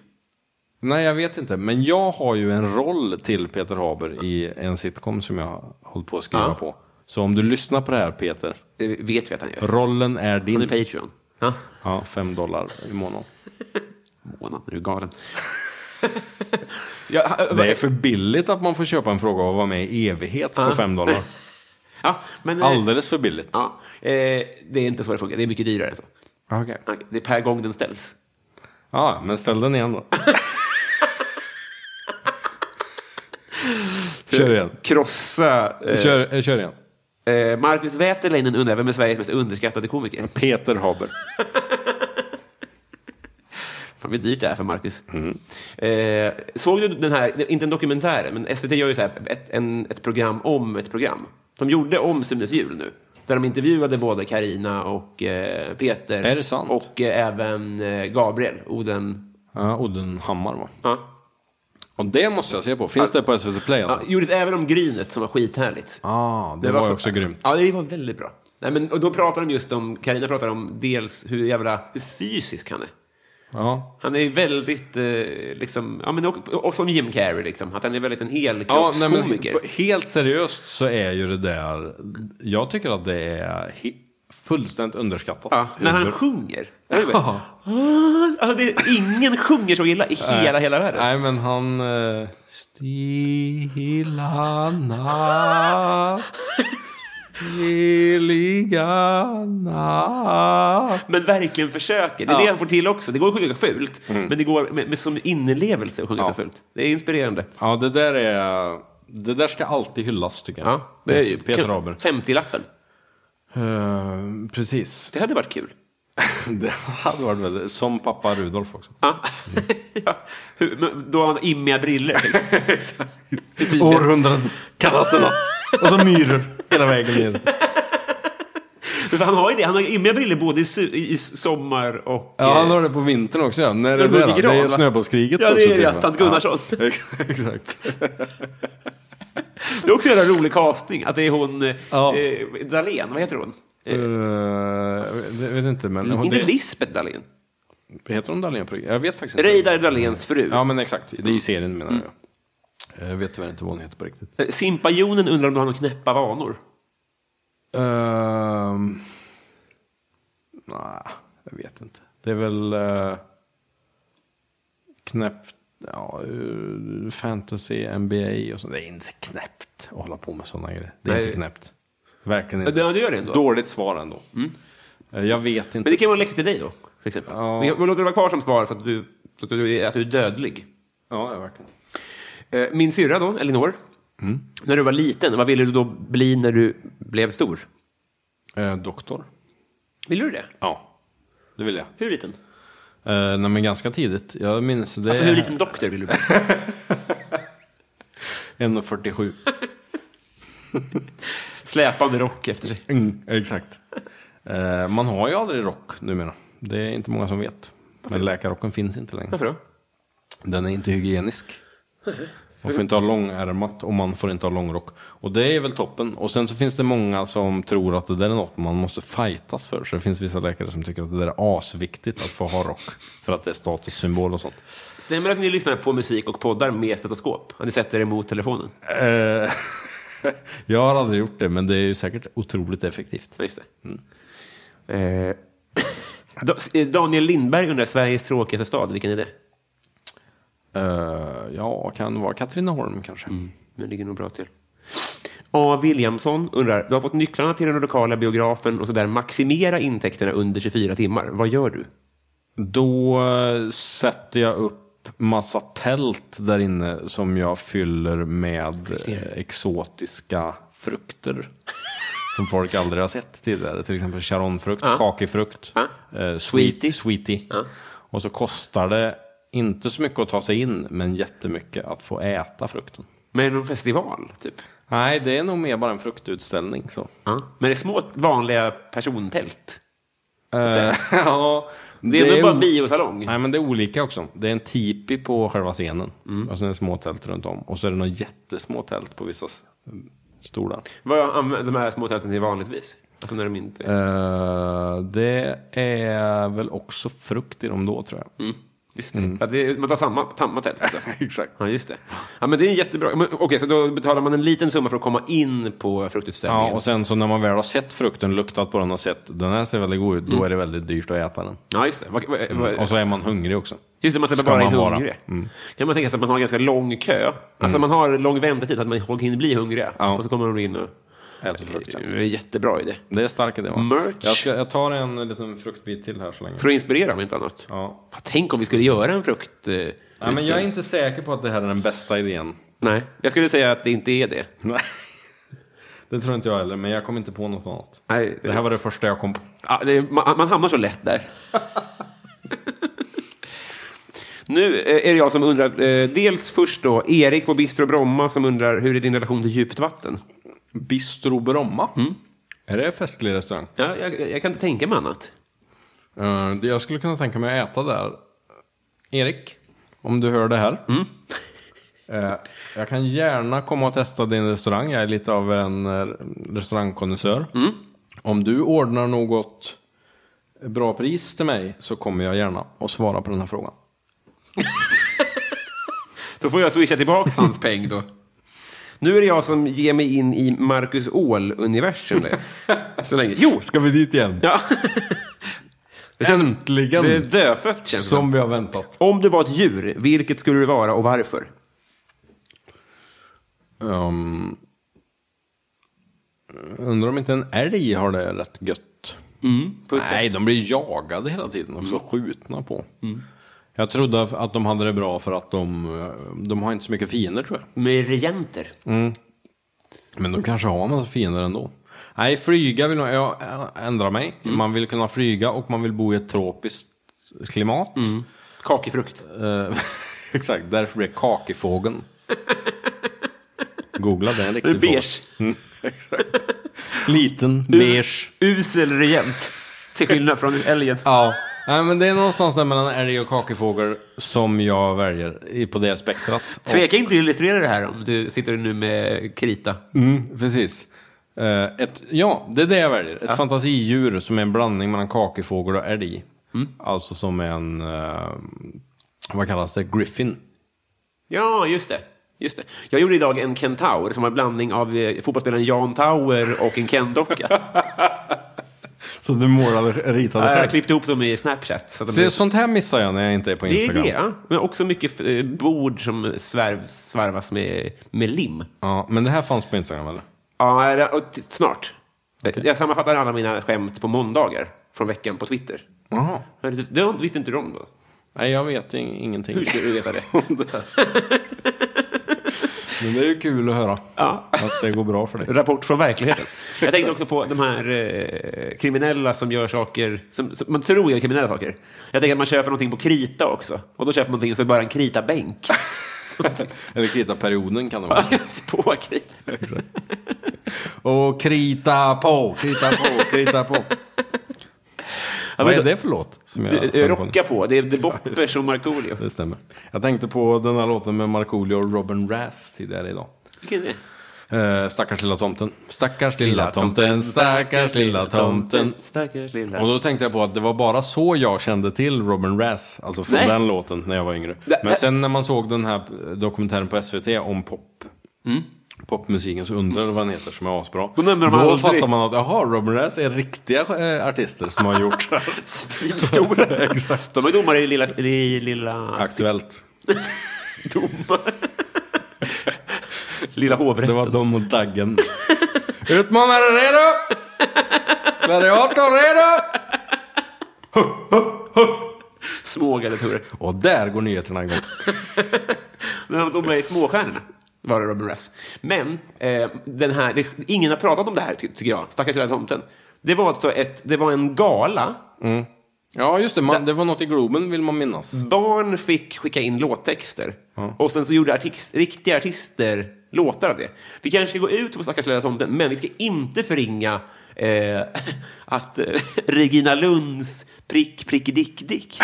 Speaker 2: Nej, jag vet inte. Men jag har ju en roll till Peter Haber i en sitcom som jag har hållit på att skriva
Speaker 1: Ja.
Speaker 2: på. Så om du lyssnar på det här Peter,
Speaker 1: Det vet vi att han gör.
Speaker 2: rollen är din.
Speaker 1: Han är Patreon. Ja,
Speaker 2: Ja, fem dollar i månaden.
Speaker 1: månad. Nu är du galen. ja, eh, ha-
Speaker 2: Det är för billigt att man får köpa en fråga och vara med i evighet på fem dollar.
Speaker 1: ja, men, eh,
Speaker 2: Alldeles för billigt.
Speaker 1: Ja, eh, det är inte så det funkar. Det är mycket dyrare än så.
Speaker 2: Ah, Okej.
Speaker 1: Okej, Det är per gång den ställs.
Speaker 2: Ja, men ställ den igen då. kör igen.
Speaker 1: Krossa... Eh,
Speaker 2: Kör, eh, kör igen.
Speaker 1: eh, Marcus Wäterleinen undrar vem är Sveriges mest underskattade komiker?
Speaker 2: Peter Haber.
Speaker 1: Fan vad dyrt det är för Marcus. Eh, såg du den här, inte en dokumentär, men SVT gör ju så här, ett, en, ett program om ett program. De gjorde om Sunes jul nu. Där de intervjuade både Karina och eh, Peter.
Speaker 2: Är det sant?
Speaker 1: Och eh, även eh, Gabriel, Oden.
Speaker 2: Ja, Oddenhammar va?
Speaker 1: Ja.
Speaker 2: Och det måste jag se på. Finns det på SVT Play
Speaker 1: Ja,
Speaker 2: alltså?
Speaker 1: gjordes även om Grynet som var skithärligt.
Speaker 2: Ah, det, var, också grymt.
Speaker 1: Ja, det var väldigt bra. Nej, men, och då pratar de just om, Karina pratar om dels hur jävla hur fysisk han är.
Speaker 2: Ja.
Speaker 1: Han är väldigt, eh, liksom, ja, men, och, och som Jim Carrey, liksom, att han är väldigt en
Speaker 2: Ja, nej, men
Speaker 1: helkroppskomiker.
Speaker 2: på- helt seriöst så är ju det där, jag tycker att det är he- fullständigt underskattat.
Speaker 1: Ja, när han
Speaker 2: Hur-
Speaker 1: sjunger. Jag vet. Alltså, det är ingen sjunger så illa i hela, hela världen.
Speaker 2: Nej, men han... eh, Stilla natt, heliga natt.
Speaker 1: Men verkligen försöker. Det är
Speaker 2: Ja. Mm.
Speaker 1: det han får till också. Det går att sjunga fult, men det går med, med som inlevelse att sjunga
Speaker 2: Ja.
Speaker 1: så fult. Det är inspirerande.
Speaker 2: Ja, det där är... Det där ska alltid hyllas, tycker jag.
Speaker 1: Ja, det är ju
Speaker 2: Peter Haber.
Speaker 1: 50-lappen.
Speaker 2: Eh, precis.
Speaker 1: Det hade varit kul.
Speaker 2: Det hade varit väldigt... Som pappa Rudolf också.
Speaker 1: Ja.
Speaker 2: Mm.
Speaker 1: ja. Hur- men Då har han immiga briller. typ. Det är tydligt.
Speaker 2: Århundradets kallaste natt. Och så myror hela vägen ner.
Speaker 1: För Han har ju det. Han har ju immiga briller både i, su- i sommar och...
Speaker 2: Ja, han
Speaker 1: eh,
Speaker 2: har det på vintern också. Ja. När är det
Speaker 1: Ulf
Speaker 2: där? Det
Speaker 1: Gran,
Speaker 2: är
Speaker 1: va?
Speaker 2: snöbollskriget
Speaker 1: Ja, det
Speaker 2: också.
Speaker 1: är
Speaker 2: typ,
Speaker 1: det.
Speaker 2: va?
Speaker 1: Tant Gunnarsson.
Speaker 2: Ja, exakt.
Speaker 1: Det är också en jävla rolig casting, att det är hon eh,
Speaker 2: Ja.
Speaker 1: eh, Dahlén, vad heter hon? Eh,
Speaker 2: Eh, jag vet inte, men...
Speaker 1: inte
Speaker 2: det-
Speaker 1: Lisbeth Dahlén.
Speaker 2: Heter hon Dahlén? på riktigt? Jag vet faktiskt inte.
Speaker 1: Reidar Dahléns fru. Mm.
Speaker 2: Ja, men exakt. Det är i serien menar jag. Jag vet tyvärr inte vad hon heter på riktigt.
Speaker 1: Eh, Simpajonen undrar om du har några knäppa vanor.
Speaker 2: Ehm, Nej, jag vet inte. Det är väl uh, knäppt. Ja, eh, fantasy, NBA och sånt. Det är inte knäppt att hålla på med sådana grejer. Det är
Speaker 1: Nej.
Speaker 2: inte knäppt. Verkligen inte.
Speaker 1: Ja, det gör det ändå.
Speaker 2: Dåligt svar ändå. Eh, Jag vet inte.
Speaker 1: Men det kan ju vara en läxa till dig då, till exempel.
Speaker 2: Ja.
Speaker 1: Vi vi låter det vara kvar som svar så att du, att du, att du är dödlig.
Speaker 2: Ja, ja, verkligen.
Speaker 1: Eh, Min syrra då, Elinor.
Speaker 2: Mm.
Speaker 1: När du var liten, vad ville du då bli när du blev stor?
Speaker 2: Eh, doktor?
Speaker 1: Ville du det?
Speaker 2: Ja, det vill jag.
Speaker 1: Hur liten?
Speaker 2: Uh, nej, men ganska tidigt. Jag minns det.
Speaker 1: Alltså hur liten doktor ville du bli?
Speaker 2: 1,47.
Speaker 1: Släpande rock efter sig.
Speaker 2: Mm, exakt. Eh, man har ju aldrig rock numera. Det är inte många som vet. Men läkarrocken finns inte längre.
Speaker 1: Varför då?
Speaker 2: Den är inte hygienisk. Man får inte ha långärmat och man får inte ha långrock. Och det är väl toppen. Och sen så finns det många som tror att det där är något man måste fightas för. Så det finns vissa läkare som tycker att det där är asviktigt att få ha rock. För att det är statussymbol och sånt.
Speaker 1: Stämmer det att ni lyssnar på musik och poddar med stetoskop? Att ni sätter er emot telefonen?
Speaker 2: Eh, jag har aldrig gjort det, men det är ju säkert otroligt effektivt.
Speaker 1: Ja, just det. Eh, Da- eh, Daniel Lindberg undrar, Sveriges tråkigaste stad, vilken är det?
Speaker 2: Eh, ja, kan vara Katrineholm kanske.
Speaker 1: Men ligger nog bra till. A. Williamson undrar, du har fått nycklarna till den lokala biografen och sådär maximera intäkterna under 24 timmar. Vad gör du?
Speaker 2: Då eh, sätter jag upp massa tält där inne som jag fyller med eh, exotiska frukter. Som folk aldrig har sett tidigare. Till exempel charonfrukt, kakifrukt,
Speaker 1: Ja.
Speaker 2: eh,
Speaker 1: Sweetie.
Speaker 2: sweet, sweetie. Och så kostar det inte så mycket att ta sig in, men jättemycket att få äta frukten.
Speaker 1: Med någon festival, typ?
Speaker 2: Nej, det är nog mer bara en fruktutställning. Så.
Speaker 1: Men det är små vanliga persontält.
Speaker 2: Eh, ja,
Speaker 1: Det är, nog bara en
Speaker 2: o-
Speaker 1: biosalong.
Speaker 2: Nej, men det är olika också. Det är en tipi på själva scenen. Och sen är det små tält runt om. Och så är det några jättesmå tält på vissa s- stolar.
Speaker 1: Vad använder de här små tälten till vanligtvis? Alltså när de inte...
Speaker 2: Eh, det är väl också frukt i dem då, tror jag.
Speaker 1: Mm. Just det. Ja, det är, man tar samma, samma tält. alltså.
Speaker 2: Exakt.
Speaker 1: Ja, just det. Ja, men det är jättebra. Men, okej, så då betalar man en liten summa för att komma in på fruktutställningen.
Speaker 2: Ja, och sen så när man väl har sett frukten, luktat på den och sett den här ser väldigt god ut, då är det väldigt dyrt att äta den.
Speaker 1: Ja, just det. Vad- vad- vad-
Speaker 2: Mm, Och så är man hungrig också.
Speaker 1: Just det, man släpper
Speaker 2: Ska
Speaker 1: bara in
Speaker 2: man vara. Mm.
Speaker 1: hungrig. Kan man tänka sig att man har ganska lång kö? Alltså man har lång väntetid, att man hinner bli hungrig.
Speaker 2: Ja.
Speaker 1: Och så kommer de in och...
Speaker 2: Äta frukten.
Speaker 1: Det är en jättebra idé.
Speaker 2: Det är stark idé, va?
Speaker 1: Merch.
Speaker 2: Jag, ska, jag tar en liten fruktbit till här så länge.
Speaker 1: För att inspirera om inte annat.
Speaker 2: Ja.
Speaker 1: Fan, Tänk om vi skulle göra en frukt... eh,
Speaker 2: Nej, men jag är
Speaker 1: utställning.
Speaker 2: inte säker på att det här är den bästa idén.
Speaker 1: Nej, jag skulle säga att det inte är det.
Speaker 2: Nej. Det tror inte jag heller, men jag kom inte på något annat.
Speaker 1: Nej,
Speaker 2: Det här var det första jag kom på.
Speaker 1: Ja, det är, man, man hamnar så lätt där. nu eh, är det jag som undrar, eh, dels först då, Erik på Bistro Bromma som undrar hur är din relation till djupt vatten?
Speaker 2: Bistro Bromma. Är det en festlig restaurang?
Speaker 1: Ja, jag, jag kan inte tänka mig annat.
Speaker 2: Eh, det jag skulle kunna tänka mig att äta där. Erik, om du hör det här. Eh, jag kan gärna komma och testa din restaurang. Jag är lite av en eh, restaurangkonnässör. Om du ordnar något bra pris till mig så kommer jag gärna och svara på den här frågan.
Speaker 1: Då får jag swisha tillbaka hans peng då. Nu är det jag som ger mig in i Marcus Åhl-universum. där. Så länge. Jo!
Speaker 2: Ska vi dit igen?
Speaker 1: Ja. Det känns,
Speaker 2: Äntligen!
Speaker 1: Det är dödfött känns det som.
Speaker 2: Som vi har väntat.
Speaker 1: Om du var ett djur, vilket skulle du vara och varför?
Speaker 2: Um, undrar om inte en älg har det rätt gött.
Speaker 1: Mm, På ett
Speaker 2: Nej,
Speaker 1: sätt. Mm.
Speaker 2: de blir jagade hela tiden och så skjutna på. Jag trodde att de hade det bra för att de, eh, de har inte så mycket fiender tror jag.
Speaker 1: Med regenter.
Speaker 2: Men de kanske har en massa fiender ändå. Nej, flyga vill man, jag ändrar mig.
Speaker 1: Mm.
Speaker 2: Man vill kunna flyga och man vill bo i ett tropiskt klimat.
Speaker 1: Mm. Kakifrukt.
Speaker 2: Eh, exakt, därför blir det kakifågeln. Googla den, en
Speaker 1: Det är
Speaker 2: riktig fågel. Mm.
Speaker 1: beige.
Speaker 2: Liten, beige.
Speaker 1: Usel regent. Till skillnad från älgen.
Speaker 2: Ja, nej, men det är någonstans där mellan älg och kakifågel som jag väljer i- på det spektrat.
Speaker 1: Tveka inte att illustrera det här om du sitter nu med krita.
Speaker 2: Mm, precis. Eh, ett, ja, det är det jag väljer. Ett fantasidjur som är en blandning mellan kakifågel och älg. Alltså som en, eh, vad kallas det, griffin.
Speaker 1: Ja, just det. Just det. Jag gjorde idag en kentaur som var en blandning av eh, fotbollsspelaren Jan Tauer och en Ken-docka.
Speaker 2: Så du målade, ritade
Speaker 1: jag
Speaker 2: själv.
Speaker 1: klippte ihop dem i Snapchat. Så att de
Speaker 2: Se,
Speaker 1: blev-
Speaker 2: sånt här missar jag när jag inte är på
Speaker 1: det är
Speaker 2: Instagram.
Speaker 1: det, ja. men också mycket eh, bord som svärv, svarvas med, med lim.
Speaker 2: Ja, men det här fanns på Instagram eller?
Speaker 1: Ja, det- och t- snart. Jag sammanfattar alla mina skämt på måndagar från veckan på Twitter.
Speaker 2: Jaha.
Speaker 1: Men Det det visste inte du om då?
Speaker 2: Nej, jag vet ju ing- ingenting.
Speaker 1: Hur ska du veta det?
Speaker 2: Men det är ju kul att höra. Att det går bra för dig.
Speaker 1: Rapport från verkligheten. Jag tänkte också på de här eh, kriminella som gör saker som, som man tror gör kriminella saker. Jag tänker att man köper någonting på krita också. Och då köper man någonting och så är det bara en kritabänk.
Speaker 2: Eller krita-perioden kan det vara.
Speaker 1: på krita.
Speaker 2: Och krita på, krita på, krita på. Vad är det för låt? Som jag
Speaker 1: Det- det
Speaker 2: sjöng på?
Speaker 1: Rocka på. Det är The Boppers och Markoolio.
Speaker 2: Det stämmer. Jag tänkte på den här låten med Markoolio och Robin Rass tidigare idag.
Speaker 1: Vilken är det?
Speaker 2: Eh, stackars lilla tomten. Stackars lilla tomten, stackars lilla tomten.
Speaker 1: Stackars lilla
Speaker 2: Och då tänkte jag på att det var bara så jag kände till Robin Rass, alltså från
Speaker 1: Nej.
Speaker 2: den låten när jag var yngre.
Speaker 1: Det-
Speaker 2: Men sen när man såg den här dokumentären på SVT om pop, popmusikens under eller vad den heter, som är asbra.
Speaker 1: Då nämner de
Speaker 2: Mm. då
Speaker 1: aldrig-
Speaker 2: fattar man att jaha, Robin Rass är riktiga eh, artister som har gjort
Speaker 1: Svinstora.
Speaker 2: Exakt.
Speaker 1: De är domare i lilla... I lilla
Speaker 2: Aktuellt.
Speaker 1: domare. lilla
Speaker 2: Det
Speaker 1: hovrätten.
Speaker 2: var de och Daggen. Utmanare redo! Gladiator redo!
Speaker 1: Små gladiatorer.
Speaker 2: Och där går nyheterna igång.
Speaker 1: Men De är småstjärnorna, var det Robin Rass. Men eh, den här, det, ingen har pratat om det här, ty- tycker jag. Stackars lilla tomten. Det var, alltså ett, det var en gala.
Speaker 2: Mm. Ja, just det. Man, det var något i Globen vill man minnas.
Speaker 1: Barn fick skicka in låttexter. Och sen så gjorde artist, riktiga artister låtar av det. Vi kanske ska gå ut på Stackars lilla tomten, men vi ska inte förringa eh, att eh, Regina Lunds prick, prick, dick, dick.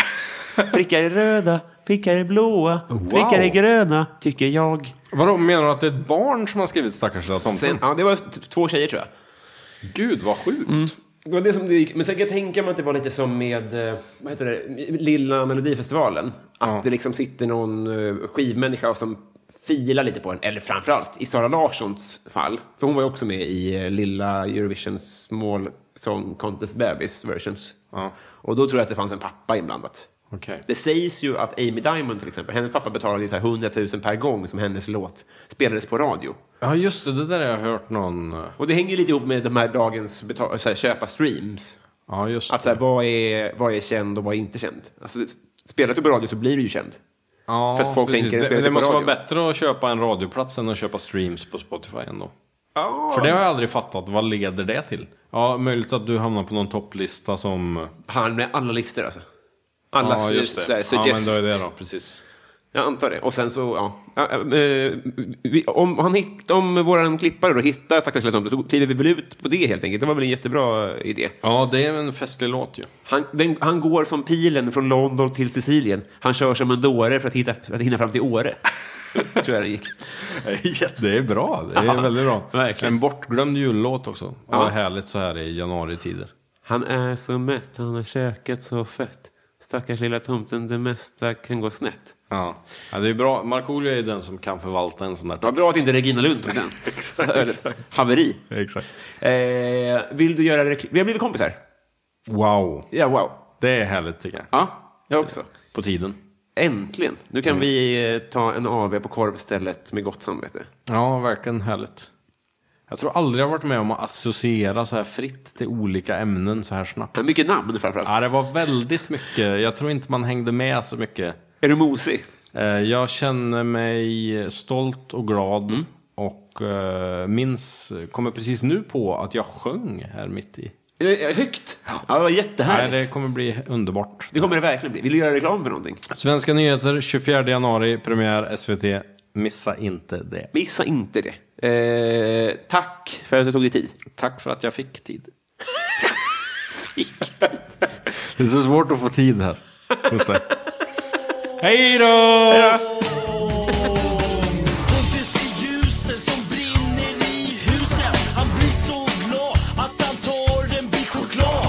Speaker 1: Prickar är röda, prickar är blåa, prickar är
Speaker 2: Wow.
Speaker 1: gröna, tycker jag.
Speaker 2: Vadå, menar du att det är ett barn som har skrivit Stackars lilla tomten?
Speaker 1: Sen, ja, det var t- två tjejer, tror jag.
Speaker 2: Gud, vad sjukt.
Speaker 1: Det var det som det gick. Men sen kan jag tänka mig att det var lite som med eh, vad heter det? Lilla Melodifestivalen. Att det liksom sitter någon eh, skivmänniska och som filar lite på en. Eller framförallt i Sara Larssons fall. För hon var ju också med i eh, Lilla Eurovision Small Song Contest Babys versions.
Speaker 2: Ja.
Speaker 1: Och då tror jag att det fanns en pappa inblandat.
Speaker 2: Okej.
Speaker 1: Det sägs ju att Amy Diamond till exempel, hennes pappa betalade ju så här 100 000 per gång som hennes låt spelades på radio.
Speaker 2: Ja, just det. Det där har jag hört någon... eh,
Speaker 1: Och det hänger lite ihop med de här dagens beta- så här, köpa streams.
Speaker 2: Ja, just
Speaker 1: Att så här, vad, är, vad är känd och vad är inte känd? Alltså, spelas du på radio så blir du ju känd.
Speaker 2: ja,
Speaker 1: för att folk
Speaker 2: precis.
Speaker 1: tänker att
Speaker 2: det,
Speaker 1: spela
Speaker 2: det
Speaker 1: på
Speaker 2: måste vara
Speaker 1: radio.
Speaker 2: bättre att köpa en radioplats än att köpa streams på Spotify ändå.
Speaker 1: Ja.
Speaker 2: För det har jag aldrig fattat. Vad leder det till? Ja, möjligt att du hamnar på någon topplista som...
Speaker 1: Han med alla listor alltså. Alla
Speaker 2: ja,
Speaker 1: su-
Speaker 2: just det.
Speaker 1: så här,
Speaker 2: ja, men
Speaker 1: suggest.
Speaker 2: då är det då. Precis.
Speaker 1: Jag antar det. Och sen så, ja. Ja, eh, vi, om, han hitt, om våran klippare då hittar Stackars lilla tomte så kliver vi väl ut på det helt enkelt. Det var väl en jättebra idé.
Speaker 2: Ja, det är en festlig låt ju.
Speaker 1: Han, den, han går som pilen från London till Sicilien. Han kör som en dåre för att, hitta, för att hinna fram till Åre. Tror jag det gick.
Speaker 2: Det är bra, det är
Speaker 1: Ja,
Speaker 2: väldigt bra.
Speaker 1: verkligen.
Speaker 2: En bortglömd jullåt också.
Speaker 1: Ja.
Speaker 2: Vad härligt så här i januaritider.
Speaker 1: Han är så mätt, han har käkat så fett. Stackars lilla tomten, det mesta kan gå snett.
Speaker 2: Ja. ja, det är bra. Markoolio är ju den som kan förvalta en sån där
Speaker 1: Det var bra att inte Regina Lund tog den. Eller, Haveri.
Speaker 2: Exakt.
Speaker 1: Eh, vill du göra reklam? Vi har blivit kompisar.
Speaker 2: Wow,
Speaker 1: Ja, wow.
Speaker 2: det är härligt tycker jag.
Speaker 1: Ja, jag också.
Speaker 2: På tiden.
Speaker 1: Äntligen. Nu
Speaker 2: Mm.
Speaker 1: kan vi eh, ta en AV på korvstället med gott samvete.
Speaker 2: Ja, verkligen härligt. Jag tror aldrig jag varit med om att associera så här fritt till olika ämnen så här snabbt.
Speaker 1: Men Eh, Mycket namn framförallt.
Speaker 2: Ja, det var väldigt mycket. Jag tror inte man hängde med så mycket.
Speaker 1: Är du mosig?
Speaker 2: Eh, Jag känner mig stolt och glad. Och eh, minns, kommer precis nu på att jag sjöng här mitt i.
Speaker 1: Eh, eh, Högt? Ja, det var
Speaker 2: Nej,
Speaker 1: jättehärligt.
Speaker 2: det kommer bli underbart.
Speaker 1: Det kommer det verkligen bli. Vill du göra reklam för någonting?
Speaker 2: Svenska nyheter 24 januari, premiär SVT. Missa inte det.
Speaker 1: Missa inte det. Eh, tack för att du tog dig tid.
Speaker 2: Tack för att jag fick tid. Det är så svårt att få tid här. Hej då!
Speaker 5: Pontus i ljusen som brinner i husen Han blir så glad att han tar en bit choklad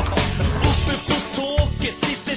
Speaker 5: Uppe på taket sitter